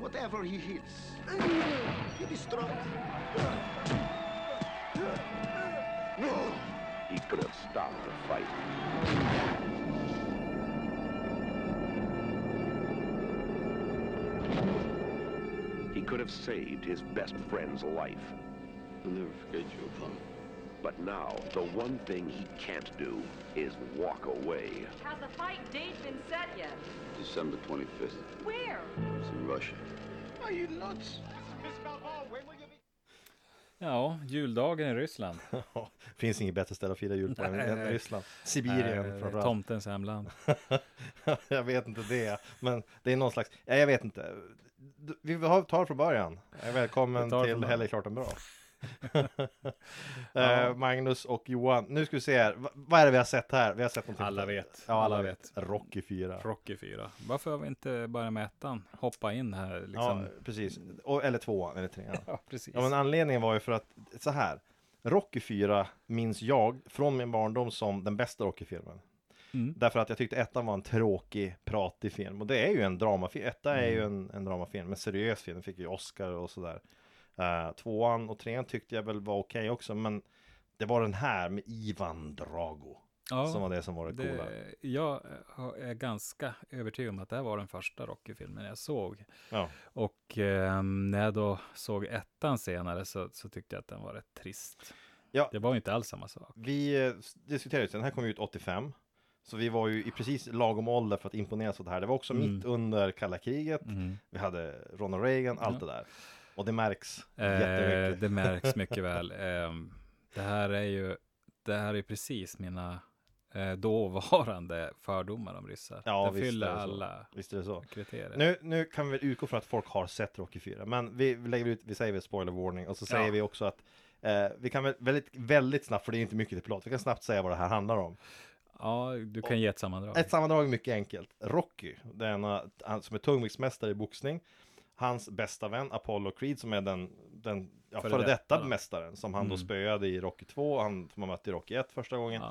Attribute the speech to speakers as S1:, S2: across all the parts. S1: Whatever he hits, he destroys.
S2: He could have stopped the fight. He could have saved his best friend's life.
S3: I'll never forget you, Apollo.
S2: But now, the one thing he can't do is walk away.
S4: Has the fight date been set yet?
S3: December 25th.
S4: Where?
S3: It's in Russia.
S5: Ja, juldagen i Ryssland.
S6: Ja, finns inget bättre ställe att fira jul på än
S5: Nej,
S6: än
S5: nej.
S6: Ryssland.
S5: Eh,
S6: Sibirien framförallt.
S5: Tomtens hemland.
S6: jag vet inte det, men det är någon slags, ja, jag vet inte. Du- Vi har- tar det från början. Eh, Välkommen
S5: Vi tar det från
S6: till
S5: början.
S6: Helle klart en bra. Eh, Magnus och Johan, nu ska vi se här. Va- vad är det vi har sett här? Vi har sett någonting.
S5: Alla vet.
S6: Ja, alla,
S5: Alla
S6: vet. Rocky 4.
S5: Rocky 4. Varför har vi inte bara med ettan? Hoppa in här liksom.
S6: Ja, precis. Och, eller tvåan, eller trean.
S5: Ja, precis.
S6: Ja, men anledningen var ju för att, så här. Rocky 4 minns jag från min barndom som den bästa Rocky-filmen.
S5: Mm.
S6: Därför att jag tyckte ettan var en tråkig, pratig film. Och det är ju en dramafilm. Etta är ju
S5: Mm.
S6: en, en dramafilm, en seriös film. Den fick ju Oscar och sådär. Eh, tvåan och trean tyckte jag väl var okej också, men det var den här med Ivan Drago
S5: Ja,
S6: som var det som var det, coola.
S5: det, jag har- är ganska övertygad om att det här var den första Rocky-filmen jag såg.
S6: Ja.
S5: Och ehm, när jag då såg ettan senare så, så tyckte jag att den var rätt trist.
S6: Ja.
S5: Det var ju inte alls samma sak.
S6: Vi eh, s- diskuterade ju, den här kom ju ut 85. Så vi var ju i precis lagom ålder för att imponeras av det här. Det var också
S5: Mm.
S6: mitt under kalla kriget.
S5: Mm.
S6: Vi hade Ronald Reagan, allt
S5: Ja.
S6: det där. Och det märks
S5: Eh,
S6: jättemycket.
S5: det märks mycket väl. Ehm, det här är ju det här är precis mina eh, dåvarande fördomar om ryssar.
S6: Ja,
S5: det
S6: visst
S5: fyller
S6: är det så.
S5: alla
S6: Visst är det så.
S5: kriterier.
S6: Nu, nu kan vi väl utgå från att folk har sett Rocky 4, men vi, vi lägger ut, vi säger väl spoiler warning och så säger
S5: Ja.
S6: vi också att eh, vi kan väl väldigt, väldigt snabbt, för det är inte mycket till plåt, vi kan snabbt säga vad det här handlar om.
S5: Ja, du kan ge ett sammandrag.
S6: Ett sammandrag är mycket enkelt. Rocky, denna, han som är tungviktsmästare i boxning, hans bästa vän Apollo Creed som är den, den ja,
S5: Före
S6: före,
S5: detta
S6: detta
S5: då.
S6: mästaren som han då
S5: Mm.
S6: spöade i Rocky 2, han som han mötte i Rocky 1 första gången.
S5: Ja.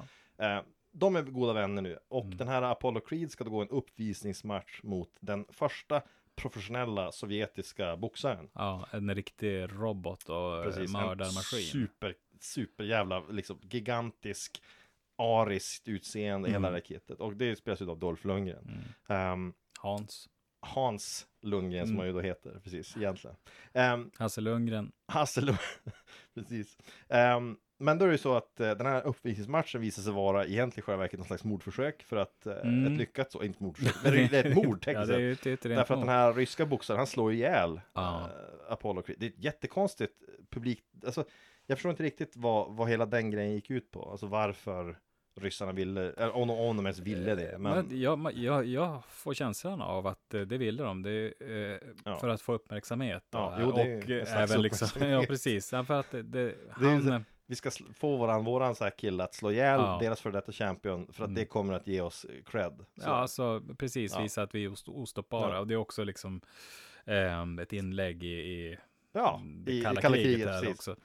S6: Eh, de är goda vänner nu och
S5: Mm.
S6: den här Apollo Creed ska då gå en uppvisningsmatch mot den första professionella sovjetiska boxaren.
S5: Ja, en riktig robot och Precis, mördarmaskin.
S6: En super, super jävla, liksom gigantisk, ariskt utseende, hela
S5: Mm.
S6: raketet. Och det spelas ju av Dolph Lundgren.
S5: Mm.
S6: Ehm,
S5: Hans.
S6: Hans Lundgren som
S5: Mm.
S6: han ju då heter, precis, egentligen. Ehm,
S5: Hasse Lundgren.
S6: Hasse Lund... Precis. Ehm, men då är det ju så att eh, den här uppvisningsmatchen visar sig vara egentligen i själva verket någon slags mordförsök för att eh,
S5: Mm.
S6: ett lyckat så, inte mordförsök, men det är- det är ett mord
S5: ja,
S6: tekniskt
S5: det är
S6: sett.
S5: ju ett, ett rent
S6: Därför att den
S5: mord.
S6: här ryska boxaren, han slår ju ihjäl
S5: Ja.
S6: eh, Apollo Creed. Det är ett jättekonstigt publik, alltså jag förstår inte riktigt vad, vad hela den grejen gick ut på, alltså varför ryssarna ville, eller om de, om de ens ville det. Men,
S5: Eh, Men jag, ma- jag, jag får känslan av att eh, det ville de, det, är, eh,
S6: Ja.
S5: för att få uppmärksamhet.
S6: Ja,
S5: och-
S6: jo, det är ju en
S5: och eh,
S6: slags
S5: även liksom,
S6: uppmärksamhet.
S5: ja precis, Ja, för att det, det,
S6: Det är ju
S5: han,
S6: så- vi ska sl- få våran, våran så här kille att slå ihjäl
S5: Ja.
S6: deras före detta champion för att
S5: Mm.
S6: det kommer att ge oss eh, cred. Så.
S5: ja alltså precis,
S6: Ja.
S5: visa att vi är ost- ostoppbara.
S6: Ja.
S5: Och det är också liksom ehm, ett inlägg i, i
S6: Ja,
S5: mm,
S6: i, i
S5: kalla kriget, där
S6: precis.
S5: också.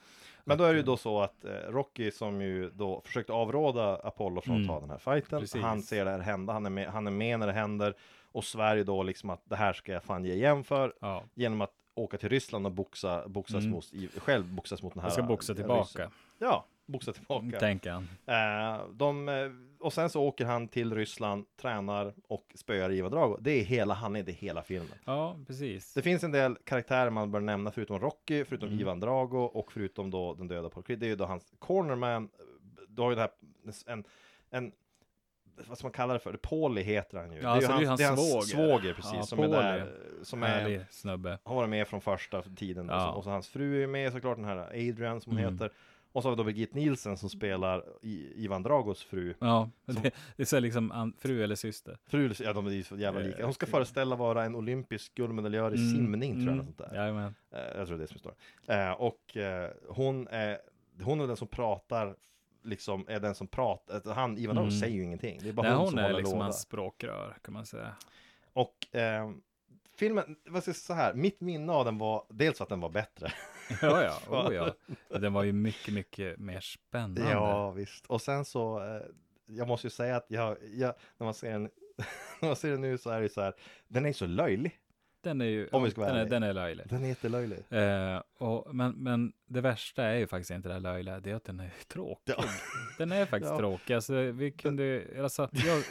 S6: Men då är det ju då så att eh, Rocky som ju då försökte avråda Apollo från att
S5: Mm.
S6: ta den här fighten.
S5: Precis.
S6: Han ser det här hända, han är, med, han är med när det händer. Och Sverige då liksom att det här ska jag fan ge igen för.
S5: Ja,
S6: Genom att åka till Ryssland och boxa, boxas
S5: Mm.
S6: mot, i, själv boxas mot den här.
S5: jag ska boxa
S6: eh, ryssen.
S5: tillbaka,
S6: Ja, boxa tillbaka.
S5: tänker han.
S6: Eh, de, eh, och sen så åker han till Ryssland, tränar och spöar Ivan Drago. Det är hela, han är det är hela filmen.
S5: Ja, precis.
S6: Det finns en del karaktärer man bör nämna förutom Rocky, förutom
S5: Mm.
S6: Ivan Drago och förutom då den döda Paul Creed. Det är ju då hans cornerman. Du har ju det här, en, en vad ska man kalla det för? Pauli heter han ju.
S5: Ja, alltså, det är ju hans svåger.
S6: svåger precis,
S5: Ja,
S6: som är där, eh, som är,
S5: Härlig snubbe.
S6: har varit med från första tiden. Och,
S5: Ja.
S6: så, och så hans fru är med såklart, den här Adrian som hon
S5: Mm.
S6: heter. Och så har vi då Birgit Nielsen som spelar I, Ivan Dragos fru.
S5: Ja, det, det är så här liksom an, fru eller syster.
S6: Fru, ja de är ju så jävla lika. Hon ska föreställa vara en olympisk guldmedaljör i
S5: Eh, Mm,
S6: simning tror jag. eller
S5: mm,
S6: Sånt där.
S5: Jajamän.
S6: Eh, jag tror det är det som står. Eh, och eh, hon, är, hon är den som pratar, liksom är den som pratar, han, Ivan Drago
S5: Mm.
S6: säger ju ingenting. Det är bara
S5: Nej,
S6: hon,
S5: hon
S6: som
S5: är
S6: håller
S5: liksom
S6: låda.
S5: hans språkrör, kan man säga.
S6: Och eh, filmen, vad ska jag säga så här, mitt minne av den var dels att den var bättre.
S5: Ja, ja, oh, ja. Den var ju mycket, mycket mer spännande.
S6: ja, visst. Och sen så, eh, jag måste ju säga att jag, jag när man ser den, när man ser den nu så är det ju så här, den är ju så löjlig.
S5: Den är ju,
S6: Om vi ska vara
S5: den, är,
S6: ärliga.
S5: den är löjlig.
S6: Den är jättelöjlig.
S5: Eh, och, men, men det värsta är ju faktiskt inte det här löjliga, det är att den är tråkig.
S6: Ja.
S5: Den är faktiskt
S6: Ja.
S5: tråkig. Alltså, vi kunde ju- alltså, jag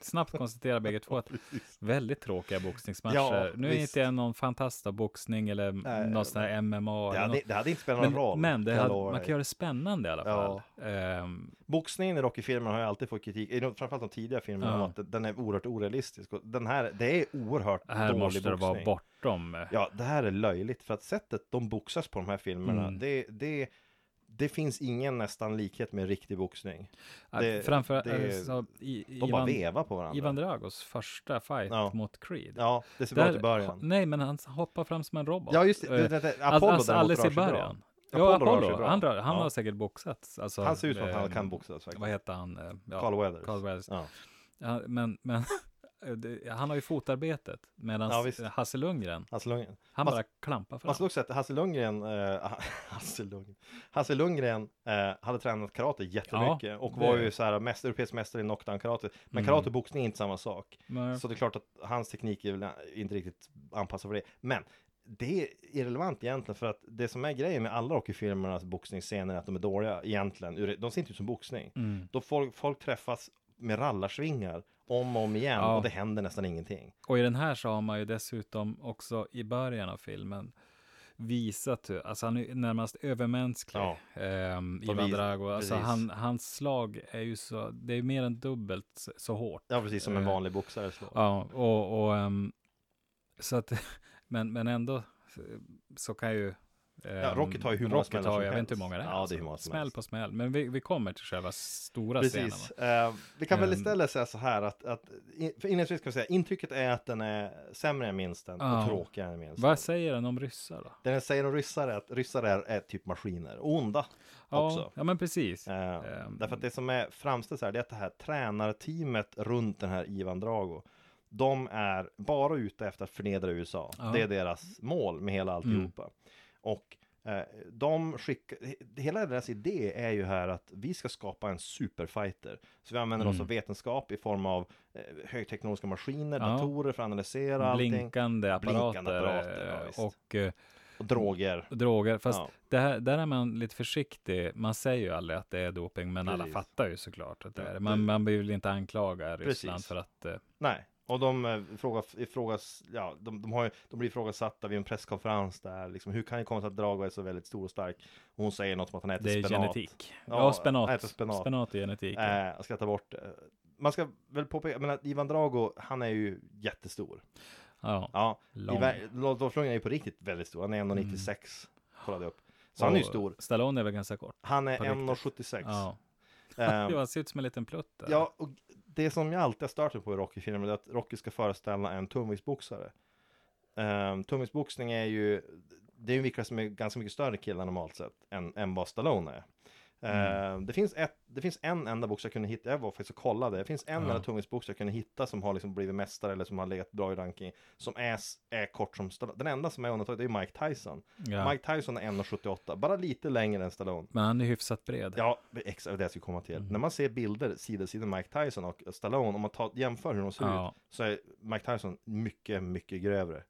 S5: snabbt konstatera bägge två att väldigt tråkiga boxningsmatcher.
S6: Ja,
S5: nu är
S6: visst.
S5: inte jag någon fantast av boxning eller
S6: Nej,
S5: någon sån här MMA.
S6: Det
S5: Eller
S6: hade,
S5: något.
S6: det hade inte spelat någon
S5: Men,
S6: roll.
S5: men det
S6: kan jag
S5: hade,
S6: lova
S5: man
S6: dig.
S5: kan göra det spännande i alla fall.
S6: Ja.
S5: Ehm,
S6: Boxningen i Rocky-filmerna har ju alltid fått kritik, i de- framförallt de tidiga filmerna,
S5: Ja.
S6: om att den är oerhört orealistisk. Och den här, det är oerhört
S5: här
S6: dålig
S5: måste det vara
S6: boxning.
S5: bortom. eh,
S6: Ja, det här är löjligt för att sättet de boxas på de här filmerna,
S5: Mm.
S6: det, det, det finns ingen nästan likhet med riktig boxning. det-
S5: Äh, Framför
S6: det-
S5: alltså, i,
S6: De bara
S5: Ivan,
S6: vevar på varandra.
S5: Ivan Dragos första fight
S6: Ja.
S5: mot Creed.
S6: Ja, det ser bra ut
S5: Där,
S6: i början.
S5: nej, men han hoppar fram som en robot.
S6: Ja, just det. det,
S5: Eh,
S6: det, det
S5: All-
S6: Apollo
S5: alltså,
S6: däremot
S5: alldeles
S6: rör sig
S5: i
S6: bra.
S5: början.
S6: Apollo
S5: Ja,
S6: rör sig
S5: Apollo,
S6: bra.
S5: han, rör, han
S6: Ja.
S5: har säkert boxats. Alltså,
S6: Han ser ut som att han
S5: eh,
S6: kan boxas faktiskt.
S5: Vad heter han? Eh, Ja,
S6: Carl Weathers.
S5: Carl Weathers.
S6: Ja.
S5: Ja, men men det- han har ju fotarbetet. Medan
S6: Ja, visst.
S5: Hasse Lundgren,
S6: Hasse Lundgren.
S5: han
S6: Mas-
S5: bara klampar fram.
S6: Man slog att Hasse Lundgren, eh, Hasse Lundgren, Hasse Lundgren eh, hade tränat karate jättemycket och var
S5: det-
S6: ju så här mest, europeisk mästare i knockdown-karate. Men
S5: Mm.
S6: karate och boxning är inte samma sak.
S5: Men-
S6: Så det är klart att hans teknik är väl inte riktigt anpassad för det. Men det är irrelevant egentligen för att det som är grejen med alla Rocky-filmernas boxningsscener är att de är dåliga egentligen. Ur- De ser inte ut som boxning.
S5: Mm.
S6: Då folk, folk träffas med rallarsvingar om och om igen
S5: Ja.
S6: och det händer nästan ingenting.
S5: Och i den här så har man ju dessutom också i början av filmen visat hur, alltså han är ju närmast övermänsklig,
S6: Ja.
S5: ehm,
S6: De
S5: Ivan
S6: vis-
S5: Drago. Alltså
S6: precis.
S5: han, hans slag är ju så, det är ju mer än dubbelt så, så hårt.
S6: Ja, precis som en
S5: Eh,
S6: vanlig boxare slår.
S5: Ja, och, och ehm, så att, men, men ändå eh, så kan ju ehm,
S6: Ja, Rocky tar ju hur många smällar
S5: som
S6: som
S5: Jag vet
S6: helst.
S5: inte hur många det är.
S6: Ja, det är
S5: alltså.
S6: hur många som
S5: smäll
S6: helst.
S5: på smäll. Men vi, vi kommer till själva stora
S6: Precis.
S5: scenen.
S6: Eh, vi kan väl
S5: Ehm.
S6: istället säga så här att, att in- för inledningsvis ska vi säga intrycket är att den är sämre än minsten
S5: Ja.
S6: och tråkigare än minsten.
S5: Vad säger den om ryssar då?
S6: Det den säger om ryssar är att ryssar är, är typ maskiner och onda också.
S5: Ja, ja men precis.
S6: Eh,
S5: Ehm.
S6: Därför att det som är framställs här, det är att det här tränarteamet runt den här Ivan Drago, de är bara ute efter att förnedra USA.
S5: Ja. Mm.
S6: Det är deras mål med hela alltihopa. Och eh, de skickar, he- hela deras idé är ju här att vi ska skapa en superfighter. Så vi använder oss
S5: Mm.
S6: av vetenskap i form av eh, högteknologiska maskiner,
S5: Ja.
S6: datorer för att analysera allting.
S5: Blinkande apparater,
S6: Blinkande apparater, ja,
S5: eh,
S6: visst.
S5: och eh,
S6: Och droger.
S5: droger. Fast
S6: Ja.
S5: det här, där är man lite försiktig. Man säger ju aldrig att det är doping, men alla
S6: Precis.
S5: fattar ju såklart att det
S6: Ja,
S5: är det.
S6: det-
S5: Man, man vill inte anklaga Ryssland
S6: Precis.
S5: för att... eh,
S6: Nej, och de eh, frågar, ifrågas, ja, de, de, har, ju- de blir ifrågasatta vid en presskonferens där, liksom, hur kan det komma sig att Drago är så väldigt stor och stark? Och hon säger något om att han äter
S5: det är
S6: spenat.
S5: genetik. Ja,
S6: Ja,
S5: spenat.
S6: äter spenat.
S5: är genetik. ja.
S6: Eh, jag ska ta bort eh, Man ska väl påpeka, men att Ivan Drago, han är ju jättestor.
S5: Ja.
S6: Ja,
S5: Lång. Mm.
S6: Iver- Dolph Lundgren är ju på riktigt väldigt stor, han är 1,96 kollade jag upp. Så han är ju
S5: Och
S6: stor.
S5: Stallone är väl ganska kort.
S6: Han är
S5: på riktigt.
S6: 1,76.
S5: Ja.
S6: Ehm,
S5: Jo, han ser ut som en liten plutt där.
S6: Ja, och det som jag alltid har stört mig på i Rocky-filmer är att Rocky ska föreställa en tungviktsboxare. Um, tungviktsboxning är ju, det är ju en viktare som är ganska mycket större killar normalt sett än, än vad Stallone är. Ehm,
S5: Mm.
S6: det, finns ett, det finns en enda boxare jag kunde hitta, jag var faktiskt och kollade, det finns en enda tungviktsboxare jag kunde hitta som har liksom blivit mästare eller som har legat bra i ranking, som är, s- är kort som Stallone. Den enda som är undantaget är ju Mike Tyson.
S5: Ja.
S6: Mike Tyson är 1,78, bara lite längre än Stallone.
S5: Men han är hyfsat bred.
S6: Ja, exakt det jag skulle komma till.
S5: Mm.
S6: När man ser bilder sida vid sida Mike Tyson och Stallone, om man tar, jämför hur de ser
S5: Ja.
S6: ut, så är Mike Tyson mycket, mycket grövre.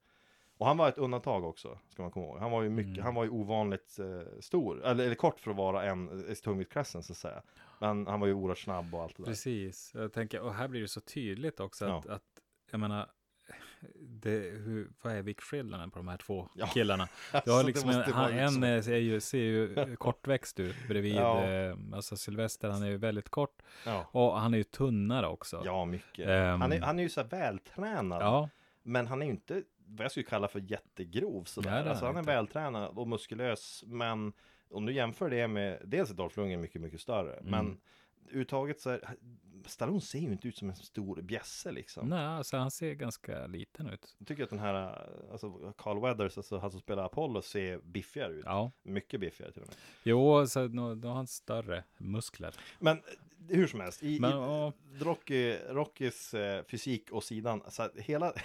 S6: Och han var ett undantag också, ska man komma ihåg. Han var ju, mycket,
S5: Mm.
S6: han var ju ovanligt eh, stor, eller, eller kort för att vara en i tungviktsklassen så att säga. Men han var ju oerhört snabb och allt det där.
S5: Precis. Jag tänker, och här blir det så tydligt också att,
S6: Ja.
S5: att jag menar, det, hur, vad är viktskillnaden på de här två
S6: Ja.
S5: killarna? Du
S6: Alltså,
S5: har
S6: det
S5: liksom,
S6: måste
S5: en,
S6: vara
S5: han, en
S6: liksom-
S5: är är ju, ser ju kortväxt ut bredvid,
S6: Ja.
S5: eh, alltså Sylvester, han är ju väldigt kort
S6: Ja,
S5: och han är ju tunnare också.
S6: ja mycket.
S5: Ehm.
S6: han, är, han är ju så här vältränad.
S5: Ja,
S6: Men han är ju inte vad jag skulle kalla för jättegrov sådär.
S5: Nej, det är
S6: alltså
S5: han
S6: han är
S5: inte.
S6: vältränad och muskulös. Men om du jämför det med, dels är Dolph Lundgren mycket, mycket större.
S5: Mm.
S6: Men uttaget så är, Stallone ser ju inte ut som en stor bjässe liksom.
S5: nej, alltså han ser ganska liten ut.
S6: Jag tycker att den här, alltså Carl Weathers, alltså han som spelar Apollo, ser biffigare ut.
S5: Ja,
S6: Mycket biffigare till och med.
S5: jo, så nå- då har han större muskler.
S6: Men eh, hur som helst, i,
S5: Men,
S6: i
S5: ja.
S6: Rocky, Rockys eh, fysik och sidan, så att hela...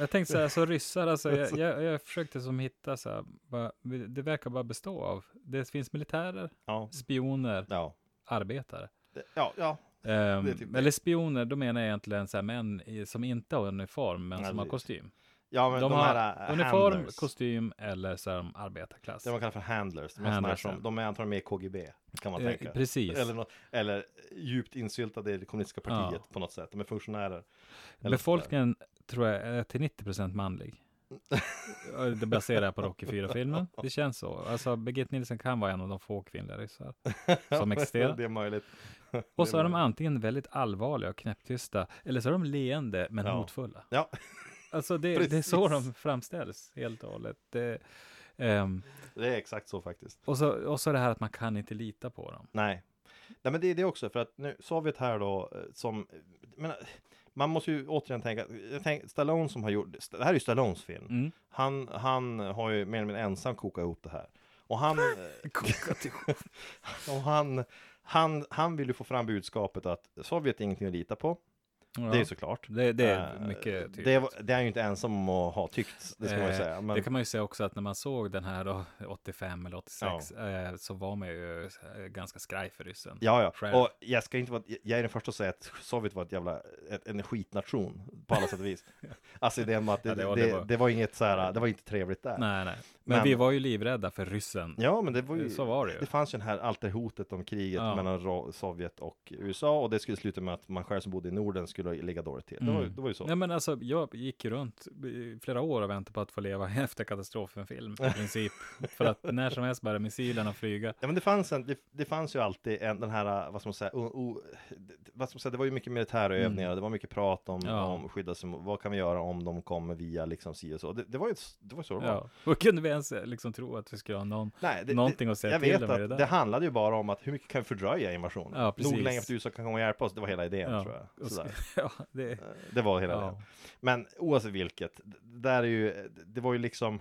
S5: Jag tänkte så här, så ryssar, alltså, jag, jag, jag försökte som hitta så här, bara, det verkar bara bestå av, det finns militärer,
S6: ja,
S5: spioner,
S6: ja,
S5: arbetare.
S6: ja, ja,
S5: Ehm,
S6: Det är typ det.
S5: eller spioner, då menar jag egentligen så här män i, som inte har uniform, men
S6: Ja,
S5: som har
S6: precis.
S5: kostym.
S6: Ja, men de,
S5: De har
S6: här eh,
S5: uniform,
S6: handlers.
S5: kostym eller så är de arbetarklass.
S6: Det man kallar för handlers. De, är såna här
S5: Handlers,
S6: som,
S5: ja.
S6: de är antagligen med i KGB, kan man
S5: Eh,
S6: tänka.
S5: precis.
S6: Eller, nå- eller djupt insyltade i det kommunistiska partiet på något sätt. De är funktionärer. Eller
S5: Befolkningen tror jag är till 90% manlig. Och Det baserar jag på Rocky 4-filmen. Det känns så. Alltså, Birgit Nilsson kan vara en av de få kvinnliga ryssar som existerar.
S6: det är möjligt.
S5: Och så är de antingen väldigt allvarliga och knäpptysta, eller så är de leende men
S6: Ja.
S5: hotfulla.
S6: Ja,
S5: Alltså det, det är så de framställs helt och hållet. Det, ehm,
S6: det är exakt så faktiskt.
S5: och, så, och så det här att man kan inte lita på dem.
S6: Nej. Nej, men det är det också, för att nu, Sovjet här då, eh, som, jag menar, man måste ju återigen tänka, jag tänk, Stallone som har gjort, det här är ju Stallones film,
S5: Mm.
S6: han, han har ju mer eller mindre ensam kokat ihop det här. Och han, eh, och han, han, han vill ju få fram budskapet att Sovjet är ingenting att lita på,
S5: Ja.
S6: det är ju såklart.
S5: det, det är
S6: Eh,
S5: mycket tydligt.
S6: det, var- det är han ju inte ensam om att ha tyckt, det ska man ju
S5: Eh,
S6: säga. Men,
S5: Det kan man ju säga också att när man såg den här då, 85 eller 86 eh, så var man ju eh, ganska skraj för ryssen.
S6: Ja,
S5: Själv.
S6: ja. Och jag, ska inte vara, jag är den första att säga att Sovjet var ett jävla, ett, en skitnation på alla sätt och vis. Alltså det med att det,
S5: Ja, det var-
S6: det,
S5: det
S6: det,
S5: var-
S6: var inget så här, det var inte trevligt där.
S5: Nej, nej. Men,
S6: Men-
S5: vi var ju livrädda för ryssen.
S6: Ja, men det var ju,
S5: Så var det ju.
S6: fanns ju den här, alltid hotet om kriget
S5: Ja.
S6: mellan Ro- Sovjet och USA och det skulle sluta med att man själv som bodde i Norden skulle ligga dåligt till. Det, var, ju-
S5: Mm.
S6: det var ju så.
S5: Nej, men alltså, jag gick ju runt i flera år och väntade på att få leva efter katastrofen-film i princip. för att när som helst började missilerna flyga.
S6: Ja, men det fanns, en, det, det fanns ju alltid en, den här, vad ska man säga, o, o, det- vad ska man säga, det var ju mycket militära övningar, det var mycket prat om,
S5: Mm. Ja.
S6: om skydda sig, mot- vad kan vi göra om de kommer via liksom si och så. Det, det var ju det var ju så det var.
S5: Ja. Och kunde vi ens eh, liksom tro att vi skulle ha någon,
S6: Nej, det,
S5: någonting
S6: det,
S5: att säga
S6: jag
S5: till
S6: vet
S5: om i
S6: att
S5: det där?
S6: det handlade ju bara om att hur mycket kan vi fördröja invasionen?
S5: Ja,
S6: Nog
S5: precis.
S6: länge efter USA kan komma och hjälpa oss, det var hela idén
S5: Ja.
S6: tror jag.
S5: Och så-
S6: Sådär. Eh,
S5: ja, det,
S6: Det var hela
S5: Ja.
S6: idén. Men oavsett vilket, d- där är ju, det var ju liksom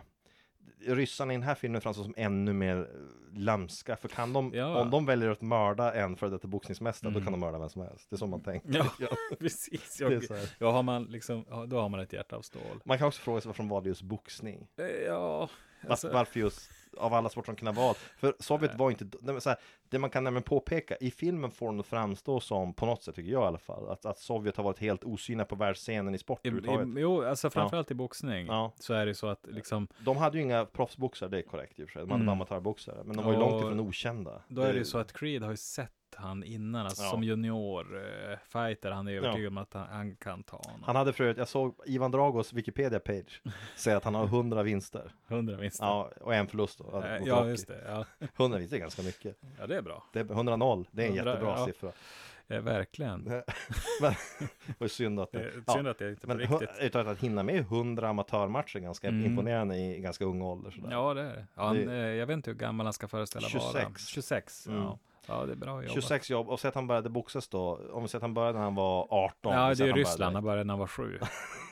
S6: Ryssarna i den här filmen framstår som ännu mer lamska, för kan de,
S5: Ja. Mm.
S6: om de väljer att mörda en före detta boxningsmästare, då kan de mörda vem som helst. Det är så man tänker.
S5: ja, precis.
S6: Det är
S5: Jag,
S6: så här.
S5: ja, har man liksom, ja, då har man ett hjärta av stål.
S6: Man kan också fråga sig varför de valde just boxning.
S5: Eh, Ja,
S6: Var-
S5: alltså,
S6: Varför just av alla sporter de kunde ha valt. För Sovjet var inte, nej, men så här, det man kan nämligen påpeka, i filmen får de framstå som, på något sätt tycker jag i alla fall, att, att Sovjet har varit helt osynliga på världsscenen i sport
S5: i,
S6: överhuvudtaget.
S5: i, jo, alltså framförallt i boxning
S6: Ja.
S5: så är det så att liksom,
S6: De hade ju inga proffsboxare, det är korrekt i och för sig. De hade bara amatörboxare. Men de var ju
S5: Och-
S6: långt ifrån okända.
S5: då är det ju så att Creed har ju sett han innan, alltså
S6: Ja.
S5: som junior eh, fighter, han är övertygad om att han, han kan ta honom.
S6: Han hade förut, jag såg Ivan Dragos Wikipedia-page säga att han har 100 vinster.
S5: 100 vinster.
S6: Ja, och en förlust då.
S5: Eh,
S6: mot
S5: ja
S6: Rocky.
S5: just det. Ja.
S6: 100 vinster är ganska mycket.
S5: ja, det är bra.
S6: Det är 100-0, det är en
S5: 100,
S6: jättebra
S5: ja.
S6: siffra.
S5: Eh, verkligen.
S6: Men, det var ju synd att
S5: Eh,
S6: det...
S5: synd att det inte på
S6: men
S5: riktigt. Mm.
S6: hu- utan att hinna med 100 amatörmatcher är ganska imponerande i ganska ung ålder. Sådär.
S5: Ja, det är det. Ja, han,
S6: Det-
S5: eh, jag vet inte hur gammal han ska föreställa vara.
S6: 26.
S5: 26.
S6: Mm.
S5: Ja. ja, det är bra jobbat.
S6: 26 jobb, och så att han började boxas då, om vi säger att han började när han var 18.
S5: Ja,
S6: och
S5: det
S6: sen
S5: är ju
S6: han började
S5: Ryssland. Han började när han var sju,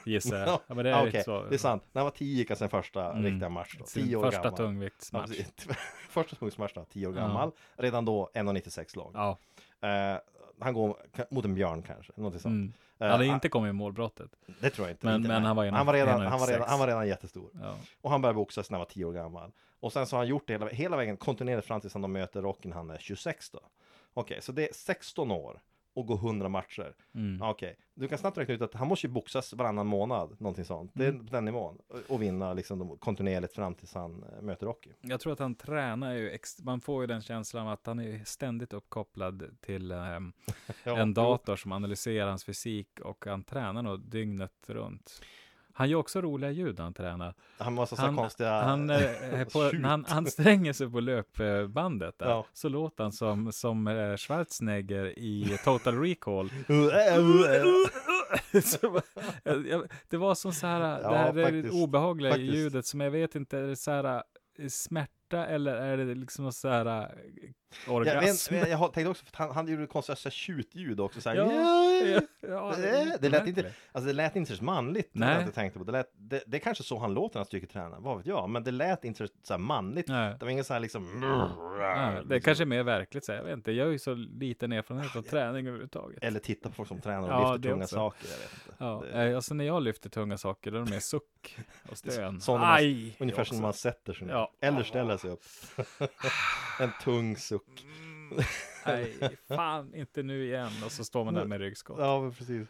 S5: gissar jag. Ja, men det är,
S6: Ja, ah,
S5: lite
S6: okej.
S5: så.
S6: det är sant. När han var 10 gick han sin första
S5: Mm.
S6: riktiga match. Då.
S5: Sin
S6: 10 år
S5: första
S6: gammal. Ja,
S5: tungviktsmatch.
S6: precis. första tungviktsmatchen, 10 år gammal. Redan då 1,96 lång.
S5: Ja,
S6: Eh, han går mot en björn kanske, någonting sånt.
S5: mm.
S6: Eh, ah,
S5: Han hade inte kommit i målbrottet.
S6: Det tror jag inte.
S5: Men-
S6: inte
S5: men
S6: nej.
S5: han var ju
S6: han, var redan,
S5: 1,96.
S6: han, var redan, han var redan jättestor.
S5: Ja.
S6: Och han började boxas när han var 10 år gammal. Och sen så har han gjort det hela, hela vägen kontinuerligt fram tills han då möter Rocky när han är 26 då. Okej, så det är 16 år och går 100 matcher.
S5: Mm.
S6: Ja, Okej, du kan snabbt räkna ut att han måste ju boxas varannan månad, någonting sånt. Det är på den nivån. Och- Och vinna liksom de- kontinuerligt fram tills han eh, möter Rocky.
S5: Jag tror att han tränar ju, ex- man får ju den känslan av att han är ju ständigt uppkopplad till ehm,
S6: Ja,
S5: en dator som analyserar hans fysik och han tränar nog dygnet runt. Han gör också roliga ljud när han tränar.
S6: Han var så, så
S5: Han,
S6: konstiga...
S5: han, eh, på,
S6: Shoot.
S5: när han anstränger sig på löpbandet där,
S6: Ja.
S5: så låter han som, som eh, Schwarzenegger i Total Recall.
S6: Äh,
S5: Så bara- jag- jag- det var som så här,
S6: Ja,
S5: det här är det
S6: faktiskt.
S5: obehagliga
S6: Faktiskt.
S5: ljudet som jag vet inte, är det så här eh, smärta eller är det liksom någon så här eh,
S6: jag,
S5: orgasm?
S6: men, jag tänkte också, för att han, han gjorde konstiga så här tjutljud också. Så här,
S5: Ja,
S6: "Yeah."
S5: ja,
S6: det, det, lät inte,
S5: märkligt.
S6: alltså det lät inte så manligt.
S5: Nej.
S6: Det, jag tänkte på. Det, lät, det, det är kanske så han låter när han styrker tränar, vad vet jag. Men det lät inte så här manligt.
S5: Nej.
S6: Det var ingen så här liksom...
S5: Ja, det är kanske är mer verkligt, så här, jag vet inte. Jag har ju så liten erfarenhet av träning överhuvudtaget.
S6: Eller titta på folk som tränar och
S5: Ja,
S6: lyfter
S5: det
S6: tunga
S5: också.
S6: saker. Jag vet inte.
S5: Ja,
S6: Det-
S5: eh, alltså när jag lyfter tunga saker, då är det mer suck och stön.
S6: Sån när man-
S5: Aj!
S6: Ungefär som
S5: också.
S6: när man sätter sig ner.
S5: Ja.
S6: Eller ställer sig upp. en tung suck.
S5: Aj, fan, inte nu igen. Och så står man där med ryggskott.
S6: Ja, men precis.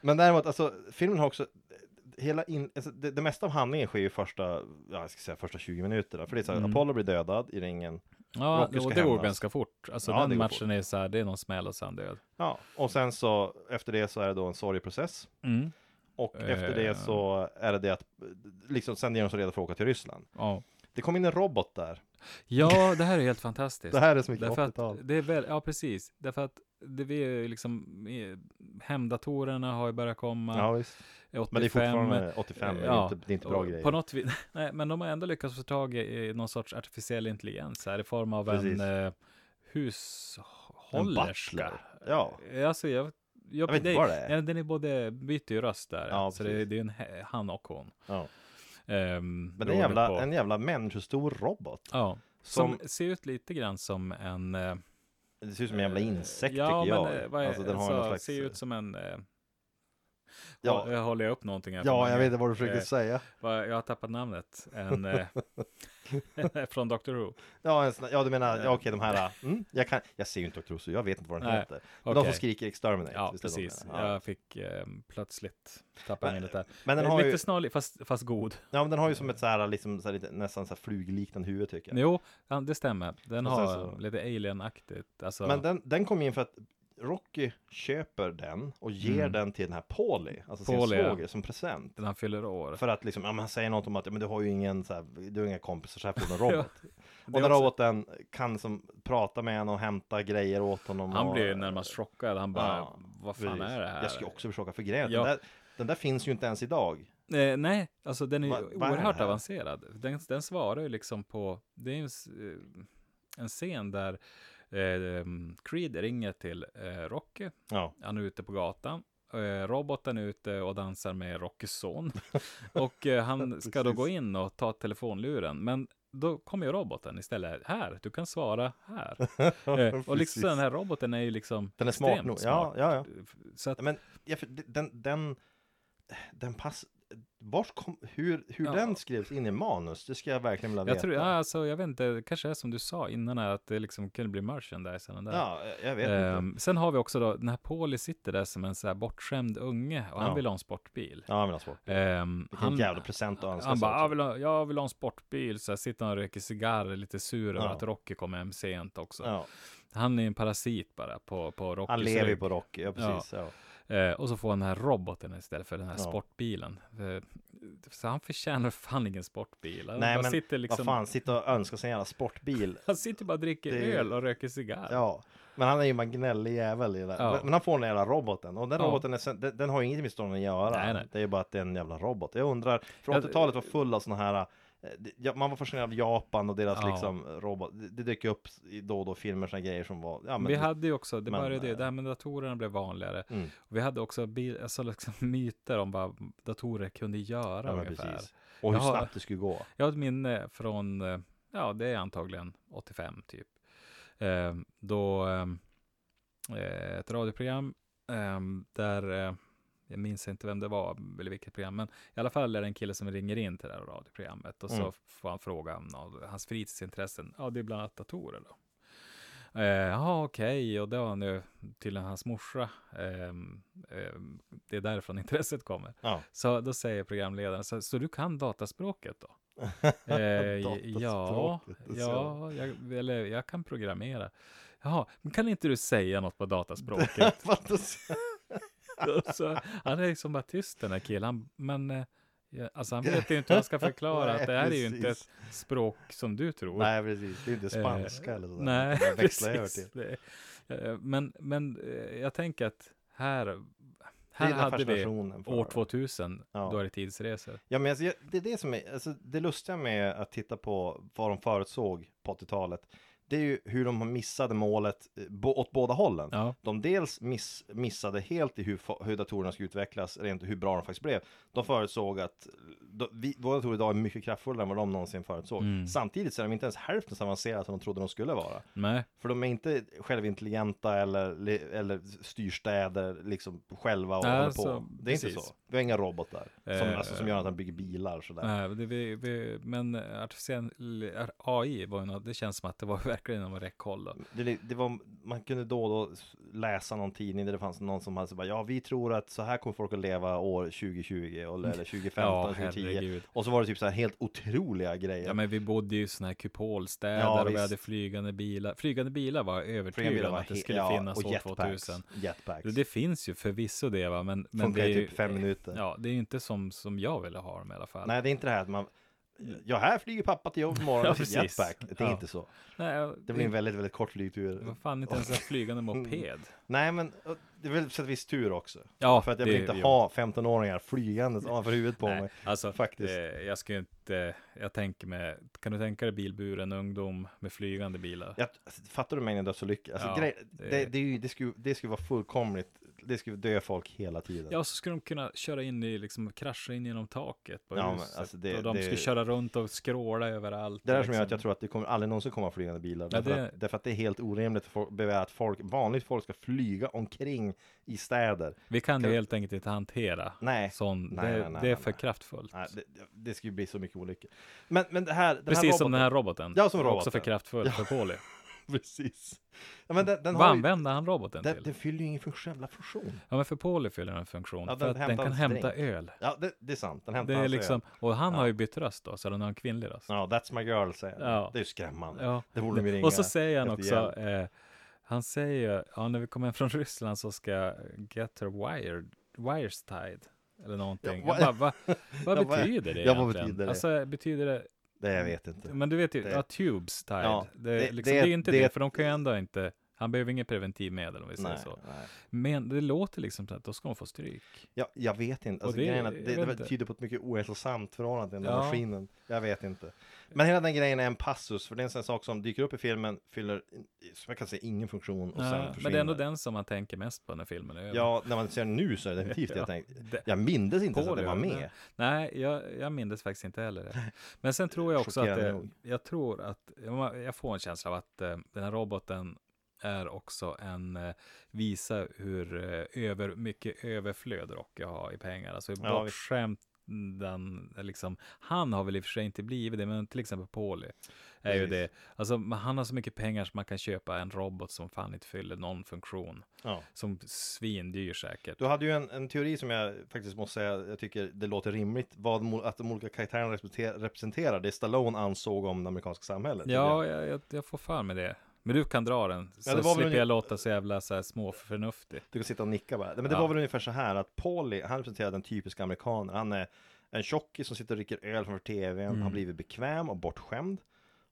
S6: Men däremot, alltså, filmen har också... hela in, alltså det, det mesta av handlingen sker ju första, ja, jag ska säga första 20 minuterna. För det är så här,
S5: Mm.
S6: Apollo blir dödad i ringen.
S5: Ja,
S6: Rocky ska
S5: och det går
S6: hämnas.
S5: ganska fort. Alltså
S6: Ja, det
S5: den
S6: går
S5: matchen är så här, det är någon smäll och sen död.
S6: Ja, och sen så efter det så är det då en sorgeprocess.
S5: Mm.
S6: Och efter det
S5: Eh.
S6: så är det det att, liksom sen är de så redo för att åka till Ryssland.
S5: Ja.
S6: Det kom in en robot där.
S5: ja, det här är helt fantastiskt.
S6: Det här är så mycket
S5: Därför att
S6: 80-tal.
S5: det är väl, ja precis. Därför att det vi är ju liksom, eh, hemdatorerna har ju börjat komma.
S6: Ja, visst.
S5: 85.
S6: Men det är fortfarande 85, det är
S5: Ja,
S6: inte, det är inte bra
S5: och
S6: grejer.
S5: På något vis, nej, men de har ändå lyckats få tag i eh, någon sorts artificiell intelligens här i form av
S6: Precis.
S5: en eh, hushållerska.
S6: butler. Ja.
S5: Alltså, jag, jag,
S6: vet inte vad det är.
S5: Ja, den är både, byter ju röst där.
S6: Ja,
S5: så det,
S6: precis.
S5: det är ju en he- han och hon.
S6: Ja.
S5: Ehm,
S6: Men det är
S5: beroende
S6: en jävla,
S5: på-
S6: en jävla människostor robot.
S5: Ja, som,
S6: Som,
S5: ser ut lite grann som en... eh,
S6: det ser ut som en jävla insekt
S5: ja,
S6: tycker jag.
S5: men eh, vad är,
S6: alltså, den har någon slags...
S5: ser ut som en... Eh,
S6: Ja.
S5: ja. Håller jag upp någonting här? för
S6: Ja, jag
S5: många?
S6: vet inte vad du försöker
S5: Eh,
S6: säga.
S5: Vad- Jag har tappat namnet. En, eh, från Doctor Who.
S6: Ja, en sån, ja du menar,
S5: eh,
S6: ja, okej de här, mm, jag, kan, jag ser ju inte Dr. så jag vet inte vad den
S5: Nej,
S6: heter. Men De
S5: okej.
S6: som skriker exterminate.
S5: Ja,
S6: visst är det de
S5: precis.
S6: menar? Ja.
S5: Jag fick eh, plötsligt tappa
S6: Men-
S5: minnet där.
S6: Men, den
S5: Eh,
S6: har
S5: Lite
S6: ju,
S5: snarlig, fast, fast god.
S6: ja, men den har ju som ett så här, liksom, så här, lite, nästan så här flugliknande huvud tycker jag.
S5: Jo, ja, det stämmer. Den
S6: Och sen
S5: har
S6: så-
S5: lite alien-aktigt. Alltså,
S6: Men den, den kom in för att Rocky köper den och ger
S5: Mm.
S6: den till den här Paulie, alltså
S5: Paulie,
S6: sin
S5: ja.
S6: svåger, som present.
S5: den han fyller år.
S6: För att liksom, ja, men han säger något om att ja, men du har ju ingen, så här, du har inga kompisar, så här får du en robot.
S5: Det
S6: och
S5: är
S6: den
S5: också-
S6: roboten kan som prata med honom och hämta grejer åt honom.
S5: Han
S6: och,
S5: blir ju närmast chockad. Han bara,
S6: Ja,
S5: vad fan
S6: Precis.
S5: är det här?
S6: Jag ska ju också försöka för grejen.
S5: Ja.
S6: Den, där, den där finns ju inte ens idag.
S5: Eh, nej, alltså den är ju
S6: Va- vad är det
S5: oerhört
S6: här?
S5: avancerad. Den, den svarar ju liksom på, det är ju en, s- eh, en scen där eh, Creed ringer till eh, Rocky.
S6: Ja,
S5: Han är ute på gatan. Eh, roboten är ute och dansar med Rockys son. och eh, han ska då
S6: Precis.
S5: gå in och ta telefonluren. Men då kommer ju roboten istället. Här, du kan svara här. Eh, och liksom
S6: Precis.
S5: den här roboten är ju liksom
S6: den är smart
S5: extremt
S6: nog. Ja,
S5: smart.
S6: ja, ja.
S5: Så att,
S6: Men ja, för den, den, den pass... Vart kom, hur hur
S5: Ja.
S6: den skrevs in i manus, det ska jag verkligen vilja veta.
S5: jag tror, ja, alltså, jag vet inte, det kanske är som du sa innan här, att det liksom kunde bli merchandise eller den där.
S6: ja, jag vet inte.
S5: Ehm, sen har vi också då, den här Pauli sitter där som en så här bortskämd unge och
S6: Ja.
S5: han vill ha en sportbil.
S6: Ja, men alltså,
S5: Ehm,
S6: vilken jävla present att önska
S5: Han bara,
S6: också.
S5: jag vill, ha, jag vill ha en sportbil, så här sitter han och röker cigarr, lite sur över
S6: Ja.
S5: att Rocky kom hem sent också.
S6: ja.
S5: Han är en parasit bara på, på Rocky.
S6: Han lever ju på Rocky, ja precis. Ja.
S5: Eh, och så får han den här roboten istället för den här
S6: Ja.
S5: sportbilen. Eh, så han förtjänar fan ingen sportbil. Han
S6: Nej
S5: bara
S6: men
S5: sitter liksom,
S6: vad fan, sitta och önska sig en jävla sportbil.
S5: Han sitter bara och dricker
S6: Det är ju-
S5: öl och röker cigarr.
S6: Ja, men han är ju en gnällig jävel i det. där.
S5: Ja.
S6: Men- Men han får den jävla roboten och den
S5: Ja.
S6: roboten är, sen- den, den har ju inget med storyn att göra.
S5: Nej, nej.
S6: Det är ju bara att det är en jävla robot. Jag undrar, för
S5: Jag-
S6: 80-talet var full av sådana här eh, det- ja, man var fascinerad av Japan och deras
S5: Ja.
S6: liksom robot. Det, det dök upp i då och då filmer såna grejer som var. Ja, men
S5: vi hade ju också, det
S6: men,
S5: började ju,
S6: eh,
S5: det här med datorerna blev vanligare.
S6: Mm.
S5: Och vi hade också bil, alltså liksom myter om vad datorer kunde göra
S6: ja, men
S5: ungefär.
S6: precis. Och hur
S5: Jag har-
S6: snabbt det skulle gå.
S5: Jag har ett minne från, eh, ja det är antagligen 85 typ. Eh, då eh, ett radioprogram eh, där, eh, jag minns inte vem det var eller vilket program, men i alla fall är det en kille som ringer in till det här radioprogrammet och
S6: Mm.
S5: så får han fråga om något, hans fritidsintressen, ja det är bland annat datorer då. Eh, Ja, okej, och det var nu till hans morsa. ehm, ehm, det är därifrån intresset kommer.
S6: Ja.
S5: Så då säger programledaren, så, så du kan dataspråket då? Eh, ja,
S6: Dataspråket, det ser
S5: ja jag, eller jag kan programmera. Jaha, men kan inte du säga något på dataspråket? så, han är liksom bara tyst den här killen, Han- men eh, ja, alltså, han vet ju inte hur han ska förklara
S6: Nej,
S5: att det här är ju inte
S6: precis.
S5: ett språk som du tror. Eh,
S6: Nej, precis. Det är inte spanska eller sådär.
S5: Nej,
S6: Det växlar jag över till.
S5: precis. Det, är- eh, men, men eh, jag tänker att här,
S6: Det är
S5: här
S6: den här
S5: hade vi
S6: fascinationen. för-
S5: år 2000,
S6: Ja.
S5: då är det tidsresor.
S6: Ja, men alltså, jag- det är det som är, alltså, det lustiga med att titta på vad de förutsåg på 80-talet, det är ju hur de missade målet eh, bo, åt båda hållen.
S5: Ja.
S6: De dels miss, missade helt i hur, fa- hur datorerna skulle utvecklas, rent hur bra de faktiskt blev. De förutsåg att de, vi, våra datorer idag är mycket kraftfullare än vad de någonsin förutsåg.
S5: Mm.
S6: Samtidigt så är de inte ens hälften så avancerade som de trodde de skulle vara.
S5: Nej,
S6: För de är inte självintelligenta eller, eller styrstäder liksom själva och
S5: Nej,
S6: håller på.
S5: alltså,
S6: det är
S5: precis.
S6: inte så. Vi Vi har inga robotar. Som,
S5: Eh,
S6: alltså, som gör att han bygger bilar sådär.
S5: Nej, det, vi, vi, men artificiell ar- AI var ju något, det känns som att det var verkligen inom räckhåll. Då.
S6: Det, li- det var, man kunde då och då s- läsa någon tidning där det fanns någon som hade så bara, ja vi tror att så här kommer folk att leva år 2020 eller, eller 2015,
S5: Mm. Ja,
S6: 2010.
S5: herregud.
S6: Och så var det typ så här helt otroliga grejer.
S5: Ja, men vi bodde ju i sådana här kupolstäder
S6: Ja,
S5: och vi
S6: visst.
S5: hade flygande bilar. Flygande bilar var jag
S6: Flera bilar
S5: övertygad om
S6: var
S5: att det
S6: he-
S5: skulle
S6: ja,
S5: finnas
S6: och
S5: år
S6: jetpacks,
S5: 2000.
S6: Jetpacks.
S5: Det, det finns ju förvisso det va, men, men
S6: Funkar
S5: det är
S6: i
S5: ju,
S6: typ fem minuter.
S5: Ja, det är ju inte som, som jag ville ha dem i alla fall.
S6: Nej, det är inte det här att man, ja här flyger pappa till jobb imorgon
S5: Ja,
S6: och sitt
S5: precis.
S6: jetpack. Det är
S5: Ja. Mm.
S6: inte så.
S5: Nej
S6: Det blir en väldigt, väldigt kort flygtur.
S5: Vad fan, inte ens en flygande moped.
S6: Nej, men och det är väl på viss tur också.
S5: Ja,
S6: För att jag vill
S5: det-
S6: inte
S5: jo.
S6: ha 15-åringar flygandes ovanför huvudet på
S5: Nej,
S6: mig.
S5: Alltså,
S6: Faktiskt.
S5: Eh, jag skulle inte, jag tänker mig, kan du tänka dig bilburen ungdom med flygande bilar?
S6: Jag, fattar du mängden dödsolyckor? Alltså,
S5: Ja,
S6: grej,
S5: det-
S6: det, det, är ju- det, skulle, det skulle vara fullkomligt, det skulle dö folk hela tiden.
S5: Ja, och så skulle de kunna köra in i, liksom krascha in genom taket på
S6: Ja, men
S5: huset.
S6: alltså det-
S5: och de
S6: det-
S5: skulle köra runt och skråla överallt.
S6: Det är det
S5: och
S6: som gör att
S5: liksom-
S6: jag tror att det kommer aldrig någonsin komma flygande bilar.
S5: Ja,
S6: Därför,
S5: det-
S6: Att, därför att det är helt orimligt att folk- begära att folk, vanligt folk ska flyga omkring i städer.
S5: Vi kan ju
S6: Kan-
S5: helt enkelt inte hantera
S6: Nej.
S5: sån,
S6: Nej,
S5: det,
S6: nej, nej,
S5: det är
S6: nej,
S5: för
S6: nej.
S5: kraftfullt.
S6: Nej, det, det- det skulle bli så mycket olyckor. Men, men det här, den
S5: Precis
S6: här
S5: som
S6: roboten-
S5: den här roboten.
S6: Ja, som
S5: Också
S6: roboten.
S5: för kraftfullt för Pauli.
S6: Precis. Ja, men den, den
S5: Vad
S6: har ju,
S5: använder han roboten
S6: den,
S5: till?
S6: den fyller ju ingen funktion- jävla funktion.
S5: Ja, men för Pauli fyller den en funktion.
S6: Ja,
S5: för
S6: den
S5: att den
S6: hämtar
S5: kan
S6: en
S5: hämta
S6: drink.
S5: öl.
S6: Ja, det, det är sant. Den hämtar
S5: Det är
S6: alltså
S5: liksom,
S6: öl.
S5: och han har ju bytt röst då, så den har en kvinnlig röst.
S6: Ja, that's my girl, säger han.
S5: Ja.
S6: Det är ju skrämmande.
S5: Ja.
S6: Det borde de ju
S5: Och så
S6: ringa
S5: säger han
S6: efter
S5: också,
S6: hjälp.
S5: eh, han säger, ja när vi kommer hem från Ryssland så ska jag get her wired, wires tied. Eller någonting.
S6: Ja,
S5: Jag bara, va, vad
S6: Ja, vad-
S5: betyder det
S6: ja, vad
S5: egentligen?
S6: betyder det?
S5: Alltså betyder det,
S6: Det jag vet inte.
S5: men du vet ju,
S6: Det-
S5: ja, tubes tied.
S6: Ja,
S5: det, är
S6: det-
S5: liksom, det,
S6: det-
S5: är inte det,
S6: det-
S5: för de kan ju ändå inte, han behöver inget preventivmedel om vi säger
S6: nej,
S5: så.
S6: nej.
S5: Men det låter liksom så att då ska hon få stryk.
S6: Ja, jag vet inte. Alltså,
S5: det-
S6: det, grejen är,
S5: jag
S6: att det,
S5: vet
S6: det
S5: inte.
S6: tyder på ett mycket ohälsosamt förhållande till den
S5: Ja.
S6: där maskinen. Jag vet inte. Men hela den grejen är en passus, för det är en sån här sak som dyker upp i filmen, fyller, som jag kan säga, ingen funktion och sen
S5: Nej,
S6: försvinner.
S5: men det är ändå den som man tänker mest på när filmen är över.
S6: Ja, när man ser den nu så är det definitivt det
S5: Ja,
S6: jag tänkte.
S5: det-
S6: Jag mindes inte ens att det
S5: Polio,
S6: var
S5: det-
S6: med.
S5: Nej, jag, jag minns faktiskt inte heller det. Men sen tror jag också att
S6: Chockerande
S5: det,
S6: nog.
S5: jag tror att jag- jag får en känsla av att eh, den här roboten är också en eh, visa hur eh, över, mycket överflöd Rocky har i pengar. Alltså hur
S6: Ja, visst.
S5: bortskämd den liksom, han har väl i och för sig inte blivit det, men till exempel Pauli är ju
S6: Precis.
S5: det. Alltså men han har så mycket pengar så man kan köpa en robot som fan inte fyller någon funktion.
S6: Ja.
S5: Som svindyr säkert.
S6: Du hade ju en, en teori som jag faktiskt måste säga, jag tycker det låter rimligt, vad mo- att de olika karaktärerna representer- representerar, det Stallone ansåg om det amerikanska samhället.
S5: Ja, jag, jag, jag får för mig det. Men du kan dra den, så
S6: Ja, det var väl
S5: slipper
S6: ungefär-
S5: jag låta så jävla så här småförnuftig.
S6: Du kan sitta och nicka bara. Men det
S5: Ja.
S6: var väl ungefär så här att Polly, han representerar den typiska amerikanen. Han är en tjockis som sitter och dricker öl framför tvn,
S5: Mm.
S6: har blivit bekväm och bortskämd.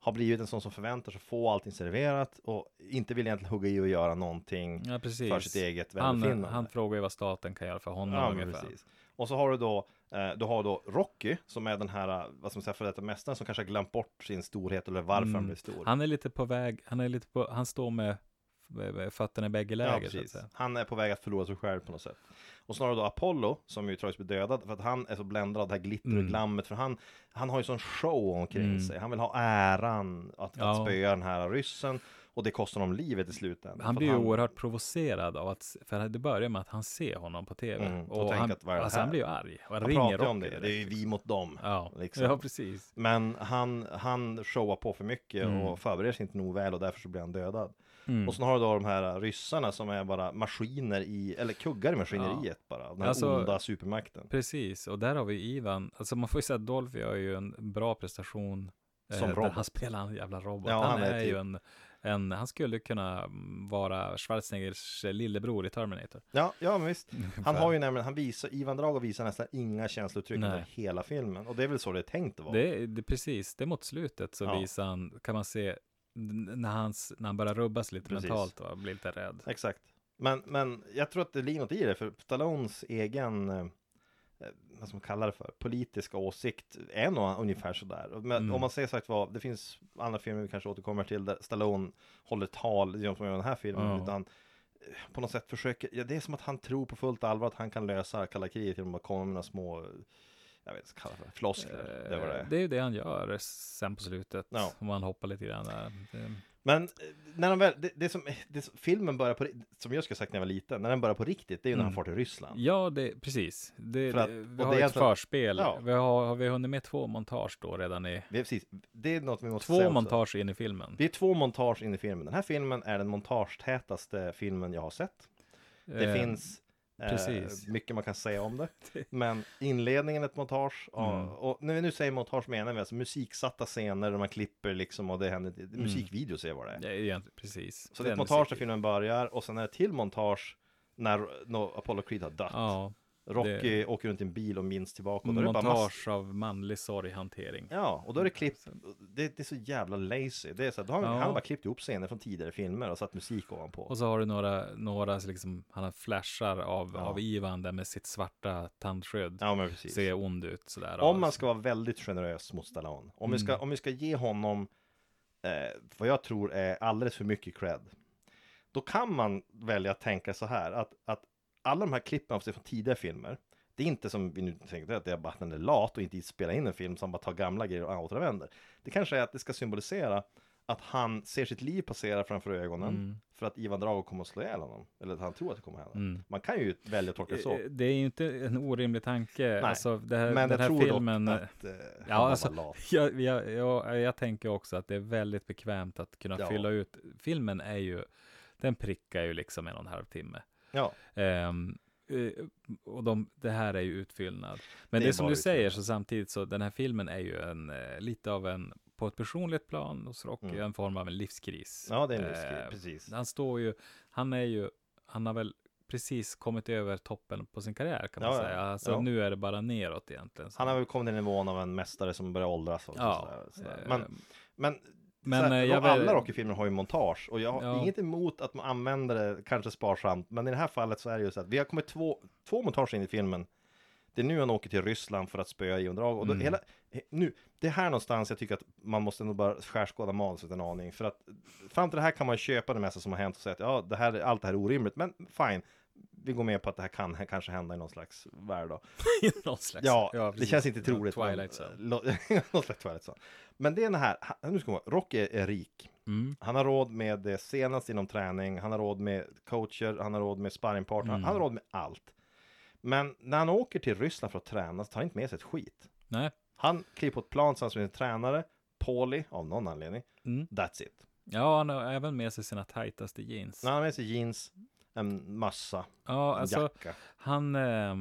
S6: Har blivit en sån som förväntar sig få allting serverat och inte vill egentligen hugga i och göra någonting
S5: Ja, precis.
S6: för sitt eget
S5: han, eh,
S6: välbefinnande.
S5: han frågar ju vad staten kan göra för honom
S6: Ja, men
S5: ungefär.
S6: precis. Och så har du då, eh, du har då Rocky som är den här, eh, vad ska man säga, för detta mästaren som kanske har glömt bort sin storhet eller varför han blev stor.
S5: Mm. Han är lite på väg, han är lite på, han står med, med fötterna i bägge
S6: Ja,
S5: läger. så att
S6: precis.
S5: säga.
S6: Han är på väg att förlora sig själv på något sätt. Och snarare då Apollo, som ju tragiskt blir dödad, för att han är så bländad av det här glitter och
S5: Mm.
S6: glammet, för han, han har ju sån show omkring sig. Han vill ha äran att,
S5: Ja.
S6: att spöa den här ryssen, och det kostar honom livet i slutändan.
S5: han
S6: För
S5: blir ju
S6: att
S5: oerhört provocerad av att, för det börjar med att han ser honom på tv.
S6: Mm, och
S5: och
S6: tänker
S5: han,
S6: att vad är det
S5: alltså, han
S6: här?
S5: blir ju arg. Och han,
S6: han
S5: ringer
S6: pratar ju om
S5: Rocky
S6: det, det är ju
S5: direkt.
S6: vi mot dem.
S5: Ja.
S6: liksom.
S5: ja, precis.
S6: Men han, han showar på för mycket
S5: Mm.
S6: och förbereder sig inte nog väl och därför så blir han dödad. Och sen har du då de här ryssarna som är bara maskiner i, eller kuggar i maskineriet bara. Den här
S5: Alltså-
S6: onda supermakten.
S5: Precis, och där har vi Ivan. Alltså man får ju säga att Dolphy gör ju en bra prestation. eh,
S6: Som
S5: där
S6: robot.
S5: Han spelar en jävla robot.
S6: Ja,
S5: han,
S6: han
S5: är,
S6: är
S5: ju
S6: typ-
S5: en, en, han skulle kunna mm, vara Schwarzeneggers eh, lillebror i Terminator.
S6: Ja, ja men
S5: Mm.
S6: visst. Han har ju nämligen, han visar, Ivan Drago visar nästan inga känslouttryck
S5: Nej.
S6: under hela filmen. Och det är väl så det är tänkt att vara.
S5: Det, är- det, precis, det är mot slutet så
S6: Ja.
S5: visar han, kan man se, n- när, hans, när han börjar rubbas lite
S6: Precis.
S5: mentalt och blir lite rädd.
S6: Exakt. Men, men jag tror att det ligger något i det, för Stallones egen, eh, eh, vad ska man kalla det för, politiska åsikt är nog ungefär sådär. Och Men
S5: Mm.
S6: om man säger sagt vad, det finns andra filmer vi kanske återkommer till där Stallone håller tal, jämfört med den här filmen,
S5: Ja.
S6: utan eh, på något sätt försöker, ja, det är som att han tror på fullt allvar att han kan lösa kalla kriget genom att komma med några små jag vet inte vad jag ska kalla det för, floskler. Det var det.
S5: är ju Eh, det han gör sen på slutet.
S6: Ja.
S5: Om man hoppar lite grann där. Det-
S6: Men eh, när de väl, det, det, som, eh, det som, filmen börjar på, ri- som jag skulle sagt när jag var liten, när den börjar på riktigt, det är ju när han
S5: Mm.
S6: far till Ryssland.
S5: Ja, det, precis. Det,
S6: För att-
S5: det-
S6: och
S5: vi
S6: det
S5: har
S6: är
S5: ett
S6: alltså-
S5: förspel.
S6: Ja.
S5: Vi har, har vi hunnit med två montage då redan i...
S6: Vi är precis, det är något vi måste säga
S5: Två
S6: också.
S5: montage in i filmen.
S6: Vi är två montage in i filmen. Den här filmen är den montagetätaste filmen jag har sett. Det
S5: Eh,
S6: finns eh,
S5: precis.
S6: mycket man kan säga om det. Men inledningen är ett montage.
S5: Mm.
S6: Och, och när vi nu säger montage menar vi alltså musiksatta scener där man klipper liksom och det händer. det- det är Musikvideos är vad det är.
S5: Mm. Ja, egentligen, precis.
S6: Så det är ett
S5: Den
S6: montage när
S5: musiken.
S6: filmen börjar och sen är det ett till montage när, när Apollo Creed har dött.
S5: Ja,
S6: Rocky åker runt i en bil och minns tillbaka. Och då är det bara mass-
S5: montage av manlig sorghantering.
S6: Ja, och då är det klipp. Det, det är så jävla lazy. Det är så att, då har han,
S5: Alltså. Ja.
S6: han har bara klippt ihop scener från tidigare filmer och satt musik ovanpå.
S5: Och så har du några, några liksom, han har flashar av,
S6: Ja.
S5: av Ivan där med sitt svarta tandskydd.
S6: Ja, men precis.
S5: Ser ond ut sådär.
S6: Om man ska vara väldigt generös mot Stallone. Om, vi,
S5: Mm.
S6: ska, om vi ska ge honom eh, vad jag tror är alldeles för mycket cred. Då kan man välja att tänka så här att, att alla de här klippen av sig från tidigare filmer. Det är inte som vi nu tänkte att det är bara att han är lat och inte spelar in en film som bara tar gamla grejer och återanvänder. Det kanske är att det ska symbolisera att han ser sitt liv passera framför ögonen för att Ivan Drago kommer att slå ihjäl honom. Eller att han tror att det kommer att hända.
S5: Mm.
S6: Man kan ju välja att tolka det så.
S5: Eh, Det är ju inte en orimlig tanke. Alltså, det här,
S6: men
S5: den
S6: jag
S5: här
S6: tror
S5: filmen...
S6: dock att eh, han
S5: Ja,
S6: var
S5: alltså,
S6: bara lat.
S5: jag, jag, jag, jag tänker också att det är väldigt bekvämt att kunna
S6: Ja.
S5: fylla ut. Filmen är ju, den prickar ju liksom en och en halv timme.
S6: Ja.
S5: Ehm, eh, och de, det här är ju utfyllnad. Men
S6: Det
S5: det,
S6: är
S5: som
S6: bara
S5: du säger,
S6: utfyllnad.
S5: så samtidigt så den här filmen är ju en, eh, lite av en, på ett personligt plan hos Rocky,
S6: Mm.
S5: en form av en livskris.
S6: Ja, det är en livskris,
S5: Eh,
S6: precis.
S5: Han står ju, han är ju, han har väl precis kommit över toppen på sin karriär kan man
S6: Ja, ja.
S5: säga. Alltså
S6: Ja.
S5: nu är det bara neråt egentligen.
S6: Han har väl kommit till nivån av en mästare som börjar åldras och
S5: Ja,
S6: sådär, sådär.
S5: eh,
S6: Men, men,
S5: men,
S6: såhär,
S5: eh, jag
S6: de- alla
S5: väl-
S6: Rocky-filmer har ju montage och jag har
S5: Ja.
S6: inget emot att man använder det kanske sparsamt. Men i det här fallet så är det ju så att vi har kommit två, två montage in i filmen. Det är nu han åker till Ryssland för att spöa Ivan Drago. Och då
S5: Mm.
S6: hela, he- nu, det är här någonstans jag tycker att man måste nog bara skärskåda manuset en aning. För att fram till det här kan man köpa det mesta som har hänt och säga att ja, det här, allt det här är orimligt. Men fine, vi går med på att det här kan kanske hända i någon slags värld då.
S5: någon slags.
S6: Ja, det
S5: precis.
S6: känns inte troligt. men-
S5: Twilight Zone.
S6: lo- Något slags Twilight Zone. Men det är den här, han- nu ska man Rocky är, är rik.
S5: Mm,
S6: Han har råd med det senaste inom träning, han har råd med coacher, han har råd med sparringpartner, han
S5: Mm.
S6: har råd med allt. Men när han åker till Ryssland för att träna så tar han inte med sig ett skit.
S5: Nej,
S6: Han kliver på ett plan tillsammans med en tränare, Pauli, av någon anledning.
S5: Mm.
S6: That's it.
S5: ja, han har även med sig sina tajtaste jeans.
S6: Han har med sig jeans, en massa,
S5: Ja,
S6: en
S5: alltså
S6: jacka.
S5: han, eh,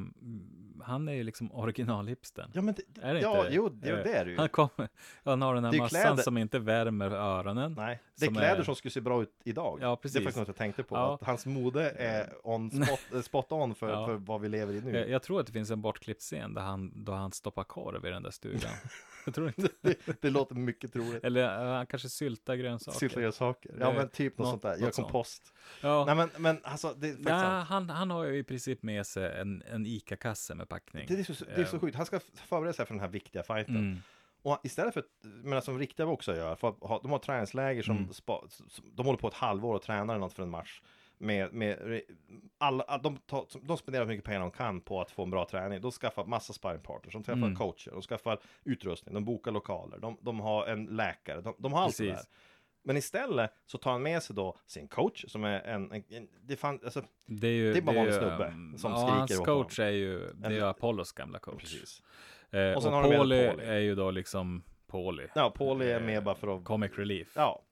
S5: han är ju liksom originalhipstern.
S6: Ja, men det,
S5: Är det
S6: ja,
S5: inte
S6: jo, jo, det är det ju.
S5: Han, kommer, han har den här
S6: Det är
S5: massan
S6: kläder.
S5: som inte värmer öronen.
S6: Nej, det är
S5: som
S6: kläder
S5: är-
S6: som skulle se bra ut idag.
S5: Ja,
S6: Det är
S5: precis.
S6: faktiskt något jag tänkte på.
S5: Ja.
S6: Att hans mode är on spot, eh, spot on för,
S5: Ja.
S6: för vad vi lever i nu.
S5: Jag, jag tror att det finns en bortklippt scen där han, då han stoppar korv i den där stugan. jag tror inte.
S6: Det, det låter mycket troligt.
S5: Eller eh, han kanske syltar grönsaker.
S6: Syltade saker. Ja,
S5: Eh,
S6: men typ något
S5: nå-
S6: sånt där. Gör
S5: något sånt.
S6: kompost.
S5: Ja.
S6: Nej, men, men alltså, det är faktiskt
S5: Nej,
S6: sant.
S5: han, han har ju i princip med sig en, en ICA-kasse med packning.
S6: det är, så, det är så sjukt. Han ska förbereda sig för den här viktiga fighten.
S5: Eh. Mm.
S6: Och istället för, att- men som riktiga också gör, för att ha, de har träningsläger som,
S5: Mm.
S6: spa, som, de håller på ett halvår och tränar eller något för en match. Med, med alla, all- de, tar, som- de spenderar hur mycket pengar de kan på att få en bra träning. De skaffar massa sparringpartners, de träffar
S5: Mm.
S6: coacher, de skaffar utrustning, de bokar lokaler, de, de har en läkare, de, de har allt det där.
S5: Precis.
S6: Men istället så tar han med sig då sin coach som är en, en, en det fan, alltså,
S5: Det är ju
S6: Det är bara
S5: ju,
S6: vanlig snubbe
S5: ehm,
S6: som
S5: ja,
S6: skriker
S5: hans
S6: åt
S5: coach
S6: honom.
S5: är ju, det är ju Apollos gamla coach.
S6: precis.
S5: Eh,
S6: Och
S5: och
S6: sen har de med
S5: Pauli
S6: Pauly.
S5: är ju då liksom Pauli. Eh,
S6: Ja, Pauli är med bara för att...
S5: Comic relief.
S6: Ja.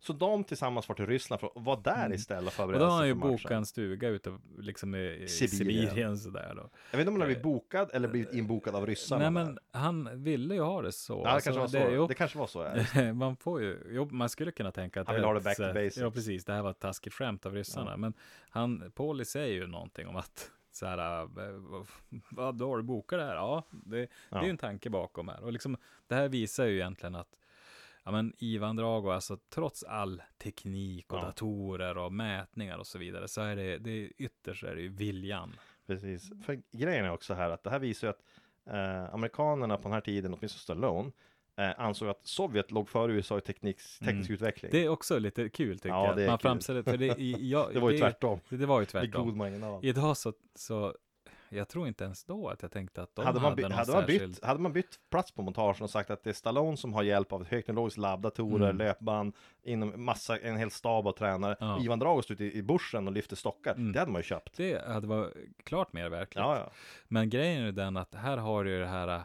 S6: Så de tillsammans var till Ryssland för att vara där istället och
S5: Mm. och
S6: förbereda
S5: då har han
S6: sig
S5: ju
S6: för matchen.
S5: bokat en stuga ute liksom i, i
S6: Sibirien.
S5: Sibirien. sådär då.
S6: Jag vet inte om han har blivit bokad eller blivit inbokad av ryssarna.
S5: Eh, Nej
S6: där.
S5: men han ville ju ha det så.
S6: Ja, det, kanske var så. Det,
S5: jo,
S6: kanske var så. Ja.
S5: man får ju, jo, man skulle kunna tänka att
S6: Han vill ha det
S5: ett
S6: back to
S5: sätt-
S6: basics.
S5: Ja precis, det här var ett taskigt skämt av ryssarna. Men han, Pauli säger ju någonting om att så här, eh, vad- vad då har du bokat det här? Ja, det, det är ju en tanke bakom här. Och liksom, det här visar ju egentligen att ja, men Ivan Drago, alltså trots all teknik och
S6: Ja.
S5: datorer och mätningar och så vidare, så är det, det är, ytterst är det ju viljan.
S6: Precis. För grejen är också här att det här visar ju att eh, amerikanerna på den här tiden, åtminstone Stallone, eh, ansåg att Sovjet låg före USA i teknik, teknisk utveckling.
S5: Mm. Det är också lite kul tycker
S6: Ja,
S5: jag.
S6: det är
S5: Man
S6: kul.
S5: framställer för det, i- jag,
S6: Det var ju
S5: är-
S6: tvärtom.
S5: Det var ju
S6: Med god
S5: tvärtom.
S6: marginal.
S5: Idag så, så Jag tror inte ens då att jag tänkte att de
S6: Hade man,
S5: hade
S6: by-
S5: någon
S6: hade, man
S5: särskild...
S6: bytt, hade man bytt plats på montagen och sagt att det är Stallone som har hjälp av ett högteknologiskt labb, datorer,
S5: Mm.
S6: löpband, inom massa, en hel stab av tränare,
S5: Ja.
S6: Ivan Drago står ute i, i bushen och lyfter stockar,
S5: Mm.
S6: det hade man ju köpt.
S5: Det hade varit klart mer verkligt.
S6: Ja, ja.
S5: Men grejen är den att här har du ju det här eh,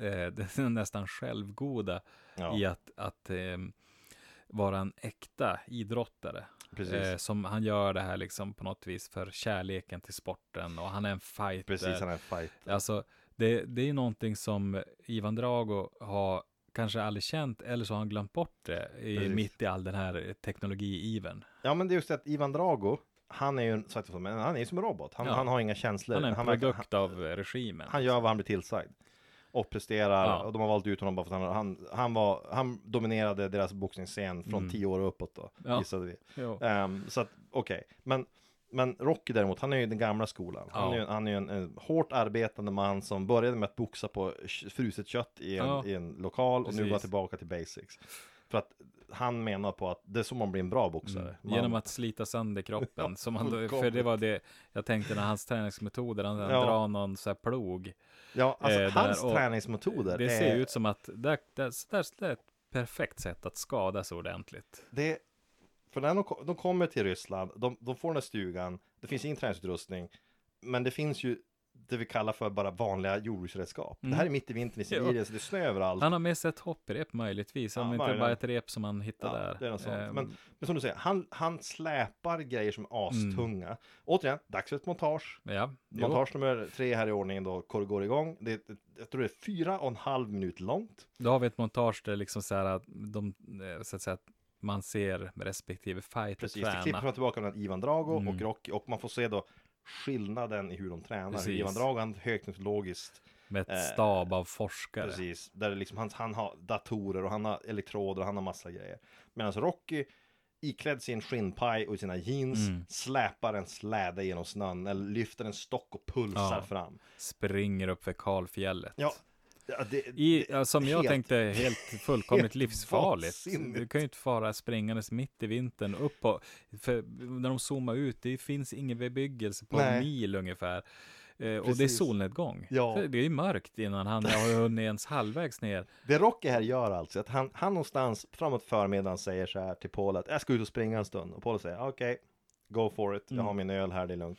S5: det är nästan självgoda
S6: ja.
S5: i att, att eh, vara en äkta idrottare.
S6: Precis.
S5: Eh, som han gör det här liksom på något vis för kärleken till sporten och han är en fighter.
S6: Precis, han är en fight.
S5: Alltså, det, det är ju någonting som Ivan Drago har kanske aldrig känt, eller så har han glömt bort det i,
S6: Precis.
S5: mitt i all den här teknologi-ivern.
S6: Ja, men det är just det att Ivan Drago, han är ju, en- sagt så, men han är ju som en robot, han,
S5: Ja.
S6: han har inga känslor.
S5: Han är en
S6: han, verkar-
S5: produkt av eh, regimen.
S6: han gör vad han blir tillsagd. Och presterar,
S5: Ja.
S6: och de har valt ut honom bara för att han, han, han, var, han dominerade deras boxningsscen från
S5: Mm.
S6: tio år och uppåt då,
S5: Ja.
S6: gissade vi.
S5: Jo.
S6: Ehm, så att, okej. Men, men Rocky däremot, han är ju den gamla skolan. Han är
S5: Ja.
S6: ju, han är ju en, en hårt arbetande man som började med att boxa på k- fruset kött i en,
S5: Ja.
S6: i en lokal och nu
S5: Precis.
S6: går tillbaka till basics. För att han menar på att det är så man blir en bra boxare.
S5: Mm.
S6: Man,
S5: Genom att slita sönder kroppen.
S6: Ja,
S5: som han då, för det
S6: fullkomligt.
S5: var det jag tänkte när hans träningsmetoder, han, han
S6: Ja.
S5: drar någon så här plog.
S6: ja, alltså
S5: eh, det
S6: hans
S5: där och-
S6: träningsmetoder
S5: Det
S6: är,
S5: ser ju ut som att det, det, det, det är ett perfekt sätt att skadas ordentligt.
S6: det, för när de, ko- de kommer till Ryssland, de, de får den här stugan, det finns ingen träningsutrustning, men det finns ju det vi kallar för bara vanliga jordbruksredskap. Det här är mitt i vintern i Sibirien, så det är snö överallt.
S5: Mm. Han har med sig ett hopprep möjligtvis, om
S6: Ja,
S5: inte
S6: möjligen.
S5: bara ett rep som han hittade där.
S6: Det är något sånt.
S5: Ehm,
S6: men, men som du säger, han, han släpar grejer som är astunga. Återigen, dags för ett montage.
S5: ja, Mm. jo.
S6: Montage nummer tre här i ordningen då, går går igång. Det, är- jag tror det är fyra och en halv minut långt.
S5: Då har vi ett montage där liksom så här att de, eh, så att säga, att man ser respektive fighter
S6: Precis, det klipper
S5: träna.
S6: fram tillbaka mellan Ivan Drago
S5: Mm.
S6: och Rocky och man får se då skillnaden i hur de tränar. Hur
S5: Precis.
S6: Ivan Drago, han högteknologiskt,
S5: Med ett
S6: eh,
S5: stab av forskare.
S6: precis, där det liksom, han, han har datorer och han har elektroder och han har massa grejer. Medan Rocky iklädd sin skinnpaj och sina jeans,
S5: Mm.
S6: släpar en släde genom snön eller lyfter en stock och pulsar
S5: Ja.
S6: fram.
S5: Springer upp för kalfjället.
S6: Ja, ja, det,
S5: I,
S6: det-
S5: ja, som jag
S6: helt-
S5: tänkte, helt fullkomligt
S6: helt
S5: livsfarligt.
S6: vansinnigt.
S5: Du kan ju inte fara springandes mitt i vintern upp på, för när de zoomar ut, det finns ingen bebyggelse på
S6: Nej.
S5: en mil ungefär. Eh, och det är
S6: Precis.
S5: solnedgång.
S6: Ja.
S5: För Det är ju mörkt innan han har hunnit ens halvvägs ner.
S6: Det Rocky här gör alltså, är att han, han någonstans framåt förmiddagen säger så här till Paul att jag ska ut och springa en stund. Och Paul säger okej, go for it, jag
S5: Mm.
S6: har min öl här, det är lugnt.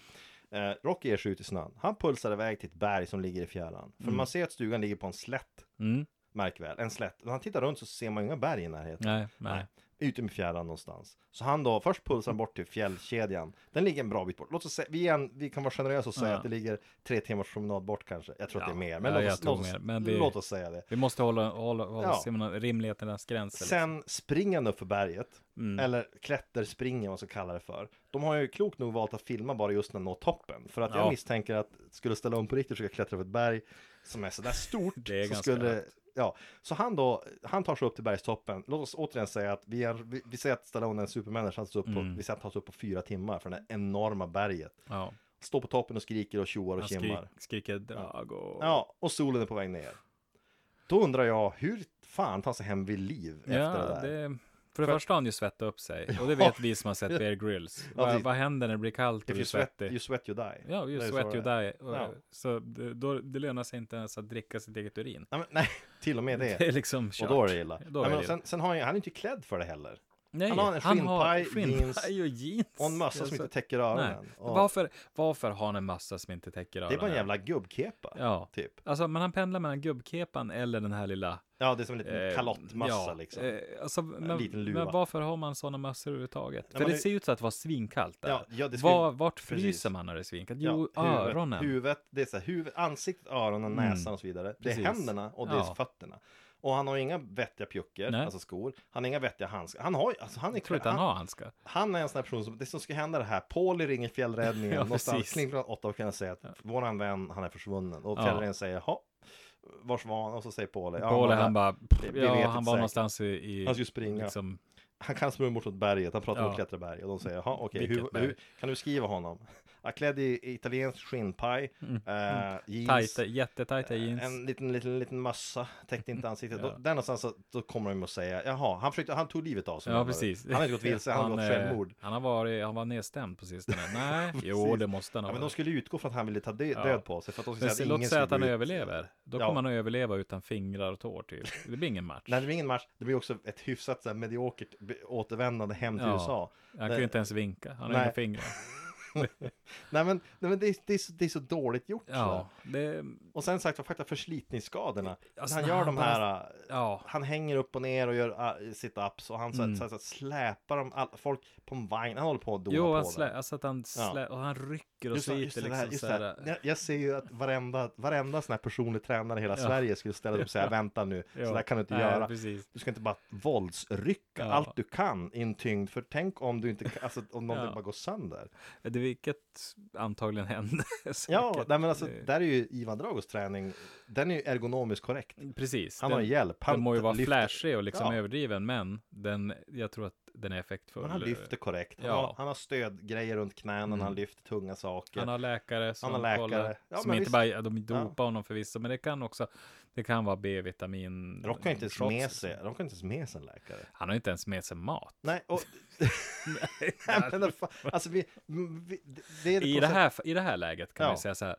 S6: Eh, Rocky ger sig ut i snön. Han pulsar iväg till ett berg som ligger i fjärran. För man ser att stugan ligger på en slätt,
S5: Mm.
S6: märk väl, en slätt. När han tittar runt så ser man ju inga berg i närheten.
S5: Nej, nej.
S6: Ute med fjärran någonstans. Så han då, först pulsar han bort till fjällkedjan. Den ligger en bra bit bort. Låt oss säga, vi, igen, vi kan vara generösa och säga
S5: Ja.
S6: att det ligger tre timmars promenad bort kanske. Jag tror att det är mer, men,
S5: ja,
S6: låt,
S5: jag
S6: oss,
S5: tror
S6: låt, oss,
S5: mer, men det-
S6: låt oss säga det.
S5: Vi måste hålla, hålla, hålla
S6: Ja.
S5: ja. rimlighetens gränser. liksom.
S6: Sen springer han upp för berget,
S5: Mm.
S6: eller klätterspringen, vad man ska kalla det för. De har ju klokt nog valt att filma bara just när han når toppen, för att jag
S5: Ja.
S6: misstänker att skulle ställa om på riktigt och försöka klättra upp ett berg som är sådär stort,
S5: Det är
S6: så
S5: ganska
S6: skulle...
S5: högt.
S6: Ja, så han då, han tar sig upp till bergstoppen. Låt oss återigen säga att vi, är, vi, vi säger att Stallone är en supermänniska, han tas upp på,
S5: Mm.
S6: vi säger att han tas upp på fyra timmar för det här enorma berget.
S5: Ja.
S6: Står på toppen och skriker och tjoar och
S5: Han skrik,
S6: kimmar.
S5: skriker Drago.
S6: Ja, och solen är på väg ner. Då undrar jag, hur fan tar sig hem vid liv efter det
S5: Ja,
S6: där?
S5: det, för det första har han ju svettat upp sig. Och det vet vi som har sett Bear Grylls. Vad,
S6: precis.
S5: vad händer när det blir kallt och
S6: If
S5: du är
S6: you sweat,
S5: svettig?
S6: you sweat you die.
S5: Ja,
S6: Det
S5: you
S6: är
S5: sweat
S6: så
S5: you
S6: det är.
S5: die. Och,
S6: Ja.
S5: Så det, då, det lönar sig inte ens att dricka sitt eget urin.
S6: Nej, men, nej, till och med det.
S5: Det är liksom kört.
S6: och då är det illa.
S5: Då är
S6: nej, men
S5: det
S6: sen, sen har han, ju- han är inte klädd för det heller.
S5: Nej,
S6: han har en
S5: har
S6: skinnpaj, jeans
S5: skinnpaj och jeans.
S6: Och en mössa som
S5: Alltså,
S6: inte täcker
S5: nej.
S6: öronen. Och
S5: Varför, varför har han en mössa som inte täcker öronen?
S6: det är bara en jävla gubbkepa.
S5: Ja.
S6: Typ.
S5: Alltså, men han pendlar mellan gubbkepan eller den här lilla...
S6: Ja, det är som en liten
S5: eh,
S6: kalottmössa
S5: ja,
S6: liksom.
S5: eh, alltså, men,
S6: liten luva.
S5: men varför har man sådana mössor överhuvudtaget? För
S6: men
S5: det,
S6: det-
S5: ser ut så att det var svinkallt där.
S6: Ja, ja, det skulle-
S5: Var, vart fryser
S6: precis.
S5: man när det är svinkallt?
S6: Ja,
S5: Jo,
S6: huvudet-
S5: öronen. Mm.
S6: Huvudet, det är så här, huvud, ansiktet, öronen, näsan och så vidare.
S5: Precis.
S6: Det är händerna och det är
S5: Ja.
S6: fötterna. Och han har inga vettiga pjuckor,
S5: Nej.
S6: alltså skor. Han har inga vettiga handskar. Han har ju- alltså han är
S5: Jag tror inte han har handskar.
S6: Han är en sån här person som, det som ska hända det här, Pauli ringer fjällräddningen
S5: Ja,
S6: någonstans
S5: precis.
S6: kring klockan åtta och kan säga att våran vän, han är försvunnen. Och
S5: Ja.
S6: fjällräddningen säger, ja, vars var han? Och så säger Pauli, ja,
S5: Paul,
S6: var
S5: han
S6: där.
S5: bara,
S6: vi vet
S5: ja,
S6: inte
S5: han
S6: säkert.
S5: var någonstans i, i
S6: Han skulle springa.
S5: liksom,
S6: han kan smörja bort mot berget, han pratar
S5: Ja.
S6: om att klättra berg. Och de säger, ja, okej,
S5: Vilket
S6: hur,
S5: berg?
S6: hur, kan du skriva honom? Ja, klädd i italiensk skinnpaj, eh, jeans,
S5: Mm.
S6: eh,
S5: Tajta, jättetajta jeans.
S6: en liten, liten, liten mössa, täckte inte ansiktet.
S5: Ja.
S6: Då, där någonstans så, då kommer de att säga, jaha, han, försökte, han tog livet av sig.
S5: Ja,
S6: menar du?
S5: precis.
S6: Han har inte gått vilse, han har gått
S5: eh,
S6: självmord.
S5: Han, har varit, han var nedstämd på sistone. Nej, jo
S6: Precis.
S5: det måste han
S6: Ja,
S5: ha
S6: men de
S5: varit.
S6: skulle ju utgå från att han ville ta dö-
S5: Ja.
S6: död på sig. För att de skulle
S5: Men
S6: säga att
S5: låt
S6: ingen skulle
S5: säga att han
S6: gå ut.
S5: överlever. Då
S6: Ja.
S5: kommer han att överleva utan fingrar och tår typ. Det blir ingen match.
S6: Nej, det blir ingen match. Det blir också ett hyfsat så här, mediokert be- återvändande hem till
S5: Ja.
S6: USA.
S5: han kan ju inte ens vinka. Han har
S6: Nej.
S5: inga fingrar.
S6: Nej, men, nej, men det, är, det, är så, det är så dåligt gjort. sådär.
S5: Ja, det,
S6: Och sen sagt vad faktiskt förslitningsskadorna.
S5: Alltså,
S6: han
S5: när
S6: gör
S5: han
S6: de
S5: bara-
S6: här, äh,
S5: ja.
S6: han hänger upp och ner och gör äh, sit-ups och han så,
S5: Mm.
S6: så, så, så, släpar dem, all, folk på en vagn. Han håller på att dona
S5: Jo,
S6: på
S5: han
S6: det.
S5: slä, alltså att han, slä, och han rycker och
S6: Just det,
S5: sliter
S6: just det, det här,
S5: liksom
S6: just
S5: så
S6: det här.
S5: här.
S6: Jag, jag ser ju att varenda, varenda sån här personlig tränare i hela Sverige skulle ställa sig upp och säga vänta nu,
S5: Ja.
S6: så där kan du inte
S5: Nej,
S6: göra.
S5: precis.
S6: Du ska inte bara våldsrycka
S5: Ja.
S6: allt du kan i en tyngd, för tänk om du inte, kan- alltså om någonting
S5: Ja.
S6: bara går sönder.
S5: Det vilket antagligen hände.
S6: Ja,
S5: säkert.
S6: nej, men alltså
S5: Det-
S6: där är ju Ivan Dragos träning, den är ju ergonomiskt korrekt.
S5: Precis.
S6: Han har
S5: den-
S6: hjälp. Han
S5: den må ju vara
S6: lyfter-
S5: flashig och liksom
S6: Ja.
S5: överdriven, men den, jag tror att den är effektfull.
S6: Men han lyfter korrekt. Han,
S5: Ja. Mm.
S6: har, han har stödgrejer runt knäna, han lyfter tunga saker.
S5: Han har läkare som
S6: har läkare.
S5: kollar.
S6: Ja,
S5: som
S6: men
S5: inte
S6: visst.
S5: bara, de dopar honom förvisso, men det kan också, det kan vara B-vitamin. eh,
S6: De kan ju inte ens
S5: shots. liksom.
S6: med sig, de kan inte ens med sig en läkare.
S5: Han har ju inte ens med sig mat.
S6: Nej, och... Nej, men vad fan, alltså vi... vi det, det är
S5: I
S6: på
S5: det,
S6: sätt-
S5: här, I det här läget kan
S6: Ja.
S5: man ju säga så här.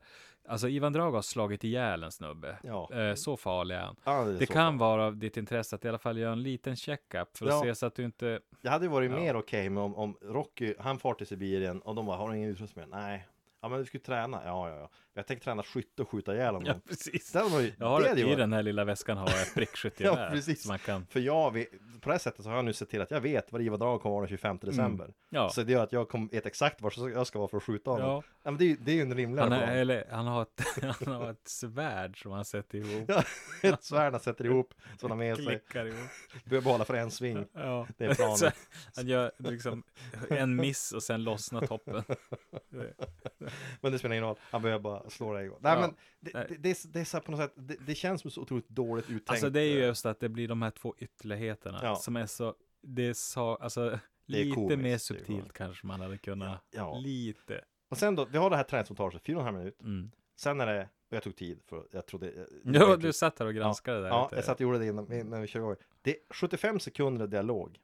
S5: Alltså Ivan Drago har slagit ihjäl en snubbe.
S6: Ja.
S5: Eh, så farlig är han.
S6: Ja, det är
S5: det
S6: så
S5: kan vara av ditt intresse att i alla fall göra en liten checkup för att
S6: Ja.
S5: se så att du inte...
S6: Jag hade ju varit mer okej med om, om Rocky, han far till Sibirien och de bara, har du ingen utrustning med? Nej. Ja men vi ska ju träna, ja ja ja. Jag tänkte träna skytte och skjuta ihjäl honom.
S5: precis.
S6: Det hade man ju-
S5: Jag har
S6: det hade ju
S5: i
S6: varit-
S5: den här lilla väskan har jag ett prickskyttegevär.
S6: Ja precis.
S5: som man kan...
S6: För jag, vet- på det här sättet så har jag nu sett till att jag vet var Ivan Drago kommer vara den 25 december.
S5: Mm. Ja.
S6: Så det gör att jag kom, vet exakt var jag ska vara för att skjuta honom.
S5: Ja.
S6: Ja. men det, är ju- det är ju en rimligare
S5: Han,
S6: plan.
S5: är, eller, han, har ett, han har ett svärd som han sätter ihop.
S6: Ja, ett svärd han sätter ihop, som han har med sig.
S5: Klickar ihop.
S6: Behöver behålla för en sving.
S5: Ja.
S6: Det är planen.
S5: Så han gör liksom en miss och sen lossnar toppen.
S6: Men det spelar ingen roll, han behöver bara slå dig igång. Nej
S5: Ja.
S6: men, det,
S5: Nej.
S6: det, det, är, så- det är så här på något sätt, det, det känns som så otroligt dåligt uttänkt.
S5: Alltså det är ju just att det blir de här två ytterligheterna
S6: Ja.
S5: som är så, det är så, alltså
S6: Det är
S5: lite
S6: komiskt, det
S5: mer
S6: är
S5: subtilt
S6: komiskt.
S5: kanske man hade kunnat,
S6: Ja.
S5: lite.
S6: Och sen då, vi har det här träningsmontaget, fyra och en halv minut.
S5: Mm.
S6: Sen är det, och jag tog tid för jag trodde... jag-
S5: Ja, du satt här och granskade det där
S6: Ja,
S5: lite.
S6: jag satt och gjorde det innan, innan vi körde igång. Det är 75 sekunder dialog.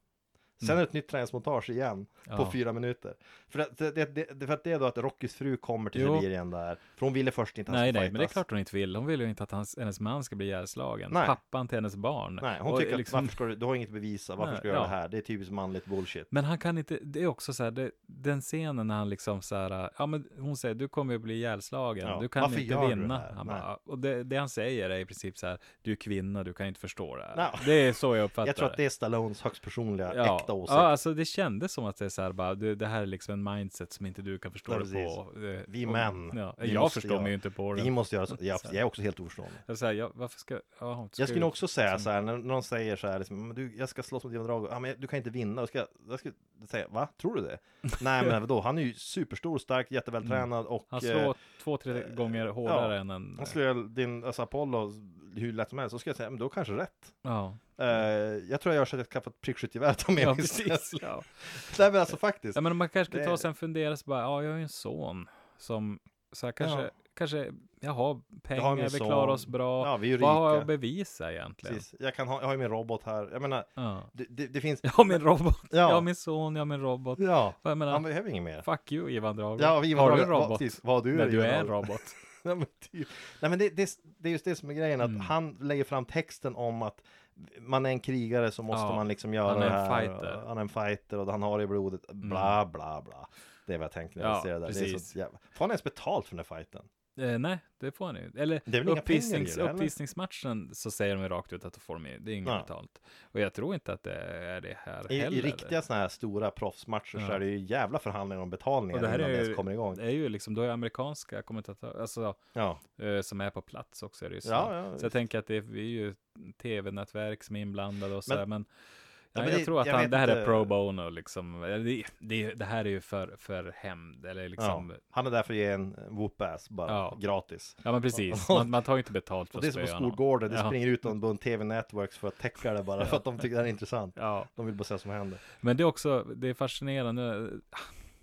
S6: Sen är det ett nytt träningsmontage igen på
S5: Mm. Ja.
S6: fyra minuter. För att det, det, det, för att det är då att Rockys fru kommer till
S5: Jo.
S6: Sibirien där. För hon ville först inte att han
S5: Nej,
S6: skulle
S5: nej, men det är
S6: fightas.
S5: klart hon inte vill. Hon vill ju inte att hans, hennes man ska bli ihjälslagen.
S6: Nej.
S5: Pappan till hennes barn.
S6: Nej, hon
S5: Och
S6: tycker
S5: liksom-
S6: att varför ska du, du har inget att bevisa, varför
S5: Nej,
S6: ska du göra
S5: ja.
S6: det här? Det är typiskt manligt bullshit.
S5: Men han kan inte, det är också så här, det, den scenen när han liksom så här, ja men hon säger du kommer ju bli ihjälslagen,
S6: Ja,
S5: du kan
S6: varför
S5: inte
S6: gör du
S5: vinna.
S6: det här?
S5: han
S6: Nej.
S5: bara, och det, det han säger är i princip så här, du är kvinna, du kan inte förstå det här.
S6: Nej.
S5: Det är så jag uppfattar
S6: Jag tror att det är Stallones högst personliga,
S5: eh, ja.
S6: äkta åsikt.
S5: Ja, alltså det kändes som att det är så här bara, du, det här är liksom en mindset som inte du kan förstå
S6: Ja,
S5: dig
S6: precis.
S5: på. Eh,
S6: Vi
S5: och-
S6: män.
S5: Ja,
S6: vi
S5: jag
S6: måste
S5: förstår
S6: göra-
S5: mig ju inte på
S6: Vi
S5: det.
S6: måste göra så. Jag, jag är också helt oförstående.
S5: Jag, så här, jag, varför ska, ja, ska liksom
S6: Jag skulle
S5: ju-
S6: också säga så här, när någon säger så här, liksom, "Men du, jag ska slåss mot Ivan Drago, ja, men du kan inte vinna, jag ska, jag ska säga, va? Tror du det? Nej men vadå, han är ju superstor, stark, jätteväl och
S5: Mm. Han
S6: eh,
S5: slår två, tre gånger hårdare än en...
S6: han slår ihjäl din alltså, Apollo hur lätt som helst, så ska jag säga, men du har kanske rätt.
S5: Ja,
S6: Eh, jag tror jag gör så att jag skaffar ett prickskyttegevär att ta med
S5: Mm. ja
S6: mig.
S5: precis. Ja.
S6: Nej men alltså faktiskt.
S5: Ja, men man kanske skulle
S6: Det-
S5: ta sig en fundera så bara, ja, jag har ju en son som, så här, kanske,
S6: Ja.
S5: kanske, jag har pengar,
S6: min
S5: vi
S6: son.
S5: klarar oss bra.
S6: Ja, vi är ju
S5: Vad har jag liksom?
S6: rika.
S5: att bevisa egentligen?
S6: Precis. Jag, kan ha, jag har ju min robot här, jag menar,
S5: Ja.
S6: det, det, det finns...
S5: Jag har min robot, jag har
S6: Ja.
S5: min son, jag har min robot.
S6: Ja,
S5: Vad Jag menar,
S6: han behöver inget mer.
S5: fuck you Ivan Drago.
S6: Ja, Ivan
S5: har
S6: Drago,
S5: du en
S6: va-
S5: robot?
S6: precis. Vad du är,
S5: Nej, du
S6: Ivan
S5: är en
S6: Drago.
S5: robot.
S6: Nej men, typ. Nej, men det, det, det är just det som är grejen, att
S5: Mm.
S6: han lägger fram texten om att man är en krigare så måste
S5: Ja,
S6: man liksom göra
S5: han är en
S6: det här.
S5: fighter. Mm.
S6: Och Han är en fighter och han har det i blodet, bla bla bla. Det är vad jag tänkte när jag
S5: Ja,
S6: ser det där. Det är
S5: precis.
S6: så jävla... Får han ens betalt för den här fighten?
S5: Eh, nej, det får han ju. Eller
S6: Det är väl inga
S5: uppvisnings,
S6: pengar i det, eller?
S5: uppvisningsmatchen så säger de ju rakt ut att de får med, det är inget
S6: Ja.
S5: betalt. Och jag tror inte att det är det här
S6: I,
S5: heller.
S6: I riktiga sådana här stora proffsmatcher så
S5: Ja.
S6: är det ju jävla förhandlingar om betalningar
S5: Och det här
S6: innan det
S5: är ju,
S6: ens kommer igång.
S5: det är ju liksom, då är amerikanska kommentatorer, alltså
S6: Ja,
S5: eh, som är på plats också i Ryssland.
S6: ja, ja.
S5: så jag tänker att det är, vi är ju tv-nätverk som är inblandade och så
S6: Men-
S5: här, men, ja,
S6: men
S5: jag
S6: det-
S5: tror att
S6: jag
S5: han,
S6: vet
S5: det här är
S6: inte.
S5: pro bono liksom. Eller Det, det, det här är ju för, för hämnd, eller liksom,
S6: ja.
S5: ja,
S6: Han är där för att ge en whoop-ass bara,
S5: Ja.
S6: gratis.
S5: men precis, man, man tar ju inte betalt för
S6: Och
S5: att
S6: det är som på
S5: spöa någon.
S6: skolgården, det
S5: Ja.
S6: springer ut en bunt TV-networks för att täcka det bara för att de tycker det här är intressant.
S5: Ja.
S6: De vill bara se vad som händer.
S5: Men det är också, det är fascinerande eh,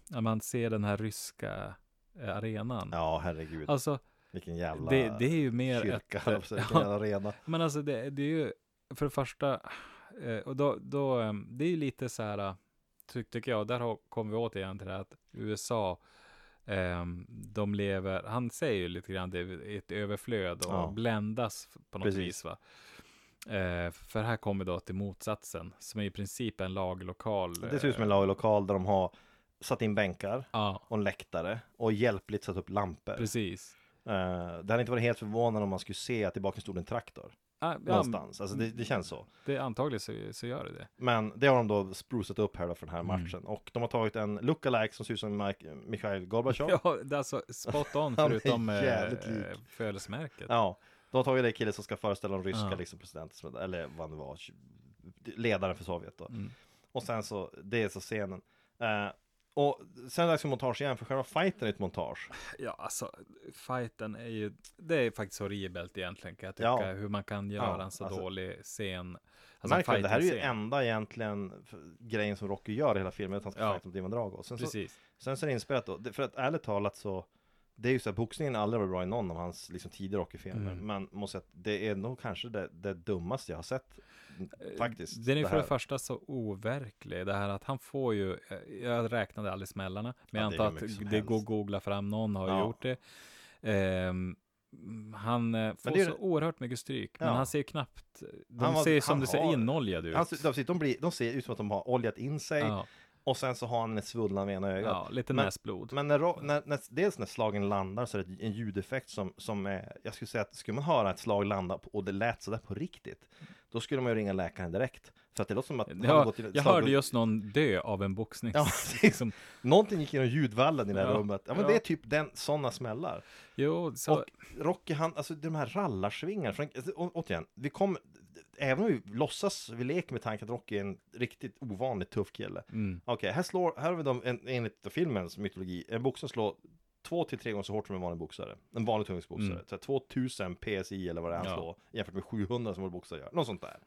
S5: när man ser den här ryska eh, arenan.
S6: Ja, herregud.
S5: Alltså,
S6: vilken jävla
S5: det, det är ju mer
S6: kyrka, alltså, höll jag på att
S5: ett...
S6: säga. vilken
S5: eh, Ja,
S6: jävla arena.
S5: men alltså det, det är ju för det första, eh, och då, då eh, det är ju lite så här, eh, ty, tycker jag, där har- kommer vi återigen till det här att USA, eh, de lever, han säger ju lite grann det i ett överflöd och
S6: Ja.
S5: bländas på något
S6: Precis.
S5: vis va. Eh, för här kommer då till motsatsen, som är i princip en laglokal.
S6: Det ser ut som en
S5: eh,
S6: lagerlokal där de har satt in bänkar
S5: Ja,
S6: och en läktare och hjälpligt satt upp lampor.
S5: precis.
S6: Eh, det hade inte varit helt förvånande om man skulle se att det bakom stod en traktor
S5: Ah, ja,
S6: någonstans. Alltså det, det känns så.
S5: det, antagligen så, så gör det det.
S6: Men det har de då sprucat upp här då för den här
S5: Mm.
S6: matchen. Och de har tagit en lookalike som ser ut som Mike, Mikhail Gorbachev.
S5: Ja, det är alltså spot on
S6: Han är
S5: förutom eh,
S6: jävligt lik.
S5: eh, födelsemärket.
S6: Ja, de har tagit den killen som ska föreställa de ryska
S5: Ja.
S6: liksom, presidenten, eller vad det var, ledaren för Sovjet då.
S5: Mm.
S6: Och sen så, det är så scenen. Eh, och sen är det dags för montage igen, för själva fighten är ett montage.
S5: Ja, alltså fighten är ju, det är faktiskt horribelt egentligen kan jag tycka,
S6: Ja.
S5: hur man kan göra
S6: Ja,
S5: en så
S6: alltså-
S5: dålig scen.
S6: Alltså, Märk väl, det här är ju
S5: fighting-scen.
S6: enda egentligen f- grejen som Rocky gör i hela filmen, att han ska
S5: Ja.
S6: fighta mot Ivan Drago. Sen så,
S5: Precis.
S6: sen så är det inspelat då, Det- för att ärligt talat så, det är ju så att boxningen har aldrig varit bra i någon av hans liksom, tidigare Rocky-filmer.
S5: Mm.
S6: Men måste säga att det är nog kanske det, det dummaste jag har sett, faktiskt.
S5: Eh, Den är ju för det
S6: här.
S5: första så overklig, det här att han får ju, eh, jag räknade aldrig smällarna, men
S6: Ja,
S5: jag
S6: det är
S5: antar
S6: hur
S5: att
S6: mycket som
S5: det går att
S6: helst.
S5: googla fram, någon har ju
S6: Ja.
S5: gjort det. Ehm, han eh, får
S6: det är
S5: så
S6: det-
S5: oerhört mycket stryk,
S6: Ja.
S5: men han ser ju knappt, de
S6: Han var-
S5: ser ju som
S6: han
S5: du säger
S6: har-
S5: inoljad ut.
S6: Han, ser- Alltså, de, ser- de, blir, de ser ut som att de har oljat in sig
S5: ja,
S6: och sen så har han en svullnad vid ena ögat.
S5: ja, lite
S6: Men-
S5: näsblod.
S6: Men när, ro- när, när, dels när slagen landar så är det en ljudeffekt som, som är, jag skulle säga att skulle man höra ett slag landa på- och det lät sådär på riktigt, då skulle man ju ringa läkaren direkt. För att det låter som att han har
S5: Ja,
S6: gått till ett
S5: jag
S6: slag-
S5: hörde just någon dö av en boxning.
S6: Ja,
S5: liksom.
S6: Någonting gick genom ljudvallen i det här
S5: Ja,
S6: rummet. Ja men
S5: ja.
S6: det är typ den, sådana smällar.
S5: Jo, så,
S6: Och Rocky han, alltså de här rallarsvingarna, från, alltså, å- återigen, vi kommer, även om vi låtsas, vi leker med tanken att Rocky är en riktigt ovanligt tuff kille.
S5: mm,
S6: Okej, här slår, här har vi de, en, enligt filmens mytologi, en boxare slår två till tre gånger så hårt som en vanlig boxare. En vanlig tungviktsboxare.
S5: Mm.
S6: Så här 2000 PSI eller vad det är han
S5: Ja.
S6: slår, jämfört med 700 som vår boxare gör. Något sånt där.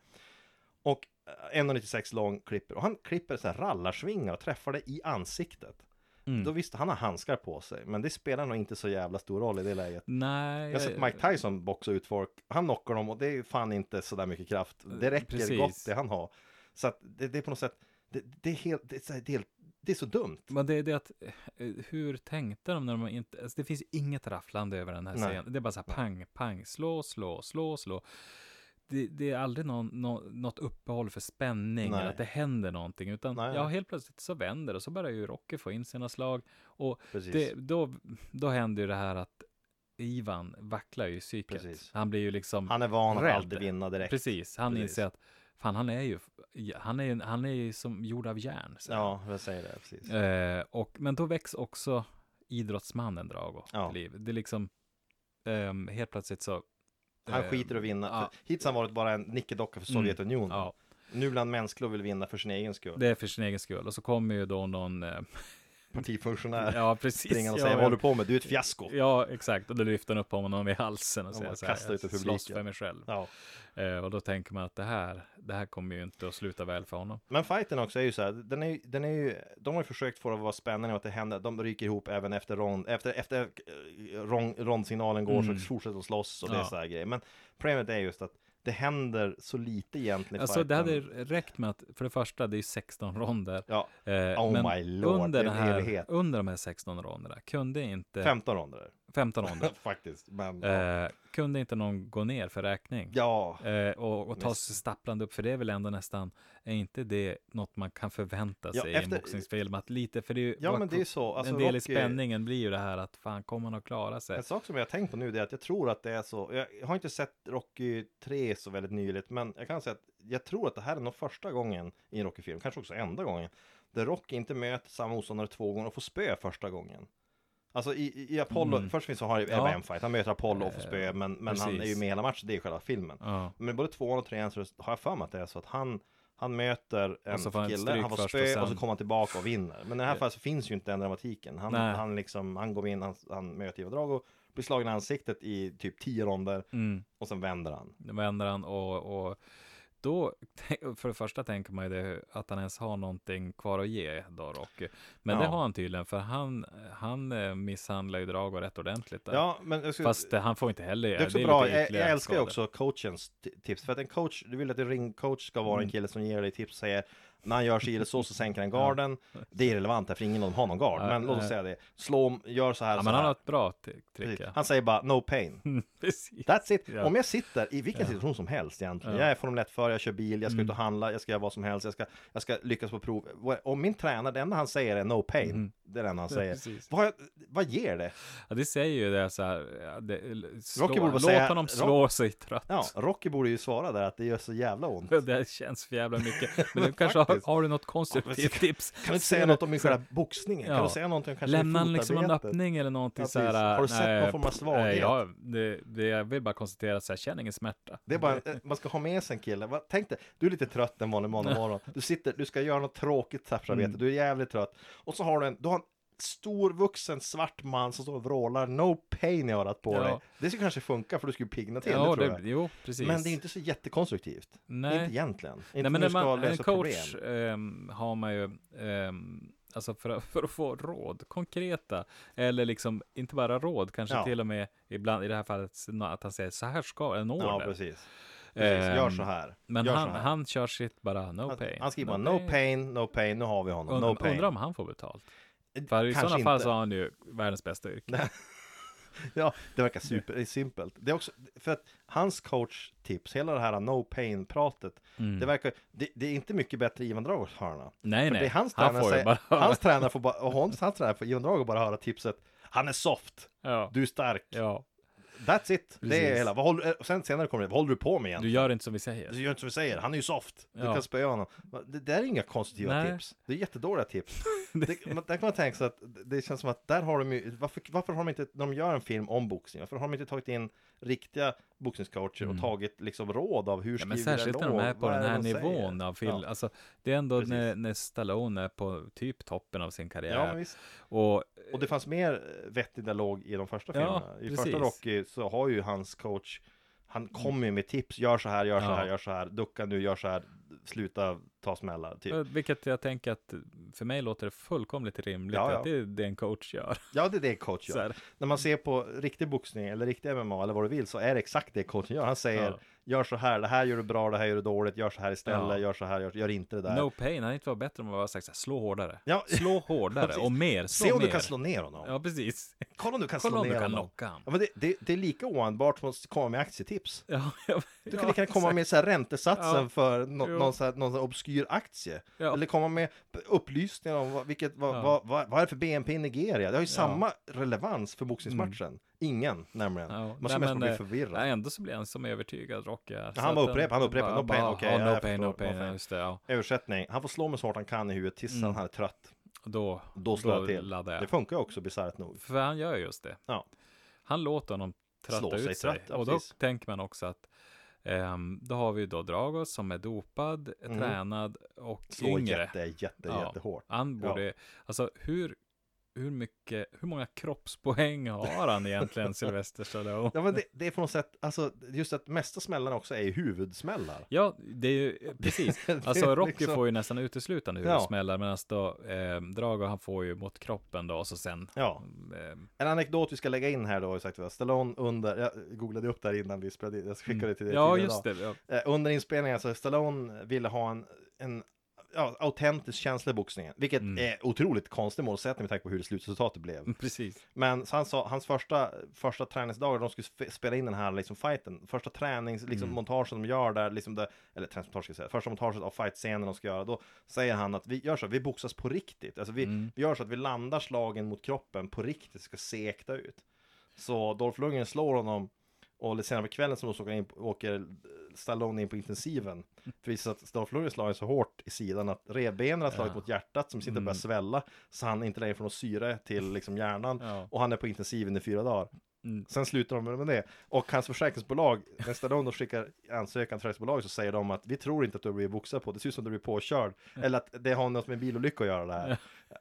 S6: Och eh, 1,96 lång klipper, och han klipper så här rallarsvingar och träffar det i ansiktet.
S5: mm.
S6: Då visste han har handskar på sig, men det spelar nog inte så jävla stor roll i det läget.
S5: Nej,
S6: Jag har sett Mike Tyson boxa ut folk, han knockar dem och det är fan inte sådär mycket kraft. Det räcker
S5: Eh, Precis.
S6: gott det han har. Så att det, det är på något sätt, det, det, är helt, det, är så här, det, är helt, det är så dumt.
S5: men det är det att, eh, hur tänkte de när de inte, alltså det finns ju inget rafflande över den här
S6: Nej.
S5: scenen. Det är bara så här pang, pang, slå, slå, slå, slå. Det, det är aldrig någon, nå- något uppehåll för spänning
S6: Nej.
S5: eller att det händer någonting, utan
S6: Nej,
S5: ja,
S6: nej.
S5: helt plötsligt så vänder och så börjar ju Rocky få in sina slag. Och
S6: Precis.
S5: det, då, då händer ju det här att Ivan vacklar ju i psyket.
S6: Precis.
S5: Han blir ju liksom...
S6: Han är van att
S5: Rädd.
S6: alltid vinna direkt.
S5: Precis, han
S6: Precis.
S5: inser att fan, han är ju, han är, ju- han är ju som gjord av järn. så.
S6: Ja, jag säger det. Precis.
S5: Eh, och, men då väcks också idrottsmannen Drago
S6: Ja.
S5: till liv. Det är liksom, ehm, helt plötsligt så...
S6: Han
S5: eh,
S6: skiter i att vinna.
S5: ja. Mm.
S6: För Hittills har han varit bara en nickedocka för Sovjetunionen.
S5: Ja,
S6: Nu blir han mänsklig och vill vinna för sin egen skull.
S5: det är för sin egen skull. Och så kommer ju då någon... Eh,
S6: Partifunktionär.
S5: ja, precis.
S6: Springer Äh, och
S5: ja,
S6: säger vad
S5: ja.
S6: håller du på med? Du är ett fiasko.
S5: Ja, exakt. Och då lyfter han upp honom i halsen och
S6: Ja,
S5: säger
S6: man
S5: så här,
S6: kastar ut i
S5: "Jag slåss
S6: publiken."
S5: för mig själv.
S6: Ja.
S5: Eh, och då tänker man att det här, det här kommer ju inte att sluta väl för honom.
S6: Men fighten också är ju så här, den är, ju- den är ju, de har ju försökt få det att vara spännande och att det händer, de ryker ihop även efter rond, efter, efter eh, rond, rondsignalen går
S5: Mm.
S6: så fortsätter de slåss och det är
S5: Ja.
S6: så här grejer. Men problemet är just att det händer så lite egentligen i
S5: Alltså det hade
S6: fighten.
S5: räckt med att, för det första, det är ju 16 ronder.
S6: Ja,
S5: Eh,
S6: Oh my lord,
S5: under,
S6: det
S5: den
S6: är en
S5: här,
S6: evighet.
S5: under de här 16 ronderna kunde inte,
S6: 15 ronder är det.
S5: 15 ronder,
S6: Faktiskt, men
S5: eh, kunde inte någon gå ner för räkning.
S6: ja.
S5: Eh, och, och ta
S6: Visst.
S5: sig stapplande upp, för det är väl ändå nästan, är inte det något man kan förvänta
S6: Ja,
S5: sig i en
S6: efter-
S5: boxningsfilm? Att lite, för det är ju
S6: Ja
S5: vad-
S6: men det är ju så, alltså,
S5: en del i
S6: Rocky-
S5: spänningen blir ju det här att fan, kommer han att klara sig?
S6: En sak som jag har tänkt på nu det är att jag tror att det är så, jag har inte sett Rocky 3 så väldigt nyligt men jag kan säga att jag tror att det här är nog första gången i en Rocky-film, kanske också enda gången, där Rocky inte möter samma motståndare två gånger och får spö första gången. Alltså i, i- i Apollo,
S5: Mm.
S6: först finns så har han ju
S5: Ja. Eh,
S6: en fight, han möter Apollo och får spö men, men han är ju
S5: precis.
S6: med hela matchen, det är ju själva filmen.
S5: Ja.
S6: Men både tvåan och trean så har jag för mig att det är så att han han möter en
S5: Och så får han
S6: kille,
S5: stryk
S6: han får
S5: först och
S6: spö och,
S5: sen-
S6: så kommer han tillbaka och vinner. Men i det här fallet så finns ju inte den dramatiken. Han,
S5: Nej.
S6: han, liksom, han går in, han, han möter Ivan Drago, blir slagen i ansiktet i typ tio ronder
S5: Mm.
S6: och sen vänder han.
S5: Då vänder han och, och då, för det första tänker man ju det, att han ens har någonting kvar att ge då Rocky. Men det
S6: Ja.
S5: har han tydligen, för han, han eh, misshandlar ju Drago rätt ordentligt där.
S6: Ja, men jag skulle,
S5: Fast eh, han får inte heller
S6: det är också
S5: lite
S6: bra. Jag,
S5: ytliga
S6: jag älskar ju
S5: skador.
S6: också coachens t- tips. För att en coach, du vill att en ringcoach ska
S5: Mm.
S6: vara en kille som ger dig tips och säger när han gör sig eller så så sänker han garden. Det är irrelevant därför ingen av dem har någon gard.
S5: Ja,
S6: Men låt
S5: eh.
S6: oss säga det. Slå om, gör så här.
S5: Ja,
S6: så
S5: men han
S6: här.
S5: har ett bra t- trick.
S6: Precis.
S5: ja.
S6: Han säger bara no pain.
S5: Mm, Precis.
S6: That's it.
S5: Ja. Mm.
S6: Om jag sitter i vilken situation som helst egentligen. Jag är Formel 1 för, jag kör bil, jag ska ut och handla, jag ska göra vad som helst, jag ska, jag ska lyckas på prov. Om min tränare, det enda han säger är no pain. Det är det enda han säger.
S5: Mm. precis.
S6: vad, vad ger det?
S5: Ja, det säger ju det så här. ja, Det, slå,
S6: Rocky borde bara
S5: låt
S6: säga-
S5: honom slå sig trött.
S6: Ja, Rocky borde ju svara där att det gör så jävla ont. Kan
S5: Det känns för jävla mycket. Men du kanske har,
S6: Faktiskt.
S5: har du något konstruktivt tips?
S6: du inte säga något om min själva boxningen? Kan
S5: Ja.
S6: du säga något om kanske
S5: Lämnar han
S6: fotarbetet?
S5: liksom en öppning eller någonting
S6: Ja,
S5: så här,
S6: precis. Har du
S5: äh,
S6: sett någon form av
S5: nej, pff,
S6: svaghet?
S5: nej, Ja, det, det, jag vill bara konstatera att så jag känner ingen smärta.
S6: Det är bara, eh, man ska ha med sig en kille. Va- Tänk dig, du är lite trött en vanlig måndag morgon. Du sitter, du ska göra något tråkigt trapparbete,
S5: Mm.
S6: du är jävligt trött. Och så har du en, du har en stor vuxen svart man som står och vrålar no pain i örat på
S5: Ja.
S6: dig. Det skulle kanske funka för du skulle pigna till,
S5: ja,
S6: det tror
S5: det,
S6: jag.
S5: jo, precis.
S6: Men det är inte så jättekonstruktivt.
S5: Nej.
S6: Inte egentligen. Inte
S5: Nej,
S6: när
S5: men när
S6: du ska
S5: man, en
S6: lösa
S5: coach
S6: problem.
S5: ehm, har man ju, ehm, alltså för, att- för att få råd, konkreta, eller liksom inte bara råd, kanske
S6: Ja.
S5: till och med ibland i det här fallet s- nå- att han säger så här ska en
S6: Ja,
S5: order.
S6: precis. precis. Gör så här.
S5: Ehm, Men
S6: Gör
S5: han,
S6: så här.
S5: han kör sitt bara no
S6: Han-
S5: pain.
S6: Han skriver bara no pain, no pain, nu har vi honom.
S5: Undrar,
S6: no pain.
S5: undrar om han får betalt. För i
S6: Kanske
S5: sådana fall
S6: inte.
S5: så har han ju världens bästa yrke.
S6: Ja, det verkar super, det är simpelt. Det är också, för att hans coachtips, hela det här no pain-pratet, det verkar, det, det är inte mycket bättre i Ivan Dragos hörna.
S5: Mm. Nej,
S6: för
S5: nej.
S6: Det är hans
S5: Han
S6: tränare
S5: får ju
S6: säger,
S5: bara höra.
S6: hans tränare får bara, och hans, hans tränare får Ivan Drago bara höra tipset, han är soft,
S5: Ja.
S6: du är stark,
S5: Ja,
S6: that's it. Det är
S5: Precis.
S6: hela, vad håller, och sen senare kommer det, vad håller du på med
S5: du
S6: egentligen?
S5: gör inte som vi säger.
S6: Du Alltså, gör inte som vi säger, han är ju soft, du
S5: Ja.
S6: kan spöa honom. Det där är inga konstruktiva
S5: Nej.
S6: tips, det är jättedåliga tips. det, man, där kan man tänka sig att det känns som att där har de ju, varför, varför har de inte, när de gör en film om boxning, varför har de inte tagit in riktiga boxningscoacher och tagit liksom råd av hur
S5: Mm. Ja,
S6: skriver
S5: men
S6: jag
S5: särskilt när de
S6: låt?
S5: är på
S6: Vad
S5: den här
S6: det de säger?
S5: nivån av film.
S6: Ja.
S5: Alltså, det är ändå
S6: Precis.
S5: när, när Stallone är på typ toppen av sin
S6: Ja, men
S5: karriär.
S6: visst.
S5: och
S6: Och det fanns mer eh, vettig dialog i de första
S5: Ja,
S6: filmerna. I första
S5: precis.
S6: Rocky så har ju hans coach, han kommer ju med tips, gör så här, gör så
S5: Ja.
S6: här, gör så här, ducka nu, gör så här, sluta ta smällar, typ.
S5: eh, vilket jag tänker att för mig låter det fullkomligt rimligt
S6: Ja, ja.
S5: att det är det en coach gör.
S6: Ja, det är det coach
S5: Så
S6: gör.
S5: här.
S6: När man ser på riktig boxning eller riktig MMA eller vad du vill så är det exakt det coachen gör. Han säger
S5: Ja.
S6: gör så här, det här gör du bra, det här gör du dåligt, gör så här istället,
S5: Ja.
S6: gör så här, gör, gör inte det där.
S5: No pain, hade inte varit bättre om man bara sagt så här, slå hårdare.
S6: Ja.
S5: Slå hårdare
S6: Precis.
S5: och mer, slå
S6: Se om
S5: mer.
S6: du kan slå ner honom.
S5: Ja, precis.
S6: Kolla om du kan
S5: Kolla
S6: slå
S5: om
S6: ner
S5: du kan
S6: honom.
S5: knocka honom.
S6: Ja, men det, det, det är lika oanbart som att komma med aktietips.
S5: Ja, ja,
S6: Du
S5: ja,
S6: kan lika gärna komma
S5: exakt.
S6: med så här räntesatsen
S5: Ja.
S6: för no,
S5: Jo.
S6: någon, så här, någon så här obskyr aktie.
S5: Ja.
S6: Eller komma med upplysningar om vad, vilket, vad,
S5: Ja.
S6: vad, vad, vad är det för BNP i Nigeria? Det har ju samma relevans för boxningsmatchen. Ingen, nämligen.
S5: Mm. Ja,
S6: Man
S5: nej,
S6: ska mest
S5: men,
S6: bli
S5: eh,
S6: förvirrad.
S5: nej, Ändå så blir han som övertygad Rocky. Så
S6: han
S5: att
S6: bara upprepar, han upprepar,
S5: bara-
S6: no pain,
S5: bara,
S6: okej,
S5: ja,
S6: jag
S5: no pain,
S6: förstår,
S5: no
S6: no
S5: pain,
S6: pain.
S5: ja, just det, ja.
S6: Översättning, han får slå mig så hårt han kan i huvudet tills han är trött.
S5: Mm. Då,
S6: Då slår jag till.
S5: laddar jag.
S6: Det funkar ju också bisarrt nog.
S5: För han gör just det.
S6: Ja.
S5: Han låter honom tratta
S6: Slå sig
S5: ut sig.
S6: trött, ja,
S5: och då
S6: precis.
S5: tänker man också att ehm, då har vi ju då Dragos som är dopad, tränad och
S6: Slå
S5: yngre.
S6: Mm. jätte, jätte,
S5: Ja,
S6: jättehårt.
S5: Han borde, alltså hur, hur mycket, hur många kroppspoäng har han egentligen, Sylvester Stallone?
S6: Ja, men det, det är på något sätt, alltså just att mesta smällarna också är ju huvudsmällar.
S5: Ja, det är ju eh, precis.
S6: Det är
S5: Alltså Rocky
S6: liksom-
S5: får ju nästan uteslutande
S6: Ja.
S5: huvudsmällar, medan då eh, Drago han får ju mot kroppen då och så sen.
S6: Ja.
S5: Eh,
S6: En anekdot vi ska lägga in här då, har jag sagt det var Stallone under, jag googlade upp där innan vi spelade in, jag skickade till dig
S5: Mm. ja,
S6: tidigare
S5: just
S6: idag.
S5: det. Ja.
S6: Eh, Under inspelningen så Stallone ville ha en, en ja, autentisk känsla i boxningen, vilket
S5: Mm.
S6: är otroligt konstig målsättning med tanke på hur slutresultatet blev.
S5: Precis.
S6: Men så han sa, hans första, första träningsdagar, de skulle sp- spela in den här liksom fighten, första tränings, liksom montagen de gör där, liksom det, eller träningsmontage ska jag säga, första montaget av fightscenen de ska göra, då säger han att vi gör så, att vi boxas på riktigt, alltså vi, vi gör så att vi landar slagen mot kroppen på riktigt, ska se äkta ut. Så Dolph Lundgren slår honom och lite senare på kvällen så åker, han in, åker Stallone in på intensiven. För det visar sig att Dolph Lundgren slår honom så hårt i sidan att revbenen har slagit mot hjärtat som sitter och
S5: Mm.
S6: börjar svälla. Så han är inte längre får någon syre till liksom hjärnan.
S5: Ja.
S6: Och han är på intensiven i fyra dagar.
S5: Mm.
S6: Sen slutar de med det. Och hans försäkringsbolag, nästa gång de skickar ansökan till försäkringsbolaget så säger de att vi tror inte att du har blivit boxad på, det ser ut som att du blir påkörd. Eller att det har något med en bilolycka att göra det här.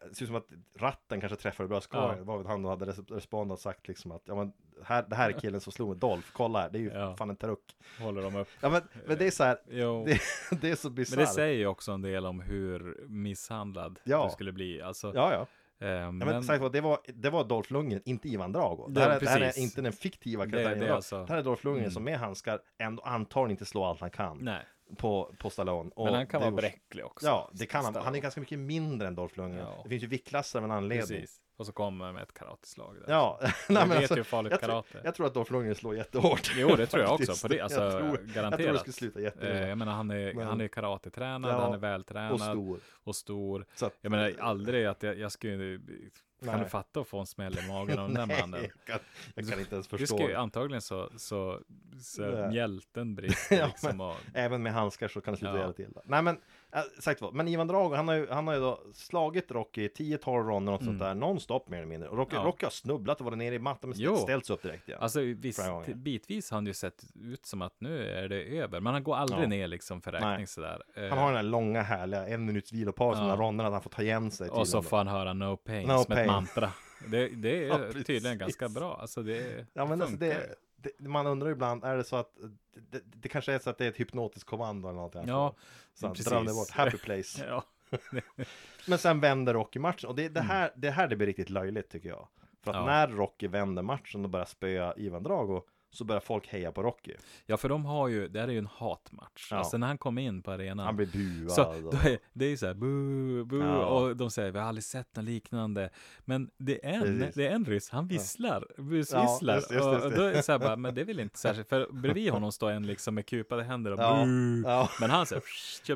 S6: Det ser ut som att ratten kanske träffade bröstkorgen.
S5: Ja.
S6: Det var väl han som hade res- respondat sagt liksom att ja, men, här, det här är killen som slog med Dolph, kolla här, det är ju
S5: Ja.
S6: fan en truck.
S5: Håller de upp.
S6: Ja, men, men det är så här,
S5: Jo.
S6: det, det är så
S5: Men det
S6: bisarrt.
S5: säger ju också en del om hur misshandlad
S6: Ja.
S5: du skulle bli. Alltså,
S6: Ja, ja.
S5: eh,
S6: Ja, men, sagt vad, det, var, det var Dolph Lundgren, inte Ivan Drago. Det
S5: Ja,
S6: här, är- det här är
S5: precis.
S6: inte den fiktiva
S5: Det-
S6: karaktären.
S5: det är
S6: Det,
S5: alltså-
S6: det här är Dolph Lundgren
S5: Mm.
S6: som med handskar ändå antagligen inte slår allt han kan
S5: nej,
S6: på, på Stallone. Och
S5: men han kan
S6: det
S5: vara
S6: gjordes-
S5: bräcklig också.
S6: Ja, det kan han.
S5: Stallone.
S6: Han är ganska mycket mindre än Dolph Lundgren.
S5: Ja.
S6: Det finns ju viktklasser av en anledning.
S5: Precis. Och så kommer han med ett karateslag där.
S6: Ja,
S5: Du
S6: nej, men
S5: vet ju
S6: alltså,
S5: hur farligt
S6: jag, tror,
S5: karate är.
S6: jag tror att Dolph Lundgren slår jättehårt.
S5: Jo, det tror jag också.
S6: Faktiskt.
S5: På det, alltså,
S6: jag, tror,
S5: garanterat.
S6: jag tror det skulle sluta
S5: Eh,
S6: jätteilla.
S5: jag menar, han är,
S6: Men-
S5: han är karatetränad,
S6: Ja,
S5: han är
S6: och
S5: vältränad
S6: stor.
S5: och stor.
S6: Så att,
S5: Jag menar aldrig att jag, jag skulle... Kan
S6: Nej.
S5: du fatta att få en smäll i magen av den där
S6: nej,
S5: mannen?
S6: jag kan, jag kan inte ens
S5: Du
S6: förstå.
S5: ska ju,
S6: det.
S5: antagligen så, så, så
S6: Nej.
S5: mjälten brister
S6: Ja,
S5: liksom.
S6: men-
S5: Och,
S6: Även med handskar så kan det sluta
S5: Ja.
S6: jävligt illa. Nej men, äh, sagt vad, men Ivan Drago han har ju, han har ju då slagit Rocky 10-12 ronder och sånt där nonstop mer eller mindre. Och Rocky,
S5: Mm. Ja.
S6: Rocky har snubblat och varit nere i mattan men
S5: Jo.
S6: ställts upp direkt igen.
S5: Alltså visst,
S6: Flera gånger.
S5: bitvis har han ju sett ut som att nu är det över. Men han går aldrig
S6: Ja.
S5: ner liksom för
S6: Nej.
S5: räkning sådär. Eh,
S6: han har den här långa härliga en minuts vilopaus
S5: Ja.
S6: mellan ronderna att han får ta igen sig.
S5: och så
S6: tydligen då.
S5: får han höra no
S6: No
S5: pain som ett
S6: pain.
S5: mantra. Det, det är
S6: Ja,
S5: tydligen
S6: precis.
S5: ganska bra. Alltså det
S6: Ja men alltså
S5: funkar.
S6: det, det, man undrar ibland, är det så att det, det, det kanske är så att det är ett hypnotiskt kommando eller någonting. han
S5: Ja,
S6: får. så han
S5: precis.
S6: drar ner bort, happy place.
S5: Ja, Mm.
S6: Men sen vänder Rocky matchen och det, det, här, det här det blir riktigt löjligt tycker jag. För att
S5: Ja.
S6: när Rocky vänder matchen och börjar spöa Ivan Drago så börjar folk heja på Rocky.
S5: ja, för de har ju, det här är ju en hatmatch.
S6: Ja.
S5: Alltså när han kom in på arenan.
S6: Han blir buad.
S5: Så
S6: och-
S5: då är, det är ju så här, bu, bu,
S6: Ja.
S5: och de säger vi har aldrig sett något liknande. Men det är en,
S6: Precis.
S5: det är en ryss, han visslar,
S6: Ja,
S5: busvisslar.
S6: just- just- just
S5: och då är det så här bara, men det är väl inte särskilt, för bredvid honom står en liksom med kupade händer och
S6: Ja,
S5: bu.
S6: ja.
S5: Men han säger, kör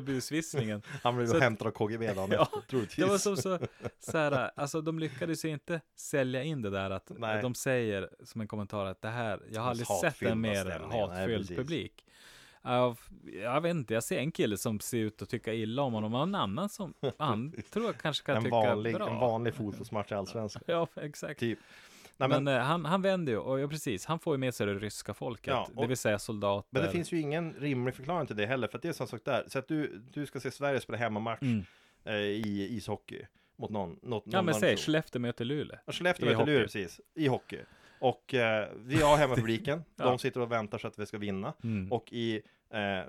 S5: busvisslingen.
S6: Han blev
S5: så att-
S6: hämtad av KGB dagen
S5: Ja,
S6: efter, troligtvis.
S5: Det var som så, så här, alltså de lyckades ju inte sälja in det där att
S6: Nej.
S5: de säger som en kommentar att det här, jag har
S6: Den
S5: aldrig sett
S6: hatfyllda
S5: en mer
S6: stämningen, nej,
S5: hatfylld
S6: precis.
S5: publik. Ja, f- Jag vet inte, jag ser en kille som ser ut att tycka illa om honom och en annan som han tror jag kanske kan
S6: en,
S5: tycka
S6: vanlig,
S5: bra.
S6: en vanlig fotbollsmatch i Allsvenskan.
S5: Ja, exakt.
S6: Typ. Nej,
S5: Men,
S6: men, men,
S5: eh, han, han vänder ju, och ja, precis, han får ju med sig det ryska folket,
S6: Ja, och-
S5: det vill säga soldater.
S6: det finns ju ingen rimlig förklaring till det heller, för att det är samma sak där. Så att du, du ska se Sverige spela hemmamatch
S5: Mm.
S6: eh, i ishockey mot någon. något
S5: Ja,
S6: någon
S5: men säg
S6: nation.
S5: Skellefteå möter Luleå.
S6: Ja, Skellefteå
S5: I
S6: möter Luleå,
S5: hockey.
S6: precis. I hockey. Och eh, vi har hemmapubliken.
S5: Ja.
S6: De sitter och väntar så att vi ska vinna.
S5: Mm.
S6: Och i eh,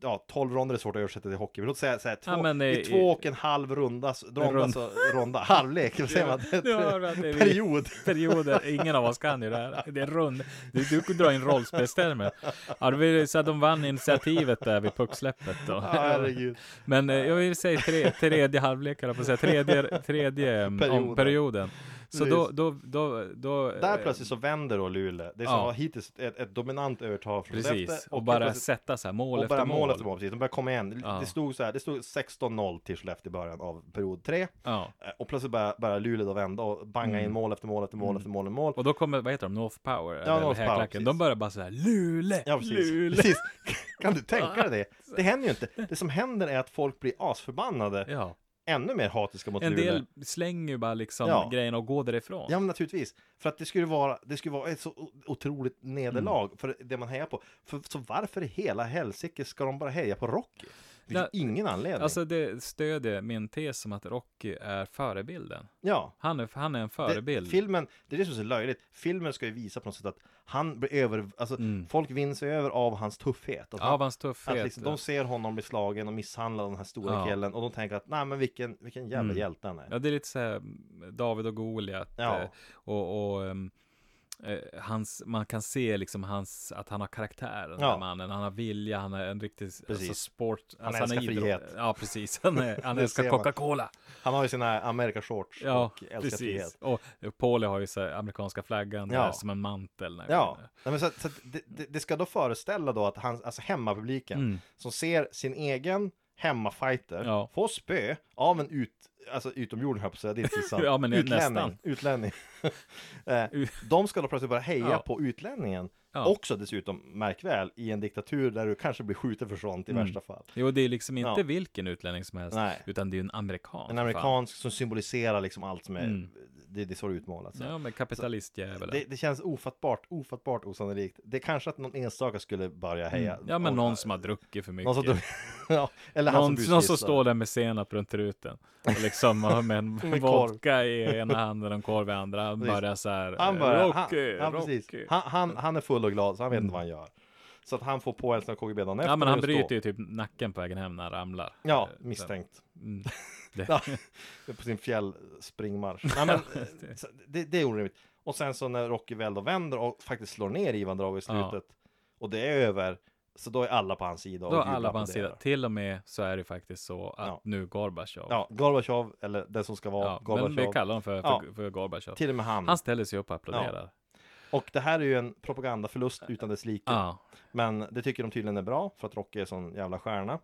S6: ja, 12 ronder är svårt att översätta till hockey. Men låt säga så här, två,
S5: Ja, men, eh,
S6: i två och en halv runda, s- ronda,
S5: runda.
S6: så, ronda halvlek, vad säger man?
S5: Nu hör vi att det är vi-
S6: Period.
S5: perioder. Ingen av oss kan ju det här. Det är rund. Du, du drar in rollspelstermer. Ja, det vill säga att de vann initiativet där vid pucksläppet då.
S6: Herregud.
S5: Men eh, jag vill säga tre, tredje halvlek, eller på säga tredje, tredje eh,
S6: Perioden.
S5: Om, perioden. Så då,
S6: Precis.
S5: då, då, då, eh,
S6: Där plötsligt så vänder då Luleå. Det är som
S5: Ja.
S6: var hittills ett, ett dominant övertag från
S5: Precis,
S6: Skellefteå,
S5: och
S6: helt
S5: bara
S6: plötsligt-
S5: sätta så här mål
S6: och bara
S5: efter
S6: mål,
S5: mål.
S6: efter mål, precis. De börjar komma igen.
S5: Ja.
S6: Det stod så här, det stod 16-0 till Skellefteå i början av period 3.
S5: Ja.
S6: Eh, Och plötsligt börjar, börjar Luleå då vända och banga
S5: Mm.
S6: in mål efter mål efter mål efter mål efter mål.
S5: Och då kommer, vad heter de, North Power? eller
S6: North Power,
S5: Häcklacken. De
S6: precis.
S5: börjar bara så här, Lule,
S6: Ja precis.
S5: Lule.
S6: precis. Kan du tänka dig det? Det händer ju inte. Det som händer är att folk blir asförbannade,
S5: Ja.
S6: ännu mer hatiska mot
S5: En
S6: Luleå.
S5: del slänger ju bara liksom
S6: Ja.
S5: grejerna och går därifrån.
S6: Ja men naturligtvis, för att det skulle vara, det skulle vara ett så o- otroligt nederlag
S5: Mm.
S6: för det man hejar på. För, så varför i hela helsike ska de bara heja på Rocky? Det finns
S5: Ja,
S6: ingen anledning.
S5: Alltså det stödjer min tes om att Rocky är förebilden.
S6: ja.
S5: Han är, han är en förebild.
S6: Det, filmen, det är det som är så löjligt. Filmen ska ju visa på något sätt att han blir över, alltså folk vinns över av hans tuffhet. Att
S5: Mm. Av hans tuffhet.
S6: Att liksom, de ser honom bli slagen och misshandlad av den här stora
S5: Ja. Mm.
S6: killen och de tänker att nej men vilken, vilken jävla hjälte han är.
S5: Ja, det är lite så här mm, David och Goliat.
S6: Ja.
S5: eh, Och, och ehm, eh, hans, man kan se liksom hans, att han har karaktär, den
S6: Ja.
S5: här mannen. Han har vilja, han är en riktig alltså,
S6: Precis.
S5: sport.
S6: Han älskar
S5: idrott-
S6: frihet.
S5: Ja, precis. Han, är, han
S6: Det
S5: älskar
S6: ser man.
S5: Coca-Cola.
S6: Han har ju sina America-shorts
S5: Ja,
S6: och älskar
S5: precis.
S6: frihet.
S5: Och Pauli har ju så här, amerikanska flaggan
S6: Ja.
S5: där, som en mantel. när-
S6: Ja, Nej, men så, att- så att det, det, det ska då föreställa då att han, alltså hemmapubliken
S5: Mm.
S6: som ser sin egen hemmafighter
S5: Ja.
S6: få spö av en ut, alltså utomjording här på att säga, det är inte sant.
S5: Ja, men
S6: utlänning,
S5: nästan.
S6: utlänning. Eh,
S5: U-
S6: De ska då plötsligt börja heja
S5: Ja.
S6: på utlänningen.
S5: Ja.
S6: Också dessutom, märk väl, i en diktatur där du kanske blir skjuten för sånt i
S5: Mm.
S6: värsta fall.
S5: Jo, det är liksom inte
S6: Ja.
S5: vilken utlänning som helst,
S6: Nej.
S5: utan det är ju en
S6: En
S5: amerikan. för fan. Mm.
S6: amerikansk som symboliserar liksom allt som är Det, det är så det är utmålat. Så.
S5: Ja, men kapitalistjävel.
S6: Det, det känns ofattbart, ofattbart osannolikt. Det är kanske att någon enstaka skulle börja heja.
S5: Mm. Ja, men
S6: Och-
S5: någon som har druckit för
S6: någon
S5: mycket.
S6: som, ja, eller han
S5: Någon,
S6: som
S5: någon som står där med senap runt truten och liksom har med en
S6: korv.
S5: vodka i ena handen och en korv i andra. Han
S6: Precis.
S5: börjar så här,
S6: Han bara,
S5: Rocky,
S6: han, han, precis.
S5: Rocky.
S6: Han, han, han är full och glad så han vet inte vad han gör. Så att han får på en sån här KGB dagen efter.
S5: Mm. Ja, men han
S6: just då.
S5: bryter ju typ nacken på vägen hem när han ramlar.
S6: Ja,
S5: Eh,
S6: misstänkt.
S5: så- Mm. Det-
S6: Ja, på sin fjällspringmarsch. Nej, men, eh, så det, det är orimligt. Och sen så när Rocky väl då vänder och faktiskt slår ner Ivan Drago i
S5: Ja.
S6: slutet. Och det är över. Så då är alla på hans sida. och
S5: Då har
S6: jublar
S5: alla på hans
S6: det.
S5: sida. Till och med så är det faktiskt så att
S6: Ja.
S5: nu Gorbatjov.
S6: Ja, Gorbatjov, eller den som ska vara
S5: Ja, men vi
S6: Gorbatjov.
S5: kallar honom för, för,
S6: Ja.
S5: för Gorbatjov.
S6: Till och med han.
S5: Han ställer sig upp och applåderar.
S6: Och det här är ju en propagandaförlust utan dess like.
S5: Ja.
S6: Men det tycker de tydligen är bra för att Rocky är sån jävla stjärna.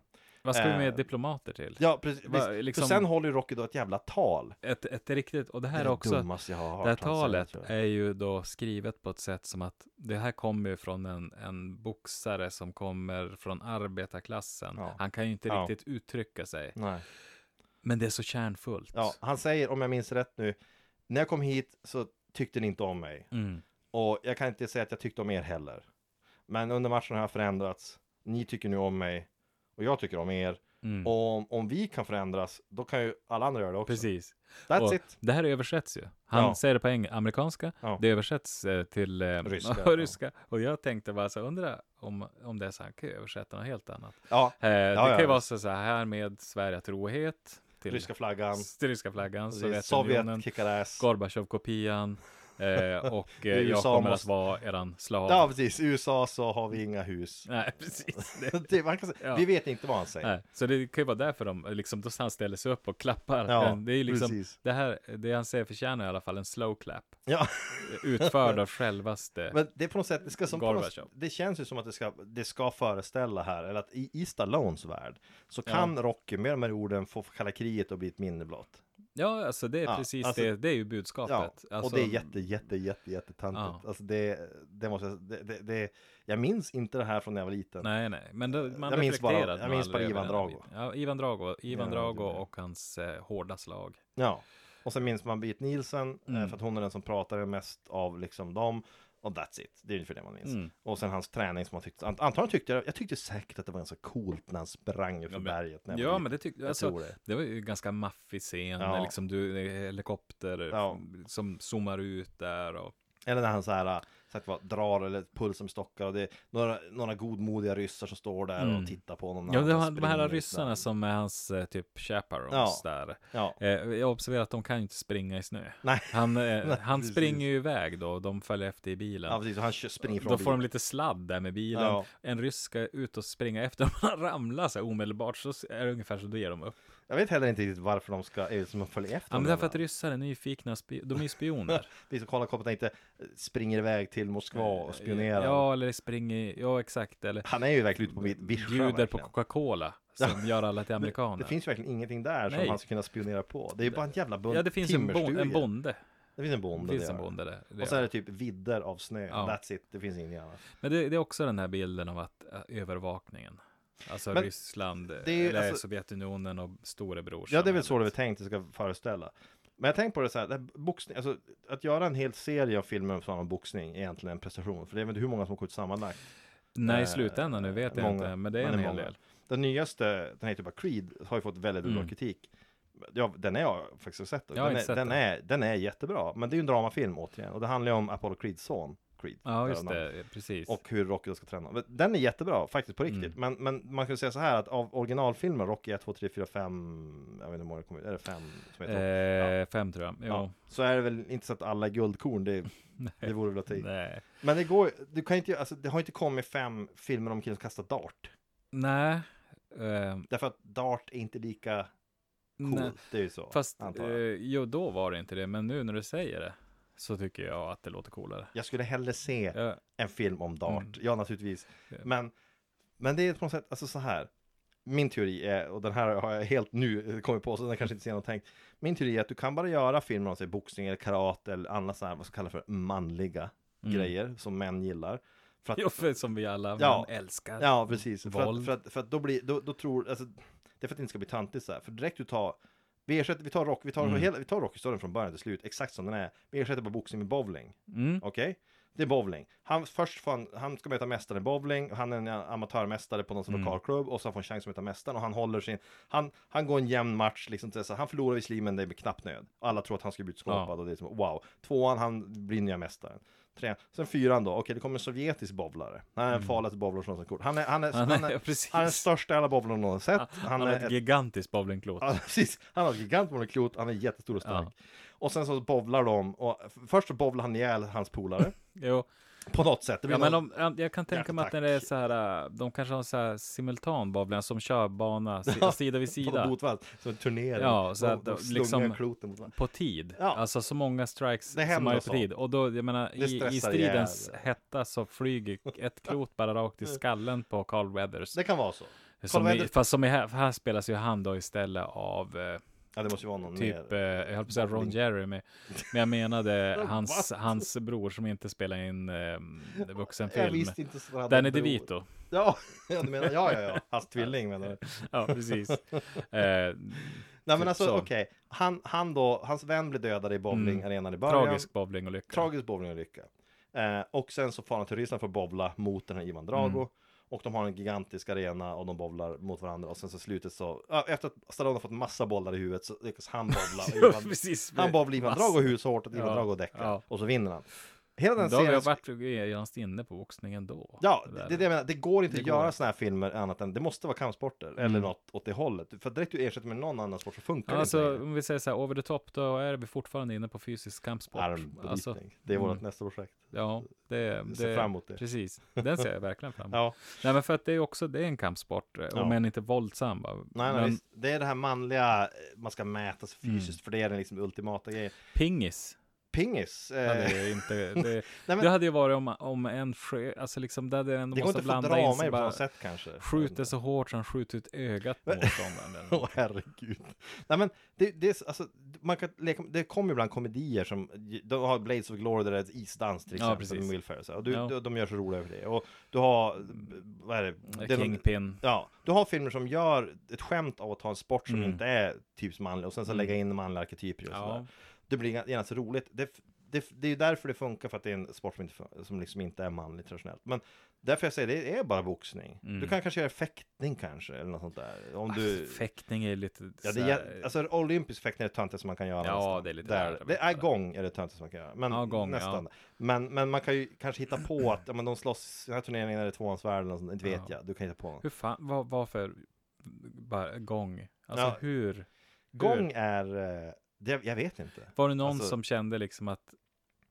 S5: Vad ska vi med
S6: Eh,
S5: diplomater till?
S6: Ja, precis.
S5: Va,
S6: visst.
S5: liksom-
S6: För sen håller ju Rocky då ett jävla tal.
S5: Ett, ett riktigt, och det här
S6: är
S5: är också,
S6: dummaste jag har hört
S5: det här
S6: han säga,
S5: talet
S6: tror jag.
S5: är ju då skrivet på ett sätt som att det här kommer ju från en, en boxare som kommer från arbetarklassen.
S6: Ja.
S5: Han kan ju inte
S6: Ja.
S5: riktigt uttrycka sig,
S6: Nej.
S5: men det är så kärnfullt.
S6: Ja, han säger, om jag minns rätt nu, när jag kom hit så tyckte ni inte om mig.
S5: Mm.
S6: Och jag kan inte säga att jag tyckte om er heller. Men under matchen har jag förändrats. Ni tycker nu om mig. Och jag tycker om er.
S5: Mm.
S6: Och om, om vi kan förändras, då kan ju alla andra göra det också.
S5: Precis.
S6: That's
S5: Och
S6: it.
S5: Det här översätts ju. Han
S6: Ja.
S5: säger det på eng- amerikanska,
S6: Ja.
S5: det översätts eh, till eh,
S6: Ryska,
S5: ryska.
S6: ja.
S5: Och jag tänkte bara så här, undra om, om det är så här, han kan ju översätta något helt annat.
S6: Ja,
S5: Eh, det
S6: ja,
S5: kan ju
S6: ja.
S5: vara så så här med Sverige trohet till
S6: ryska flaggan.
S5: s- till ryska flaggan,
S6: Precis.
S5: Sovjetunionen,
S6: Sovjet kickar ass.
S5: Gorbatjov-kopian eh, och eh, jag
S6: USA
S5: kommer att
S6: måste-
S5: vara eran slav.
S6: Ja, precis. I USA så har vi inga hus.
S5: Nej, precis. Det,
S6: Det, man kan säga,
S5: Ja.
S6: Vi vet inte vad han säger.
S5: nej. Så det kan ju vara därför de, liksom, då han ställer sig upp och klappar.
S6: Ja,
S5: Eh, det är ju liksom,
S6: precis.
S5: det här, det han säger förtjänar i alla fall en slow clap.
S6: Ja.
S5: Utförd av självaste.
S6: Men det är på något sätt, det, ska som på något,
S5: Gorbachev.
S6: det känns ju som att det ska, det ska föreställa här, eller att i, i Stallones värld så kan Rocky med de här orden få kalla kriget och bli ett minne blott.
S5: ja, alltså det är
S6: Ja,
S5: precis
S6: alltså-
S5: det, det är ju
S6: Ja,
S5: budskapet.
S6: och
S5: alltså,
S6: det är jätte, jätte, jätte, jättetöntigt.
S5: Ja.
S6: Alltså det, det måste jag, det, det, det, jag minns inte det här från när jag var liten.
S5: Nej, nej, men då, man
S6: Jag minns bara-
S5: reflekterade
S6: jag
S5: nog
S6: minns bara
S5: aldrig
S6: Ivan
S5: över den här
S6: Drago.
S5: biten. Ja, Ivan Drago, Ivan
S6: Ja,
S5: Drago
S6: det är det.
S5: och hans eh, hårda slag.
S6: Ja, och sen minns man Britt Nielsen eh,
S5: Mm.
S6: för att hon är den som pratar mest av liksom dem. Och that's it, det är ungefär det man minns.
S5: Mm.
S6: Och sen hans träning som han tyckte, ant- antagligen tyckte jag, jag tyckte säkert att det var ganska coolt när han sprang för
S5: men-
S6: berget. när jag var
S5: Ja,
S6: liten.
S5: men det tyckte
S6: Jag
S5: alltså,
S6: tror
S5: det.
S6: det.
S5: var ju en ganska maffig scen,
S6: Ja.
S5: liksom du, det är helikopter
S6: Ja.
S5: som zoomar ut där och
S6: Eller när han så här, äh, sagt vad, drar eller pulsen stockar och det är några, några godmodiga ryssar som står där
S5: Mm.
S6: och tittar på honom. när
S5: Ja,
S6: han bara
S5: det var de här
S6: springer
S5: ryssarna
S6: där.
S5: som är hans eh, typ chaperones
S6: Ja.
S5: där.
S6: Ja,
S5: Eh, jag observerar att de kan ju inte springa i snö.
S6: nej.
S5: Han, eh,
S6: Nej,
S5: han
S6: precis.
S5: springer ju iväg då och de följer efter i bilen.
S6: ja, precis. Och han kö- springer från
S5: Då får de
S6: bilen.
S5: lite sladd där med bilen.
S6: Ja.
S5: En ryss ska ut och springa efter. Om han ramlar så här omedelbart så är det ungefär så då ger de upp.
S6: Jag vet heller inte riktigt varför de ska, är det som att följa efter
S5: Ja, men
S6: dem
S5: därför
S6: hela?
S5: att ryssar är nyfikna, spi- de är ju spioner.
S6: Vi som kollar kompet inte eh, springer iväg till Moskva och spionerar.
S5: Eh, Ja, eller springer, ja exakt. Eller
S6: Han är ju verkligen ute på mitt vischan.
S5: bjuder på
S6: verkligen.
S5: Coca-cola som gör alla till
S6: det,
S5: amerikaner.
S6: det finns verkligen ingenting där
S5: Nej.
S6: som han ska kunna spionera på. Det är ju bara en jävla bunt
S5: ja, det finns en, bon,
S6: timmerstugor.
S5: en bonde.
S6: Det finns en
S5: Det
S6: bonde.
S5: finns en
S6: gör det.
S5: bonde där. Det
S6: Och sen är
S5: gör
S6: det typ vidder av snö.
S5: Ja.
S6: That's it. Det finns inget annat.
S5: Men det, det är också den här bilden av att äh, övervakningen. Alltså
S6: Men
S5: Ryssland,
S6: det är ju-
S5: eller
S6: alltså-
S5: Sovjetunionen och storebror.
S6: Ja, det är väl så det är tänkt att det ska föreställa. Men jag tänker på det så här, det här boxning, alltså, att göra en hel serie av filmer som handlar om boxning är egentligen en prestation. För det är väl inte hur många som har gått ut sammanlagt.
S5: Nej, i
S6: Eh,
S5: slutändan nu vet jag
S6: många.
S5: inte, men det är en hel
S6: många.
S5: del.
S6: Den nyaste, den heter bara Creed, har ju fått väldigt bra
S5: Mm.
S6: kritik. Ja, den har jag faktiskt sett.
S5: Jag har
S6: Den,
S5: inte
S6: är,
S5: sett
S6: den,
S5: den.
S6: är, den är jättebra, men det är ju en dramafilm återigen. Och det handlar ju om Apollo Creeds son, Creed.
S5: Ja, just
S6: Namn.
S5: det, precis.
S6: Och hur Rocky då ska träna. Men Den är jättebra, faktiskt
S5: Mm.
S6: på riktigt. Men, men man kan ju säga så här att av originalfilmer, Rocky 1, 2, 3, 4, 5, jag vet inte hur många det kommer ut, är det 5 som heter?
S5: eh, fem tror jag. Jo.
S6: Ja, så är det väl inte så att alla är guldkorn, det, det vore väl att ta i.
S5: Nej.
S6: Men det går ju- du kan inte, alltså, det har inte kommit fem filmer om killen som kastar dart.
S5: Nej. Eh,
S6: Därför att dart är inte lika coolt,
S5: nej.
S6: det är ju så.
S5: Fast,
S6: antar
S5: eh,
S6: jag.
S5: jo, då var det inte det, men nu när du säger det så tycker jag att det låter coolare.
S6: jag skulle hellre se
S5: Ja,
S6: en film om dart,
S5: Mm.
S6: ja naturligtvis.
S5: Ja.
S6: Men, men det är på något sätt, alltså så här. Min teori är, och den här har jag helt nu eh, kommit på, så den kanske inte ser något tänkt. Min teori är att du kan bara göra filmer om sig boxning eller karate eller andra så här, vad ska kallas för manliga
S5: Mm.
S6: grejer som män gillar. För att
S5: jo, för, som vi alla
S6: Ja.
S5: män älskar.
S6: Ja, precis. För
S5: Våld.
S6: att, för, att, för att då blir, då, då tror, alltså, det är för att det inte ska bli tantigt så här. För direkt du tar Vi, ersätter, vi tar rock, vi tar,
S5: Mm.
S6: hela, vi tar rockhistorien från början till slut, exakt som den är. Vi ersätter bara boxning med bowling.
S5: Mm.
S6: Okej? Det är bowling. Han, först får han, han ska möta mästaren i bowling, och han är en amatörmästare på någon sån
S5: Mm.
S6: lokalklubb och så får han chans att möta mästaren och han håller sin... Han, han går en jämn match, liksom, till så här, han förlorar visserligen men det är med knapp nöd. Och Alla tror att han ska bli utskåpad och det är som wow. Tvåan, han blir nya mästaren. Trean. Sen fyran då, okej det kommer en sovjetisk bowlare. Han är den farligaste bowlaren som någonsin kort. Han är, han är, han är, han är,
S5: Mm. precis.
S6: den största i alla bowlare någon har sett.
S5: Han har ett gigantiskt bowlingklot.
S6: Ja, precis. Han har ett gigant monoklot, han är jättestor och stark. Och sen så bovlar de, och f- först så bovlar han ihjäl hans polare.
S5: Jo.
S6: På något sätt. Det blir
S5: Ja, men
S6: någon-
S5: om, om- jag kan tänka mig att när det är så här, äh, de kanske har så här simultanbowlingar som kör bana si, sida vid
S6: på något
S5: sida
S6: botvall, som en turnering.
S5: Ja, så
S6: De-
S5: att
S6: de
S5: de
S6: slungar
S5: liksom-
S6: kloten mot varandra.
S5: på tid.
S6: Ja.
S5: Alltså så många strikes
S6: Det
S5: som
S6: händer
S5: möjligt
S6: så.
S5: på tid. Och då, jag menar, i, i
S6: stressar
S5: stridens
S6: ihjäl.
S5: hetta så flyger ett klot bara rakt i skallen på Carl Weathers.
S6: Det kan vara så.
S5: Som
S6: Carl
S5: i,
S6: Weathers-
S5: fast som i här, för här spelas ju han då istället av eh,
S6: Ja, det måste ju vara någon
S5: typ,
S6: mer.
S5: eh, jag höll på att säga Ron Jeremy, men men jag menade hans, hans bror som inte spelar in eh,
S6: Jag
S5: vuxenfilm.
S6: visste inte så
S5: Danny DeVito.
S6: Ja, ja, du menar, ja, ja, ja. Hans tvilling menar du.
S5: Ja, precis. Eh,
S6: Nej,
S5: Typ
S6: men alltså
S5: så. Mm.
S6: okej. Han, han då, hans vän blir dödad i bowlingarenan i början.
S5: tragisk bowlingolycka.
S6: Tragisk bowlingolycka. Eh, och sen så far han till Ryssland för att bowla mot den här Ivan Drago.
S5: Mm.
S6: Och de har en gigantisk arena och de bowlar mot varandra. Och sen så i slutet så, ja, efter att Stallone har fått massa bollar i huvudet så lyckas han bowla. och
S5: Ja,
S6: Ivan-
S5: precis.
S6: han bowlar Ivan
S5: Massa.
S6: Drago i huvudet så hårt att Ivan
S5: Ja,
S6: Drago däckar.
S5: ja.
S6: Och så vinner han. Hela den
S5: Då har vi
S6: serien...
S5: varit genast inne på boxning ändå.
S6: Ja,
S5: där.
S6: det är det jag menar. Det går inte
S5: Det
S6: att
S5: går Mm.
S6: göra
S5: inte.
S6: sådana här filmer annat än, det måste vara kampsporter. Eller något åt det hållet. För direkt du ersätter med någon annan sport så funkar det
S5: Alltså
S6: inte.
S5: om vi säger så här, over the top, då är vi fortfarande inne på fysisk kampsport.
S6: Armbrytning.
S5: Alltså,
S6: det är vårt
S5: mm.
S6: nästa projekt.
S5: ja, det,
S6: Vi ser fram emot det.
S5: Precis, den ser jag verkligen fram emot.
S6: Ja.
S5: Nej men för att det är också, det är en kampsport, eh, om
S6: Ja.
S5: än inte våldsam. va.
S6: Nej, nej,
S5: men Mm.
S6: visst. Det är det här manliga, eh, man ska mäta sig fysiskt, för det är den liksom ultimata grejen.
S5: pingis,
S6: Pingis! Eh,
S5: ja, det är ju inte, det,
S6: men-
S5: det hade ju varit om, om en, sjö- alltså liksom, där det ändå
S6: det går
S5: måste
S6: inte att få
S5: blanda in
S6: drama i
S5: sig
S6: det på
S5: bara,
S6: något sätt kanske.
S5: skjuter så hårt så han skjuter ut ögat på motståndaren.
S6: Åh herregud. Nej men, det, det, är, så- alltså, man kan leka, det kommer ibland komedier som, de har Blades of Glory där det är ett isdans till
S5: Ja,
S6: exempel,
S5: precis.
S6: med Will Ferrell. så här. Och du,
S5: Ja. Mm,
S6: de, de gör så roliga över det. Och du har, vad är det? det är någon-
S5: Kingpin.
S6: Ja, du har filmer som gör ett skämt av att ha en sport som
S5: Mm.
S6: inte är typiskt manlig och sen så lägga in manliga arketyper och
S5: Ja.
S6: sådär. Det blir genast roligt. Det, det, det är ju därför det funkar för att det är en sport som, inte, fun- som liksom inte är manlig traditionellt. Men därför jag säger det är bara boxning.
S5: Mm.
S6: Du kan kanske göra fäktning kanske eller något sånt där.
S5: Ah,
S6: Om du...
S5: Fäktning är ju lite
S6: Ja,
S5: så
S6: det är,
S5: här-
S6: jä- alltså olympisk fäktning är det töntigaste man kan göra
S5: Ja,
S6: nästan.
S5: det är lite värt
S6: där.
S5: att
S6: Det är
S5: veta.
S6: gång är det töntigaste man kan göra. Men
S5: Ja, gång, ja.
S6: nästan. Men, men man kan ju kanske hitta på att ja, men de slåss i den här turneringen är det tvåans värld eller något sånt. Inte vet
S5: Ja.
S6: jag. Du kan hitta på något.
S5: Hur fan, vad, vad för bara, gång? Alltså
S6: Ja.
S5: hur?
S6: Gång är... eh, Det, jag vet inte.
S5: Var det någon
S6: Alltså-
S5: som kände liksom att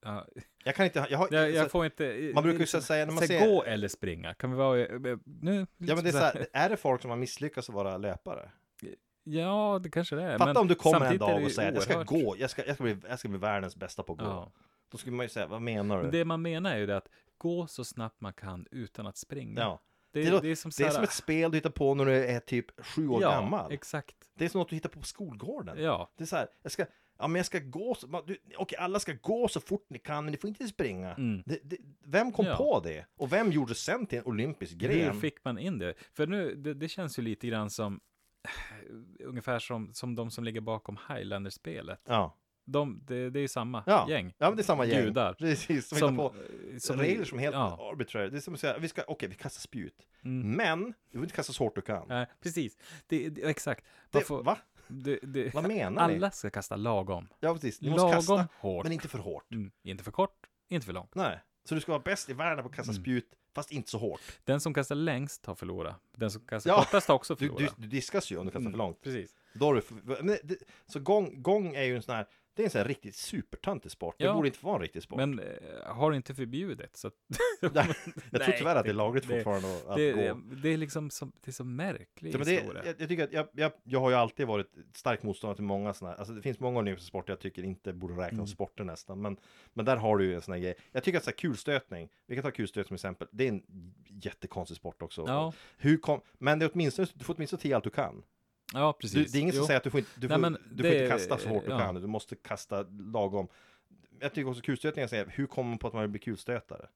S5: ja,
S6: Jag kan inte... Jag, har,
S5: jag, jag
S6: alltså,
S5: får inte...
S6: man brukar ju
S5: liksom,
S6: så säga när man
S5: säg
S6: ser-
S5: gå eller springa. Kan vi vara... eh, Nu?
S6: ja, men det är, så
S5: här-
S6: här, är det folk som har misslyckats att vara löpare?
S5: Ja, det kanske det är.
S6: Fatta
S5: men
S6: om du kommer en
S5: samtidigt är det
S6: dag
S5: ju
S6: och säger att jag ska
S5: oerhört-
S6: gå, jag ska, jag, ska bli, jag ska bli världens bästa på att gå.
S5: Ja.
S6: Då skulle man ju säga, vad menar du?
S5: Men Det man menar är ju det att gå så snabbt man kan utan att springa.
S6: ja.
S5: Det,
S6: det,
S5: det,
S6: låter-
S5: är som så
S6: det är
S5: här-
S6: som ett spel du hittar på när du är typ sju år
S5: ja,
S6: gammal.
S5: exakt.
S6: Det är som något du hittar på på skolgården.
S5: Ja.
S6: Det är så här, jag ska, ja men jag ska gå, så, man- du, okej alla ska gå så fort ni kan, men ni får inte springa.
S5: Mm.
S6: Det, det, vem kom
S5: Ja.
S6: på det? Och vem gjorde sen till en olympisk
S5: Hur
S6: gren?
S5: fick man in det? För nu, det, det känns ju lite grann som eh, ungefär som, som de som ligger bakom Highlander-spelet.
S6: Ja,
S5: De, det, det är ju samma
S6: ja.
S5: gäng.
S6: Ja, men det är samma gäng.
S5: Gudar.
S6: Precis, som, hittar på
S5: eh,
S6: regler som är helt
S5: Ja,
S6: arbitrary. Det är som att säga, vi ska, okej vi kastar spjut.
S5: Mm.
S6: Men, du får inte kasta så hårt du kan.
S5: nej, precis. Det, det, exakt. Man
S6: det,
S5: får-
S6: va?
S5: det- det-
S6: Vad menar ni?
S5: Alla ska kasta lagom.
S6: Ja precis, du måste
S5: Lagom
S6: kasta,
S5: hårt.
S6: men inte för hårt.
S5: Mm. Inte för kort, inte för långt.
S6: Nej. Så du ska vara bäst i världen på att
S5: Mm.
S6: kasta spjut, fast inte så hårt.
S5: Den som kastar längst har förlorat. Den som kastar
S6: Ja.
S5: kortast har också
S6: Du,
S5: förlorat.
S6: du, du diskas ju om du kastar för långt.
S5: Mm, Precis.
S6: Då har du för, men det, så gång, gång är ju en sån här, det är en sån här riktigt supertöntig sport. Det
S5: Ja.
S6: borde inte få vara en riktig sport.
S5: Men eh, har inte förbjudit. Så att,
S6: Nej, jag tror
S5: Nej,
S6: tyvärr att det är
S5: det-
S6: lagligt
S5: det-
S6: fortfarande att, att
S5: det,
S6: gå.
S5: det är liksom som, det är så märklig
S6: Ja, men det,
S5: historia.
S6: jag, jag tycker att jag, jag, jag har ju alltid varit ett starkt motståndare till många sådana här, alltså det finns många olympiska sporter jag tycker inte borde räknas
S5: Mm.
S6: som sporter nästan, men, men där har du ju en sån här grej. Jag tycker att så här kulstötning, vi kan ta kulstötning som exempel, det är en jättekonstig sport också.
S5: Ja.
S6: Hur kom, men det är åtminstone, du får åtminstone till allt du kan.
S5: ja,
S6: Du,
S5: precis.
S6: det är ingen som
S5: Jo.
S6: säger att du får inte, du
S5: Nej,
S6: får,
S5: men
S6: du
S5: det
S6: får inte
S5: är-
S6: kasta så hårt du
S5: ja.
S6: kan, du måste kasta lagom. Jag tycker också kulstötningen säger, hur kommer man på att man vill bli kulstötare?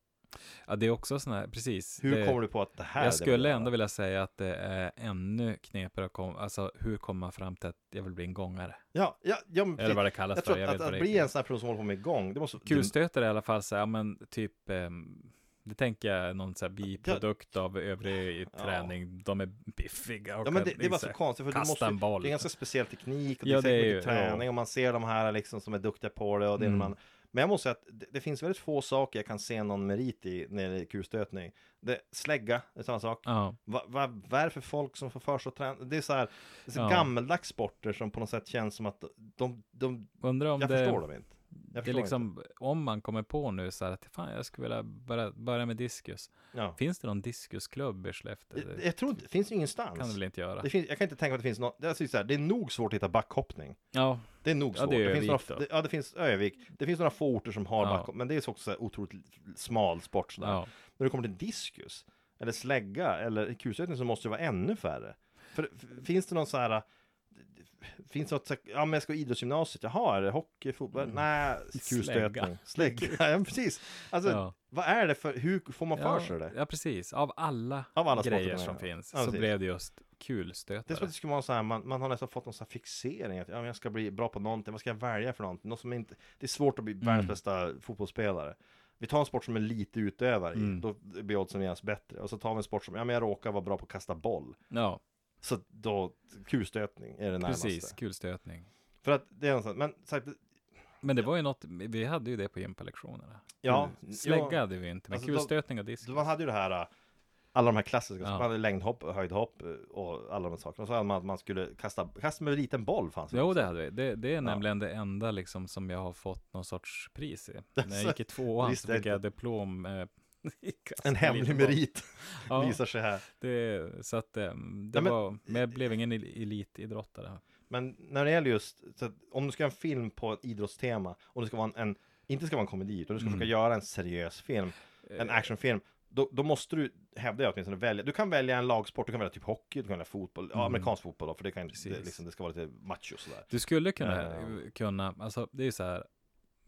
S5: Ja, det är också sån här, precis.
S6: Hur
S5: det,
S6: kommer du på att det här är
S5: Jag
S6: det
S5: skulle
S6: vi
S5: ändå
S6: gör?
S5: vilja säga att det är ännu knepigare att komma, alltså hur kommer man fram till att jag vill bli en gångare?
S6: Ja, ja, ja men
S5: Eller vad
S6: precis.
S5: det kallas
S6: jag
S5: för,
S6: tror
S5: jag
S6: att,
S5: vet
S6: att,
S5: vad
S6: att
S5: det
S6: bli
S5: är.
S6: en sån här person som håller på med igång, det måste...
S5: Kulstötare i alla fall, så, ja men typ, ehm, det tänker jag någon så här biprodukt av övrig
S6: Ja.
S5: träning. De är biffiga och
S6: Ja men det,
S5: kan
S6: det var så
S5: liksom
S6: konstigt för du
S5: kasta
S6: måste,
S5: en boll.
S6: det är ganska speciell teknik och
S5: Ja,
S6: det är
S5: det är
S6: säkert
S5: ju-
S6: mycket träning
S5: ja.
S6: och man ser de här liksom som är duktiga på det och det är
S5: Mm.
S6: man Men jag måste säga att det, det finns väldigt få saker jag kan se någon merit i när det gäller kulstötning det, Slägga, det är samma sak
S5: Ja,
S6: Va, va, vad är det för folk som får för sig att träna? Det är så här, det är så
S5: Ja.
S6: gammaldags sporter som på något sätt känns som att de, de,
S5: undrar om
S6: jag
S5: det...
S6: förstår dem inte. Jag
S5: det är
S6: förstår
S5: liksom, om man kommer på nu så här att fan, jag skulle vilja börja, börja med diskus.
S6: Ja.
S5: Finns det någon diskusklubb i Skellefteå?
S6: Jag,
S5: Det
S6: jag tror inte, det finns ju ingenstans.
S5: kan det väl inte göra?
S6: Det finns, jag kan inte tänka mig att det finns något, det, är alltså så här, det är nog svårt att hitta backhoppning.
S5: Ja,
S6: Det är nog
S5: Ja,
S6: svårt.
S5: det är
S6: det finns
S5: Övik
S6: några,
S5: då.
S6: det, ja, det finns Övik. Det finns några få orter som har
S5: Ja.
S6: backhoppning, men det är också så här otroligt smal sport. Sådär.
S5: ja.
S6: När det kommer till diskus, eller slägga, eller kulstötning så måste det vara ännu färre. För f- finns det någon så här Finns det något så här, ja men jag ska gå idrottsgymnasiet, jaha är det hockey, fotboll?
S5: Mm.
S6: Nej, kulstötning, slägga, ja precis. Alltså,
S5: Ja.
S6: vad är det för, hur får man för sig det?
S5: Ja, precis. Av alla,
S6: Av alla sporter
S5: grejer
S6: man
S5: som
S6: gör.
S5: finns
S6: Ja,
S5: så
S6: precis.
S5: blev det just
S6: Det är som
S5: kulstötare.
S6: att det skulle vara så här, man, man har nästan fått någon så här fixering att ja, men jag ska bli bra på någonting, vad ska jag välja för någonting? Något som inte, det är svårt att bli
S5: Mm.
S6: världens bästa fotbollsspelare. Vi tar en sport som är lite utövare i,
S5: Mm.
S6: då blir oddsen genast bättre. Och så tar vi en sport som, ja men jag råkar vara bra på att kasta boll.
S5: Ja,
S6: Så då, kulstötning är det närmaste.
S5: precis. Kulstötning.
S6: För att det är en sån, men sagt,
S5: Men det var ju något, vi hade ju det på gympalektionerna.
S6: ja.
S5: Slägga
S6: ja,
S5: hade vi inte, men
S6: Alltså, då-
S5: kulstötning och diskus.
S6: Man hade ju det här, äh, alla de här klassiska,
S5: Ja.
S6: man hade längdhopp, höjdhopp äh, och alla de här sakerna. Och så hade man att man skulle kasta, kasta med en liten boll fanns
S5: Jo,
S6: också.
S5: det hade vi. Det, det är nämligen det enda liksom, som jag har fått någon sorts pris i. När jag gick i tvåan
S6: Alltså, visste
S5: så
S6: jag
S5: fick jag diplom. Eh, i kast
S6: En
S5: med
S6: hemlig
S5: liten boll.
S6: merit
S5: Ja,
S6: visar sig här.
S5: det, så att eh, det
S6: Nej, men-
S5: var, men jag blev ingen el- elitidrottare.
S6: Men när det gäller just, så att om du ska göra en film på ett idrottstema och det ska vara en, en inte ska vara en komedi, utan du
S5: Mm.
S6: ska försöka göra en seriös film,
S5: Eh.
S6: en actionfilm, då, då måste du, hävdar jag åtminstone, välja. Du kan välja en lagsport, du kan välja typ hockey, du kan välja fotboll, ja, amerikansk fotboll då, för det, kan, det,
S5: Mm. Precis.
S6: liksom, det ska vara lite macho och sådär.
S5: Du skulle kunna,
S6: Ja,
S5: kunna alltså det är ju så här,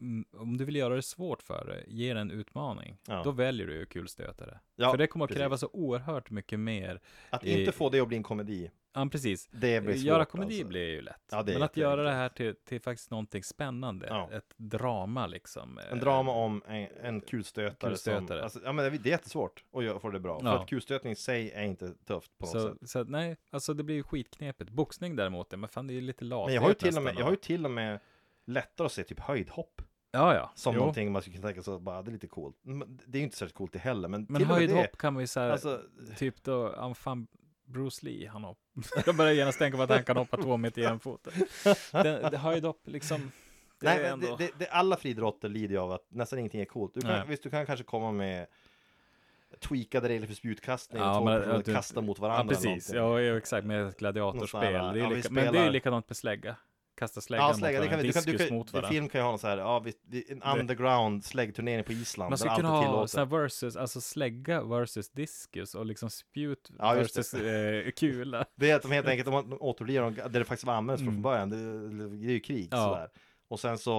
S5: mm, om du vill göra det svårt för dig, ge det en utmaning,
S6: Ja.
S5: då väljer du ju kulstötare.
S6: Ja,
S5: för det kommer att
S6: precis.
S5: kräva så oerhört mycket mer.
S6: Att
S5: i-
S6: inte få det att bli en komedi,
S5: Ja, precis.
S6: det blir svårt.
S5: Eh. Göra komedi
S6: alltså.
S5: blir ju lätt.
S6: Ja, det är
S5: Men att göra det
S6: jätteenkelt.
S5: här till, till faktiskt någonting spännande.
S6: Ja.
S5: Ett drama liksom.
S6: En drama om en, en kulstötare. Som,
S5: Kulstötare.
S6: alltså, ja, men det det är jättesvårt att göra- få det bra.
S5: Ja.
S6: För att kulstötning i sig är inte tufft på något sätt.
S5: Så, så att, nej, alltså det blir ju skitknepigt. Boxning däremot, ja, men fan det är ju lite lat.
S6: Men jag har, ju till och med, jag har ju till och med lättare att se typ höjdhopp
S5: Ja, ja.
S6: som
S5: Jo.
S6: någonting man skulle kunna tänka sig att bara, "Ah, det är lite coolt. Men Det är ju inte särskilt coolt det heller, men,
S5: Men
S6: till och med det-
S5: höjdhopp kan man ju säga,
S6: Alltså,
S5: typ då, ja, fan Bruce Lee, han hopp. Jag börjar genast tänka på att han kan hoppa två meter i en fot. Det, det höjdhopp liksom, det
S6: nej,
S5: är
S6: men
S5: ändå...
S6: det, det, det, alla friidrotter lider ju av att nästan ingenting är coolt. Du
S5: Nej.
S6: kan, visst, du kan kanske komma med tweakade regler för spjutkastning,
S5: Ja,
S6: två
S5: men,
S6: personer
S5: ja, du-
S6: kasta mot
S5: Ja,
S6: varandra. eller
S5: precis.
S6: någonting.
S5: Ja, ja, exakt. Med ett gladiatorspel.
S6: Någon sån här,
S5: det är
S6: ja, vi
S5: lika, Men det är
S6: spelar-
S5: ju likadant med slägga. Kasta slägga
S6: Ja,
S5: mot
S6: slägga, det kan
S5: varandra,
S6: vi, du kan,
S5: diskus
S6: du kan,
S5: mot
S6: du,
S5: varandra.
S6: film kan ju ha någon så här, ja, vi, vi, en underground släggturnering på Island,
S5: Man
S6: där
S5: skulle
S6: allt
S5: kunna
S6: är
S5: ha
S6: tillåtet.
S5: såna här versus, alltså slägga versus diskus och liksom spjut
S6: Ja, just det.
S5: versus eh, kula.
S6: Det är att de helt enkelt de återupplivar dem där det faktiskt var använts från början. Det, det är ju krig
S5: Mm. Ja.
S6: sådär. Och sen så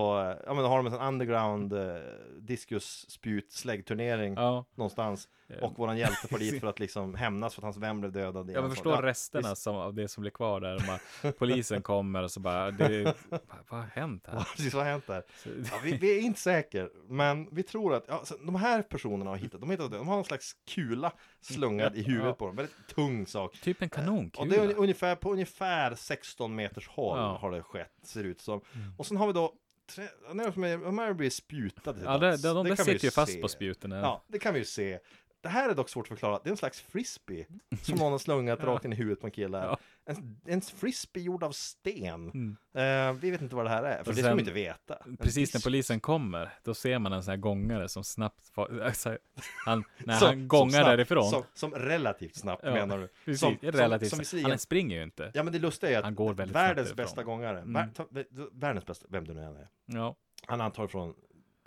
S6: ja, men då har de en sån underground eh, diskus spjut släggturnering
S5: Ja,
S6: någonstans. Och våran hjälte får dit för att liksom hämnas för att hans vän blev dödad. i
S5: jag
S6: en
S5: förstår
S6: sån-
S5: resterna som, av det som blir kvar där. Man, polisen kommer och så bara, det, vad, vad har hänt
S6: Ja,
S5: här?
S6: precis, vad har hänt där? Ja, vi, vi är inte säkra, men vi tror att ja, så de här personerna har hittat, de har, hittat, de har någon slags kula slungad i huvudet
S5: Ja.
S6: på dem, väldigt tung sak.
S5: Typ en
S6: Eh, Och det är
S5: kanonkula.
S6: un- ungefär, på ungefär 16 meters håll
S5: Ja. Mm.
S6: har det skett, ser det ut som. Och sen har vi då, tre, nej, för mig, de här blir spjutade. till
S5: Ja, det,
S6: döds.
S5: de, de
S6: kan
S5: där
S6: vi
S5: sitter ju fast
S6: se.
S5: på spjuten. Ja.
S6: Ja, det kan vi ju se. Det här är dock svårt att förklara, det är en slags frisbee som någon har slungat rakt in i huvudet på en kille. här.
S5: Ja. Mm.
S6: En, en frisbee gjord av sten. Eh, vi vet inte vad det här är, för
S5: Och
S6: det ska
S5: sen-
S6: vi inte veta. En
S5: Precis när
S6: disk.
S5: polisen kommer, då ser man en sån här gångare som snabbt far, alltså, han, när
S6: Som-
S5: han
S6: som
S5: gångar
S6: snabbt-
S5: därifrån.
S6: Som, som relativt snabbt
S5: Ja,
S6: menar du?
S5: Precis, relativt.
S6: som,
S5: han
S6: visserligen-
S5: springer ju inte.
S6: Ja men det lustiga är att
S5: Han går väldigt snabbt
S6: världens
S5: därifrån. Mm.
S6: bästa gångare, vär, ta, vä- världens bästa, vem du nu än är,
S5: Ja,
S6: han antar från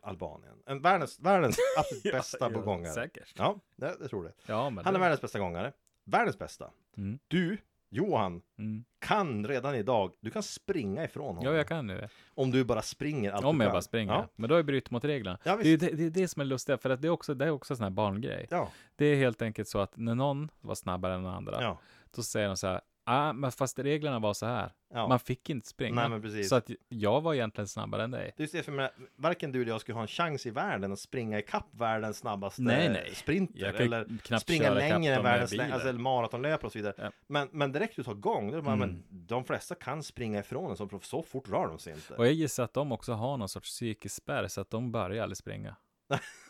S6: Albanien. En världens, världens absolut bästa
S5: ja,
S6: gångare.
S5: säkert.
S6: Ja, det, det tror det.
S5: Ja, men
S6: Han är
S5: det-
S6: världens bästa gångare, världens bästa.
S5: Mm.
S6: Du, Johan,
S5: Mm.
S6: kan redan idag, du kan springa ifrån honom.
S5: Ja, jag kan ju det.
S6: Om du bara springer allt
S5: Om
S6: du
S5: jag
S6: kan.
S5: bara springer.
S6: Ja.
S5: Men då har jag brutit mot reglerna.
S6: Ja,
S5: det, är ju det, det är det som är lustigt, för att det är också, det är också en sån här barngrej.
S6: Ja,
S5: Det är helt enkelt så att när någon var snabbare än den andra,
S6: ja.
S5: då säger de så här, ah, men fast reglerna var så här.
S6: ja.
S5: Man fick inte springa.
S6: Nej, men precis.
S5: Så att jag var egentligen snabbare än dig.
S6: Det är just det, för mig, varken du eller jag skulle ha en chans i världen att springa ikapp världens snabbaste
S5: Nej, nej.
S6: sprinter.
S5: Jag kan ju
S6: Eller
S5: knappt
S6: springa
S5: köra ikapp
S6: längre än
S5: dem med
S6: världens
S5: bilen.
S6: läng- alltså, eller maratonlöpare och så vidare.
S5: Ja.
S6: Men, men direkt du tar gång, då är det bara,
S5: Mm.
S6: men de flesta kan springa ifrån en sån proff, så fort rör de sig inte.
S5: Och jag gissar att de också har någon sorts psykisk spärr så att de börjar aldrig springa.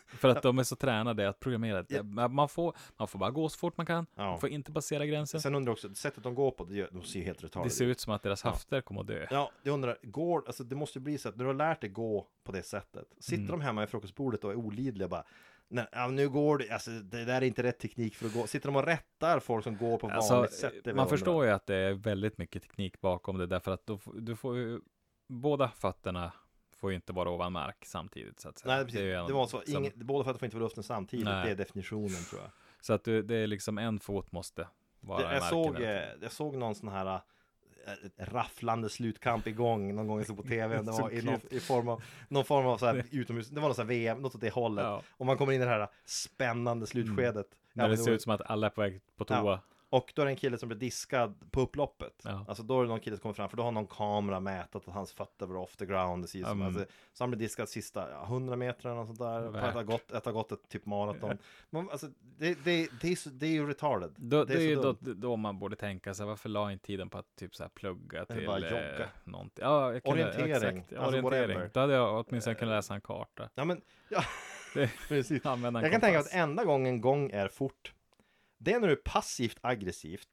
S5: För att de är så tränade att programmera.
S6: Ja.
S5: Man får, man får bara gå så fort man kan.
S6: Ja.
S5: Man får inte passera gränsen.
S6: Sen undrar jag också, sättet de går på, det gör, de ser ju helt retarderade
S5: Det ser ut som att deras höfter kommer att dö.
S6: Ja, jag undrar, går, alltså det måste ju bli så att när du har lärt dig gå på det sättet, sitter
S5: Mm.
S6: de hemma i frukostbordet och är olidliga bara Nej, ja, nu går det, alltså det där är inte rätt teknik för att gå. Sitter de och rättar folk som går på vanligt
S5: Alltså,
S6: sätt? Det är väl
S5: man
S6: jag undrar.
S5: förstår ju att det är väldigt mycket teknik bakom det därför att då, f- du får ju, båda fötterna får ju inte vara ovan mark samtidigt så att säga.
S6: Nej, precis.
S5: är ju
S6: Det,
S5: en-
S6: var så.
S5: som-
S6: Ingen, båda fötterna får inte vara i luften samtidigt.
S5: Nej.
S6: Det är definitionen tror jag.
S5: Så att du, det är liksom en fot måste vara
S6: Det,
S5: i
S6: jag,
S5: marken.
S6: såg,
S5: hela
S6: eh,
S5: tiden.
S6: jag såg någon sån här eh, rafflande slutkamp igång någon gång jag såg på tv. Det
S5: Så
S6: var i,
S5: kul.
S6: någon, i form av, någon form av så här utomhus. Det var något så här VM, något åt det hållet.
S5: Ja. Mm.
S6: Och man kommer in i det här spännande slutskedet. Ja,
S5: När
S6: men
S5: det
S6: det
S5: ser
S6: var-
S5: ut som att alla är på väg på toa.
S6: Ja. Och då är det en kille som blir diskad på upploppet.
S5: Ja.
S6: Alltså då är det någon kille som kommer fram, för då har någon kamera mätat att hans fötter var off the ground. Det mm.
S5: Mm.
S6: alltså, så han blir diskad sista ja, 100 meter eller något sånt där. På Att ha
S5: Värt.
S6: gått, att ha gått ett typ maraton. Men, alltså, det, det, det, är så, det är ju retarded.
S5: Då, det är, ju
S6: så
S5: då,
S6: dumt.
S5: då man borde tänka sig varför la inte tiden på att typ så här plugga till
S6: bara
S5: eh,
S6: jogga.
S5: någonting. Ja, jag kunde,
S6: Orientering.
S5: Ja, exakt.
S6: Alltså,
S5: orientering.
S6: whatever. Eh.
S5: Då hade jag åtminstone kunnat läsa en karta.
S6: Ja, men, ja,
S5: Det,
S6: precis.
S5: använda en
S6: Jag kan tänka mig
S5: kompass.
S6: att enda gången gång är fort. Det är när du passivt aggressivt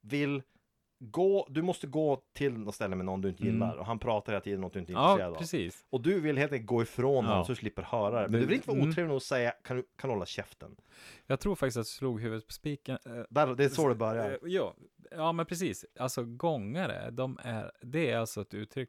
S6: vill gå, du måste gå till något ställe med någon du inte
S5: Mm.
S6: gillar och han pratar hela tiden något du inte är intresserad
S5: Ja,
S6: av.
S5: precis.
S6: Och du vill helt enkelt gå ifrån
S5: Ja.
S6: honom så du slipper höra det. Men
S5: Det-
S6: du vill inte vara
S5: mm.
S6: otrevlig nog att säga kan du kan du hålla käften.
S5: Jag tror faktiskt att jag slog huvudet på spiken. eh,
S6: Där, det är så det börjar.
S5: Eh, Ja, ja, men precis. Alltså gångare, de är, det är alltså ett uttryck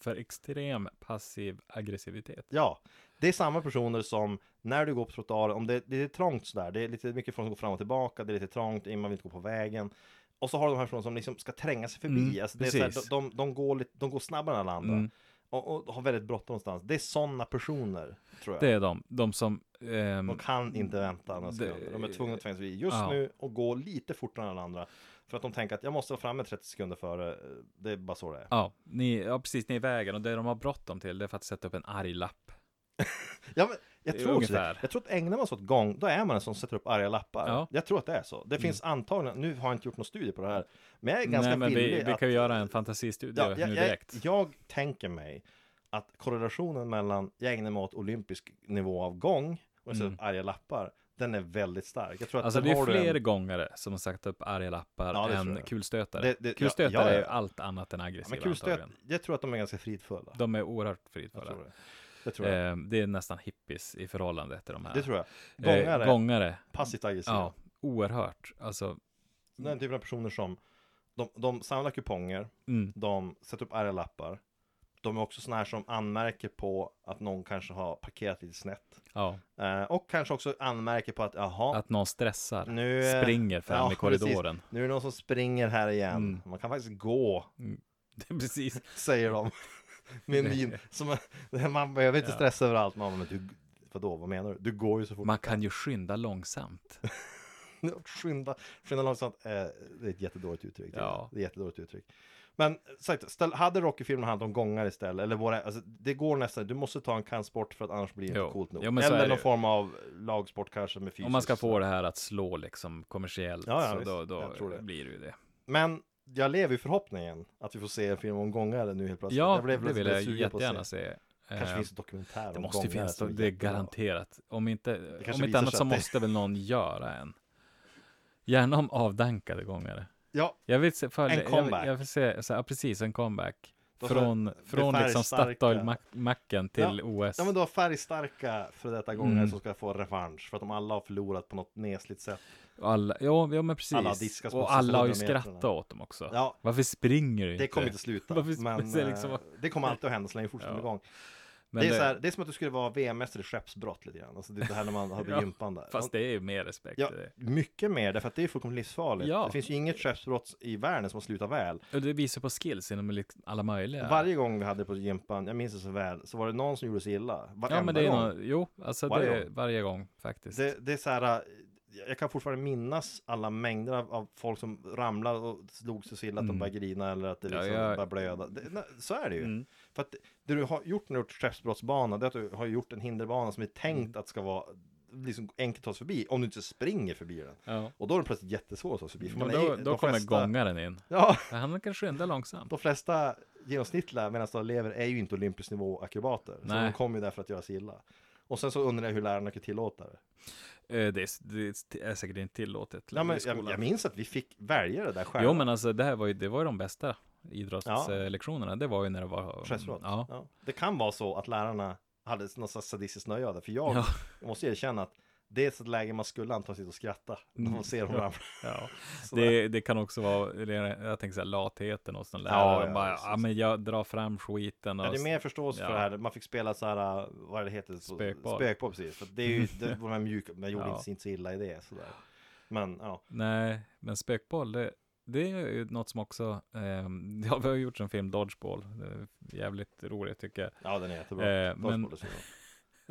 S5: för extrem passiv aggressivitet.
S6: Ja, det är samma personer som när du går på trottoaren, om det, det är trångt sådär, det är lite mycket folk som går fram och tillbaka, det är lite trångt, man vill inte gå på vägen. Och så har du de här personerna som liksom ska tränga sig förbi.
S5: Mm,
S6: alltså det är såhär, de,
S5: precis.
S6: de, de, går lite, de går snabbare än alla andra.
S5: Mm.
S6: Och, och har väldigt bråttom någonstans. Det är sådana personer, tror jag.
S5: Det är de, de som... ehm,
S6: De kan inte vänta några
S5: Det-
S6: sekunder. De är tvungna att tränga sig vid just
S5: Ja.
S6: nu och gå lite fortare än alla andra. För att de tänker att jag måste vara framme 30 sekunder före. Det är bara så det är.
S5: ja, ni, ja, precis, ni är i vägen och det de har bråttom till det är för att sätta upp en arg lapp.
S6: Ja, men jag
S5: Det är
S6: tror också det.
S5: ungefär.
S6: Jag tror att ägnar man sig åt gång, då är man en sån som sätter upp arga lappar.
S5: Ja. Mm.
S6: Jag tror att det är så. Det finns antagligen, nu har jag inte gjort någon studie på det här, men jag är ganska
S5: Nej, men vi,
S6: villig
S5: vi
S6: att...
S5: kan ju göra en fantasistudie
S6: ja, jag,
S5: nu
S6: jag,
S5: direkt.
S6: jag tänker mig att korrelationen mellan jag ägnar mig åt olympisk nivå av gång och jag sätter upp arga lappar, den är väldigt stark. Jag tror att
S5: Mm. Alltså
S6: den
S5: det är
S6: har du en-
S5: fler gångare som har sagt upp arga lappar
S6: Ja, det tror
S5: än
S6: jag.
S5: kulstötare.
S6: Det- det- ja,
S5: kulstötare
S6: ja, ja.
S5: är ju allt annat än
S6: Ja,
S5: aggressiva
S6: Men kulstöt,
S5: antagligen.
S6: jag tror att de är ganska fridfulla.
S5: De är oerhört
S6: Jag
S5: fridfulla.
S6: tror det. Det tror jag.
S5: Eh, det är nästan hippies i förhållande till de här.
S6: Det tror jag.
S5: Eh,
S6: Gångare,
S5: gångare.
S6: passivt aggressiva.
S5: Ja, oerhört. Alltså,
S6: Den typen av personer som de, de samlar kuponger,
S5: mm,
S6: de sätter upp arga lappar. De är också såna här som anmärker på att någon kanske har parkerat lite snett.
S5: ja.
S6: Eh, och kanske också anmärker på att jaha,
S5: Att någon stressar,
S6: nu eh,
S5: springer fram
S6: ja,
S5: i korridoren.
S6: Precis. Nu är det någon som springer här igen.
S5: Mm.
S6: Man kan faktiskt gå,
S5: Det är precis.
S6: säger de. Med en min som, man behöver inte
S5: Ja.
S6: stressa över allt. Man bara, men du, vadå, vad menar du? Du går ju så fort
S5: Man kan ju skynda långsamt.
S6: Skynda, skynda långsamt. Eh, det är ett jättedåligt uttryck.
S5: Ja.
S6: Det är ett jättedåligt uttryck. Men sagt, ställ, hade Rocky-filmen handlat om gångare istället, eller våra, alltså, det går nästan, du måste ta en kampsport för att annars blir det
S5: Jo.
S6: inte coolt nog.
S5: Jo, men så är
S6: eller
S5: det
S6: någon
S5: ju.
S6: form av lagsport kanske med fysiskt.
S5: Om man ska få det här att slå liksom kommersiellt,
S6: Ja, ja,
S5: så
S6: visst.
S5: då,
S6: Jag
S5: då
S6: tror det.
S5: blir det ju det.
S6: Men jag lever i förhoppningen att vi får se en film om gångare nu helt plötsligt.
S5: Ja,
S6: jag blev
S5: det vill
S6: plötsligt
S5: jag
S6: sugen på att
S5: jättegärna se.
S6: Kanske
S5: Eh,
S6: finns en dokumentär
S5: Det
S6: om
S5: måste
S6: gångare.
S5: ju finnas,
S6: som är
S5: det är
S6: jättebra.
S5: garanterat. Om inte,
S6: kanske
S5: om inte
S6: visar
S5: annat
S6: sig
S5: så
S6: att det-
S5: måste väl någon göra en. Gärna om avdankade gångare.
S6: Ja,
S5: Jag vill se, följa,
S6: En comeback.
S5: Jag, jag vill se så här, ja, precis, en comeback.
S6: Då
S5: Från,
S6: för-
S5: från
S6: det
S5: liksom
S6: färgstarka.
S5: Statoil-macken till
S6: Ja,
S5: OS.
S6: ja, men du har färgstarka för detta gångare
S5: Mm.
S6: som ska få revansch för att de alla har förlorat på något nesligt sätt.
S5: Och alla, ja, ja, men precis.
S6: Alla diskas mot
S5: och alla har ju
S6: 600 metrarna.
S5: skrattat åt dem också.
S6: Ja,
S5: Varför springer du inte?
S6: Det kommer inte sluta.
S5: Varför
S6: men,
S5: springer-
S6: eh,
S5: liksom-
S6: det kommer alltid att hända så länge vi fortsätter
S5: Ja.
S6: igång.
S5: Men
S6: det, är så här, det är som att du skulle vara VM-mästare i skeppsbrott lite grann. Alltså det är det här när man har
S5: Ja,
S6: gympan där.
S5: Fast det är ju mer respekt.
S6: Ja,
S5: i det.
S6: mycket mer, därför att det är fullkomligt livsfarligt.
S5: Ja.
S6: Det finns ju inget skeppsbrott i världen som har slutat väl.
S5: Och det visar på skills inom liksom alla möjliga.
S6: Varje gång vi hade det på gympan, jag minns det så väl, så var det någon som gjorde sig illa. Varenda
S5: ja, men det är
S6: gång.
S5: nog, jo, alltså varje,
S6: Varje
S5: det, gång.
S6: gång.
S5: varje gång faktiskt.
S6: Det, det är så här, äh, jag kan fortfarande minnas alla mängder av, av folk som ramlade och slog sig så illa att
S5: Mm.
S6: de började grina eller att det
S5: Ja,
S6: liksom
S5: jag-
S6: började blöda. Det, nej, så är det ju.
S5: Mm.
S6: För att det du har gjort när du har gjort skeppsbrottsbana, det är att du har gjort en hinderbana som är tänkt
S5: Mm.
S6: att ska vara liksom enkelt att ta sig förbi, om du inte springer förbi den.
S5: Ja.
S6: Och då är det plötsligt jättesvårt att ta sig förbi. för
S5: Men
S6: man är
S5: då
S6: ju-
S5: då
S6: de
S5: kommer
S6: flesta-
S5: gångaren in.
S6: Ja,
S5: Han kan skynda långsamt.
S6: de flesta genomsnittliga mellanstadieelever är ju inte olympisk nivå akrobater. Så
S5: Nej.
S6: de kommer ju där för att göra sig illa. Och sen så undrar jag hur lärarna kan tillåta det.
S5: Eh, Det är, det är säkert inte tillåtet.
S6: Ja, men
S5: i skolan.
S6: jag, jag minns att vi fick välja det där själva.
S5: Jo, men alltså det här var ju, det var ju de bästa
S6: Ja.
S5: idrottslektionerna. Det var ju när det var...
S6: Skeppsbrott.
S5: Ja.
S6: Ja. Det kan vara så att lärarna hade något slags sadistiskt nöje av det. För jag,
S5: Ja.
S6: jag måste erkänna att det är ett sånt läge man skulle antagligen sitta och skratta. När man ser dem ramla.
S5: Mm. ja.
S6: Sådär.
S5: Det, det kan också vara, eller jag tänker så här, latheten hos någon lärare.
S6: Ja,
S5: Ja,
S6: ja,
S5: bara,
S6: precis.
S5: ja, men jag drar fram skiten. Och,
S6: Ja, det är mer förståelse
S5: Ja.
S6: för det här. Man fick spela så här, äh, vad är det heter? Så-
S5: Spökboll.
S6: Spökboll, precis. För det är ju det, var de här mjuka, man gjorde
S5: Ja.
S6: inte, inte så illa i det. Sådär. Men ja,
S5: Nej, men spökboll, det, det är ju något som också, eh, ja, vi har gjort en film, Dodgeball. Det är Jävligt roligt tycker jag.
S6: ja den är jättebra.
S5: Eh, men-
S6: Spökboll är så bra.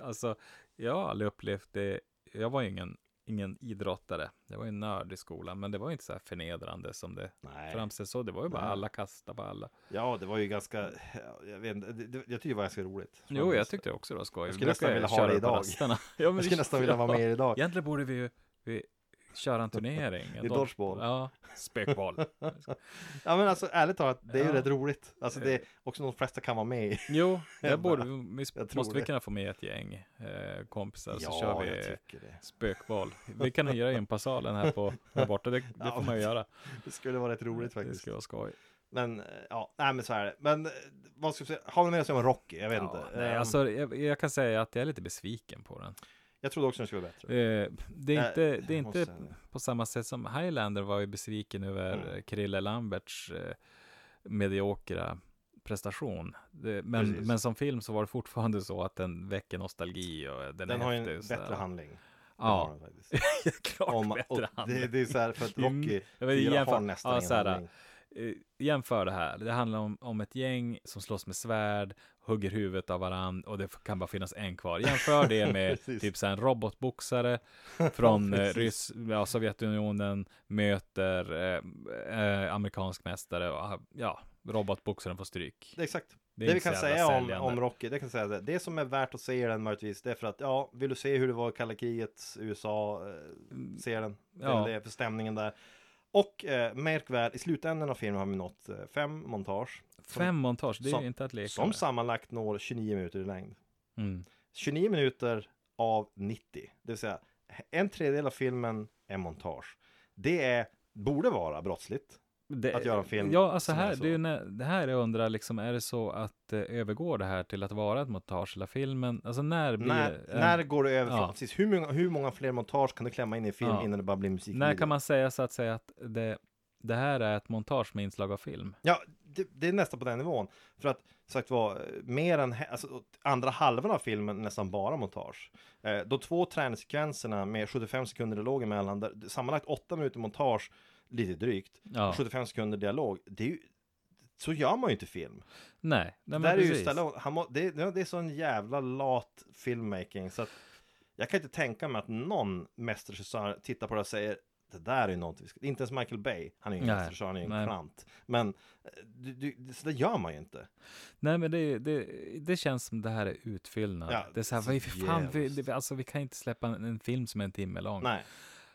S5: Alltså, jag har aldrig upplevt det. Jag var ju ingen, ingen idrottare. Jag var ju en nörd i skolan, men det var ju inte så här förnedrande som det
S6: Nej.
S5: framställs så. Det var ju bara
S6: Nej.
S5: alla kastade på alla.
S6: Ja, det var ju ganska, jag vet inte, det, det, jag tyckte det var ganska roligt.
S5: Jo, jag tyckte det också det var skoj.
S6: Jag
S5: Vi
S6: skulle nästan
S5: brukar
S6: vilja ha
S5: köra
S6: det
S5: på
S6: idag.
S5: rasterna. ja, men
S6: Jag
S5: vi-
S6: skulle nästan vilja vara med er idag.
S5: Egentligen borde vi ju vi, köra en turnering. en
S6: I
S5: dodge-
S6: dodgeball.
S5: Ja, spökboll.
S6: Ja men alltså ärligt talat, det är ju
S5: Ja. Eh.
S6: rätt roligt. Alltså det är också de flesta kan vara med i.
S5: Jo, det
S6: Jag
S5: borde
S6: bara-
S5: vi, vi
S6: jag tror
S5: måste vi
S6: det.
S5: kunna få med ett gäng eh, kompisar så kör vi
S6: tycker det.
S5: spökboll. Vi kan hyra in på salen här på här borta, det, det
S6: Ja,
S5: får man ju
S6: men-
S5: göra.
S6: Det skulle vara rätt roligt
S5: Det
S6: faktiskt.
S5: skulle vara skoj.
S6: Men eh, ja, nej men så här är det. Men eh, vad ska vi säga, har ni med att säga om Rocky? Jag vet
S5: Ja,
S6: inte.
S5: nej,
S6: Ehm,
S5: alltså, jag, jag kan säga att jag är lite besviken på den.
S6: Jag trodde också den skulle vara bättre.
S5: Eh, det är
S6: Nej,
S5: inte, det är
S6: jag måste
S5: inte
S6: säga det.
S5: på samma sätt som Highlander var ju besviken över
S6: Mm.
S5: mm. Krille Lamberts eh, mediokra prestation. Det, men,
S6: Precis.
S5: men som film så var det fortfarande så att den väcker nostalgi och den,
S6: Den
S5: är
S6: har ju en
S5: häftig. och
S6: bättre
S5: sådär.
S6: handling. Den har
S5: Ja,
S6: den faktiskt.
S5: klart
S6: Om- och
S5: bättre
S6: det,
S5: handling.
S6: det är så här för att
S5: Mm.
S6: Rocky
S5: Jag vill
S6: 4
S5: jämföra-
S6: har nästan
S5: ja,
S6: ingen
S5: så här,
S6: handling.
S5: Eh, jämför det här. Det handlar om, om ett gäng som slåss med svärd, hugger huvudet av varann och det kan bara finnas en kvar. Jämför det med
S6: Precis.
S5: typ så här en robotboxare från eh,
S6: Precis.
S5: Ryss, ja, Sovjetunionen möter eh, eh, amerikansk mästare och ah, ja, robotboxaren får stryk.
S6: Det, är exakt.
S5: Det
S6: Det,
S5: är
S6: vi
S5: inte
S6: kan
S5: så jävla
S6: säga om,
S5: säljande.
S6: om Rocky, det kan säga det. Det som är värt att se den möjligtvis, det är för att ja, vill du se hur det var i kalla krigets USA, eh, se den. Det är
S5: Ja.
S6: väl det för stämningen där. Och eh, märk väl, i slutändan av filmen har vi nått eh, fem montage. Som,
S5: Fem montage, det är
S6: som-
S5: ju inte att leka
S6: Som
S5: med.
S6: sammanlagt når 29 minuter i längd.
S5: Mm.
S6: 29 minuter av 90. Det vill säga en tredjedel av filmen är montage. Det är, borde vara brottsligt.
S5: Det,
S6: Att göra en film
S5: Ja, alltså
S6: som är
S5: här,
S6: så.
S5: det, är ju när, det här jag undrar, liksom, är det så att eh, övergår det här till att vara ett montage eller filmen? Alltså när blir
S6: när,
S5: en-
S6: när går det över?
S5: ja.
S6: från- Precis, hur, många, hur många fler montage kan du klämma in i en film
S5: Ja.
S6: innan det bara blir musik?
S5: När kan man säga så att säga att det, det här är ett montage med inslag av film?
S6: Ja, det, det är nästan på den nivån. För att sagt var, mer än hä- alltså, andra halvan av filmen är nästan bara montage. Eh, de två träningssekvenserna med 75 sekunder dialog emellan, där, sammanlagt 8 minuter montage, lite drygt,
S5: Ja.
S6: och 75 sekunder dialog, det är ju, så gör man ju inte film.
S5: Nej, nej men
S6: Där är ju
S5: precis.
S6: Stallone, han må, det, det är sån jävla lat filmmaking så att jag kan inte tänka mig att någon mästerregissör tittar på det och säger det där är ju något vi ska... Inte ens Michael Bay, han är ju
S5: Nej,
S6: ingen mästerregissör, han är ju
S5: nej.
S6: en kvant. Men eh, du, du, så det gör man ju
S5: Mm.
S6: inte.
S5: Nej, men det, det, det känns som det här är utfyllnad.
S6: Ja,
S5: det är så här,
S6: så
S5: vad är för fan, vi,
S6: jävligt.
S5: det, alltså, vi kan inte släppa en, en film som är en timme lång.
S6: Nej,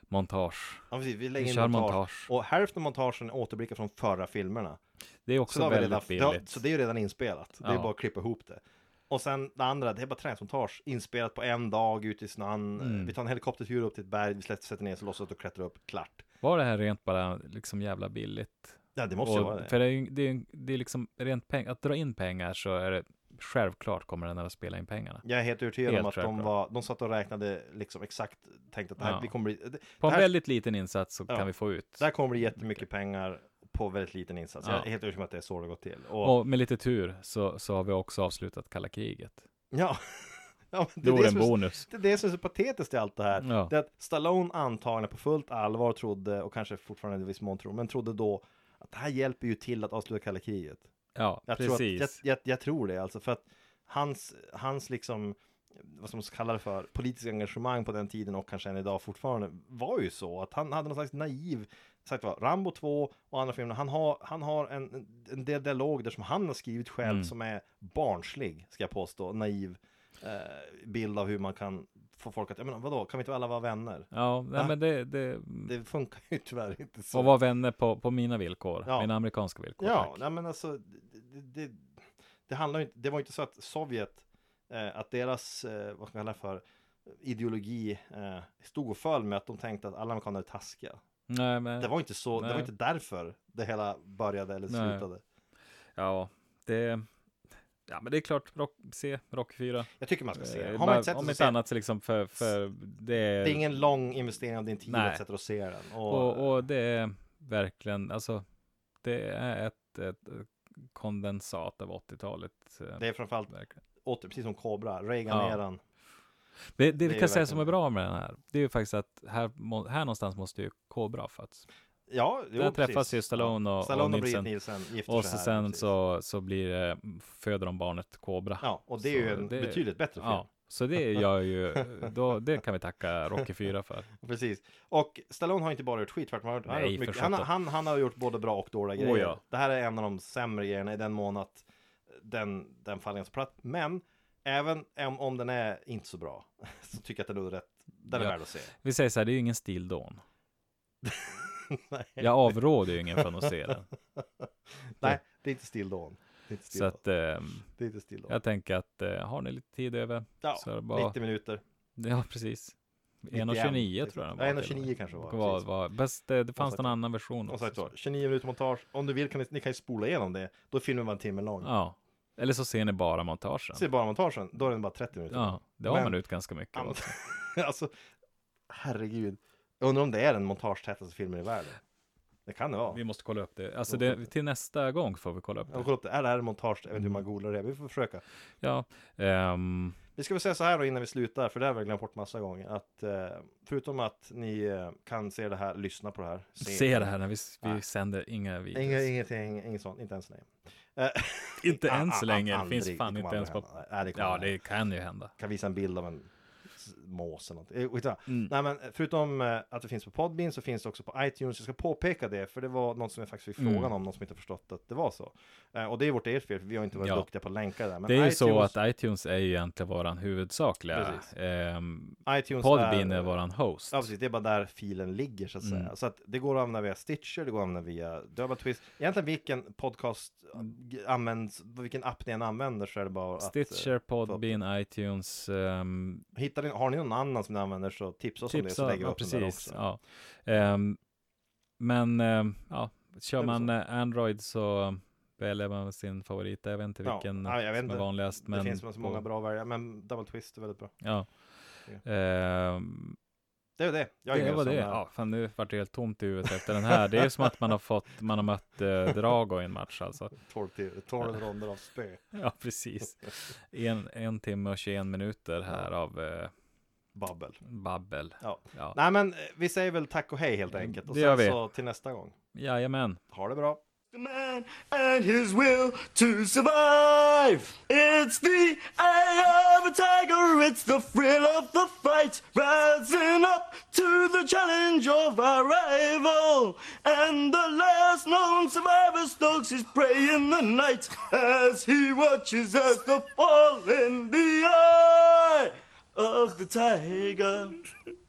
S5: Montage.
S6: ja, precis, vi lägger
S5: Vi
S6: in
S5: kör
S6: montage.
S5: montage.
S6: Och hälften av montagen är återblickar från förra filmerna.
S5: Det är
S6: Så,
S5: också
S6: det har vi
S5: väldigt
S6: redan, det har,
S5: billigt.
S6: så det är ju redan inspelat. Det är
S5: Ja.
S6: bara att klippa ihop det. Och sen det andra, det är bara träningsmontage. Inspelat på en dag ute i snön.
S5: Mm.
S6: Vi tar en helikoptertur upp till ett berg, vi släpper- sätter ner oss och låtsas att vi klättrar upp. Klart.
S5: Var det här rent bara liksom jävla billigt?
S6: Ja, det måste ju
S5: Och-
S6: vara det.
S5: För det är, ju- det är, ju- det är liksom rent peng, att dra in pengar så är det självklart kommer den att spela in pengarna.
S6: Jag är helt övertygad
S5: Helt
S6: om att de,
S5: självklart.
S6: var, de satt och räknade liksom exakt, tänkte att det här,
S5: Ja.
S6: vi kommer bli, det,
S5: På en
S6: här-
S5: väldigt liten insats så
S6: Ja.
S5: kan vi få ut.
S6: det här kommer bli jättemycket pengar på väldigt liten insats.
S5: Ja.
S6: Jag är helt övertygad om att det är så det har gått till. Och,
S5: Och med lite tur så, så har vi också avslutat kalla kriget.
S6: Ja, ja men det,
S5: Det vore
S6: som
S5: en
S6: är-
S5: bonus.
S6: Det är det som är så patetiskt i allt det här.
S5: Ja.
S6: Det är att Stallone antagligen på fullt allvar trodde, och kanske fortfarande i viss mån tror, men trodde då att det här hjälper ju till att avsluta kalla kriget.
S5: Ja,
S6: Jag, tror, att,
S5: precis.
S6: jag, jag, jag tror det alltså, för att hans, hans liksom, vad som man ska kalla det för, politiska engagemang på den tiden och kanske än idag fortfarande var ju så att han hade någon slags naiv, sagt var, Rambo 2 och andra filmer, han har, han har en, en del dialog där som han har skrivit själv
S5: Mm.
S6: som är barnslig, ska jag påstå, naiv eh, bild av hur man kan få folk att, jag menar vadå, kan vi inte alla vara vänner?
S5: Ja, nej,
S6: Va?
S5: men det, det,
S6: Det funkar ju tyvärr inte så.
S5: och vara vänner på, på mina villkor,
S6: Ja.
S5: mina amerikanska villkor.
S6: Ja,
S5: tack.
S6: nej men alltså det, det, det, handlar ju inte, det var ju inte så att Sovjet, eh, att deras, eh, vad ska man kalla det för, ideologi eh, stod och föll med att de tänkte att alla amerikaner är taskiga.
S5: nej, men,
S6: Det var inte så, det
S5: Nej.
S6: var inte därför det hela började eller
S5: Nej.
S6: slutade.
S5: ja, det, ja, men det är klart, rock, se Rock 4.
S6: Jag tycker man ska se
S5: Eh,
S6: den. Har
S5: bara-
S6: man inte sett den
S5: om
S6: så
S5: inte
S6: se den.
S5: annat så liksom för, för det är,
S6: Det är ingen lång investering av din tid
S5: Nej.
S6: att sätta dig och se den. Och,
S5: och, och det är verkligen, alltså, det är ett, ett kondensat av 80-talet. eh,
S6: det är framförallt,
S5: verkligen.
S6: åter, precis som Cobra, Reagan-eran.
S5: Det, det
S6: är
S5: vi
S6: ju
S5: kan säga som är
S6: verkligen-
S5: bra med den här, det är ju faktiskt att här, må- här någonstans måste ju Kobra fötts.
S6: Ja, jo,
S5: Där träffas
S6: precis.
S5: ju Stallone och,
S6: Stallone och Britt
S5: Nielsen.
S6: Nielsen gifter
S5: Och
S6: sig
S5: så
S6: här,
S5: sen
S6: precis.
S5: så, så blir det, mm, föder de barnet Kobra.
S6: Ja, och det är ju
S5: så
S6: en
S5: det-
S6: betydligt bättre film.
S5: Ja, så det gör ju, då, det kan vi tacka Rocky 4 för.
S6: Precis. Och Stallone har inte bara gjort skit, tvärtom. Han, har gjort- han, har
S5: Nej,
S6: gjort mycket-
S5: för
S6: han, har-
S5: sjutton.
S6: han, han har gjort både bra och dåliga grejer.
S5: Oh, ja.
S6: Det här är en av de sämre grejerna i den mån att den, den faller ganska platt. Men även om, om den är inte så bra så tycker jag att den är rätt. Den är
S5: Ja.
S6: värd att se.
S5: Vi säger så här, det är ju ingen stildån.
S6: Nej.
S5: Jag avråder ju ingen från att se den.
S6: Nej, det är inte Still Dawn. Det är inte Still
S5: Så
S6: Dawn.
S5: att eh,
S6: Det är inte Still Dawn.
S5: jag tänker att eh, har ni lite tid över?
S6: Ja,
S5: så är det bara-
S6: 90 minuter.
S5: Ja, precis.
S6: 91,
S5: 1,29 tror jag den
S6: Ja,
S5: var.
S6: 1,29 kanske var,
S5: var,
S6: precis.
S5: var bäst, eh, det, det fanns
S6: sagt
S5: någon
S6: så.
S5: annan version
S6: Och
S5: också.
S6: sagt så,
S5: så.
S6: 29 minuter montage. Om du vill kan ni, ni kan ju spola igenom det. Då är filmen bara en timme lång.
S5: Ja, eller så ser ni bara montagen.
S6: Se bara montagen, då är den bara 30 minuter.
S5: Ja, det har man
S6: typ. Men-
S5: ut ganska mycket.
S6: Ja, men-
S5: av.
S6: alltså, herregud. Jag undrar om det är den montagetätaste filmen i världen. Det kan det vara.
S5: Vi måste kolla upp det. Alltså
S6: Måste
S5: det, till nästa gång får vi kolla upp
S6: Jag får
S5: det.
S6: kolla upp det. Är det här en montage? Jag vet inte hur man googlar det. Vi får försöka.
S5: Ja, ehm,
S6: Vi ska väl säga så här då innan vi slutar, för det har vi glömt bort massa gånger. Att eh, förutom att ni eh, kan se det här, lyssna på det här.
S5: se det här när vi,
S6: Nej.
S5: vi sänder inga videos.
S6: Inga, ingenting, inget sånt, inte ens så länge. Eh,
S5: Inte
S6: ah,
S5: än
S6: ah,
S5: så länge. Det
S6: aldrig.
S5: finns fan
S6: Det kommer
S5: inte ens
S6: aldrig hända.
S5: på...
S6: Nej, det kommer
S5: Ja,
S6: aldrig
S5: det kan ju hända.
S6: kan visa en bild av en s- mås eller någonting. Eh, skitsamma.
S5: Mm.
S6: Nej men eh, förutom eh, att det finns på Podbean så finns det också på iTunes. Jag ska påpeka det för det var någon som jag faktiskt fick
S5: Mm.
S6: frågan om, någon som inte förstått att det var så. Eh, Och det är vårt eget fel, för vi har inte varit
S5: Ja.
S6: duktiga på att länka det där. Men
S5: Det är ju
S6: iTunes,
S5: så att iTunes är ju egentligen våran huvudsakliga.
S6: Precis.
S5: Um,
S6: iTunes
S5: Podbean är våran host.
S6: Ja precis, det är bara där filen ligger så att
S5: Mm.
S6: säga. Så att det går att använda via Stitcher, det går att använda via Double Twist. Egentligen vilken podcast
S5: Mm.
S6: eh, används, vilken app ni än använder så är det bara att... eh,
S5: Stitcher, Podbean, iTunes. ehm,
S6: Hittar ni, har ni någon annan som ni använder så tipsa oss om det så lägger vi
S5: Typ ja,
S6: upp den där
S5: precis.
S6: också.
S5: Ja. Ehm, men ehm, ja, kör
S6: väl
S5: man eh, Android så väljer man sin favorit. Jag vet inte
S6: Ja,
S5: vilken
S6: ja, jag vet
S5: som
S6: inte.
S5: är vanligast. Men
S6: det finns så många
S5: på-
S6: bra att välja, men Double Twist är väldigt bra.
S5: Ja.
S6: Ja.
S5: Ehm,
S6: Det är det. Jag är
S5: det
S6: ingen
S5: var
S6: sån
S5: det.
S6: här.
S5: Ja, fan, nu vart det helt tomt i huvudet efter den här. Det är som att man har fått, man har mött eh, Drago i en match alltså.
S6: 12, till, 12 ronder av spö.
S5: Ja, precis. En, en timme och 21 minuter här av eh,
S6: Babbel.
S5: babbel.
S6: Ja.
S5: Ja.
S6: Nej men eh, vi säger väl tack och hej helt enkelt. Och
S5: Mm, Det gör
S6: sen
S5: vi.
S6: så till nästa gång.
S5: Jajamän.
S6: Ha det bra.
S1: The man and his will to survive. It's the eye of a tiger, it's the thrill of the fight, rising up to the challenge of our rival. And the last known survivor stalks his prey in the night as he watches as the fall in the eye of the tiger.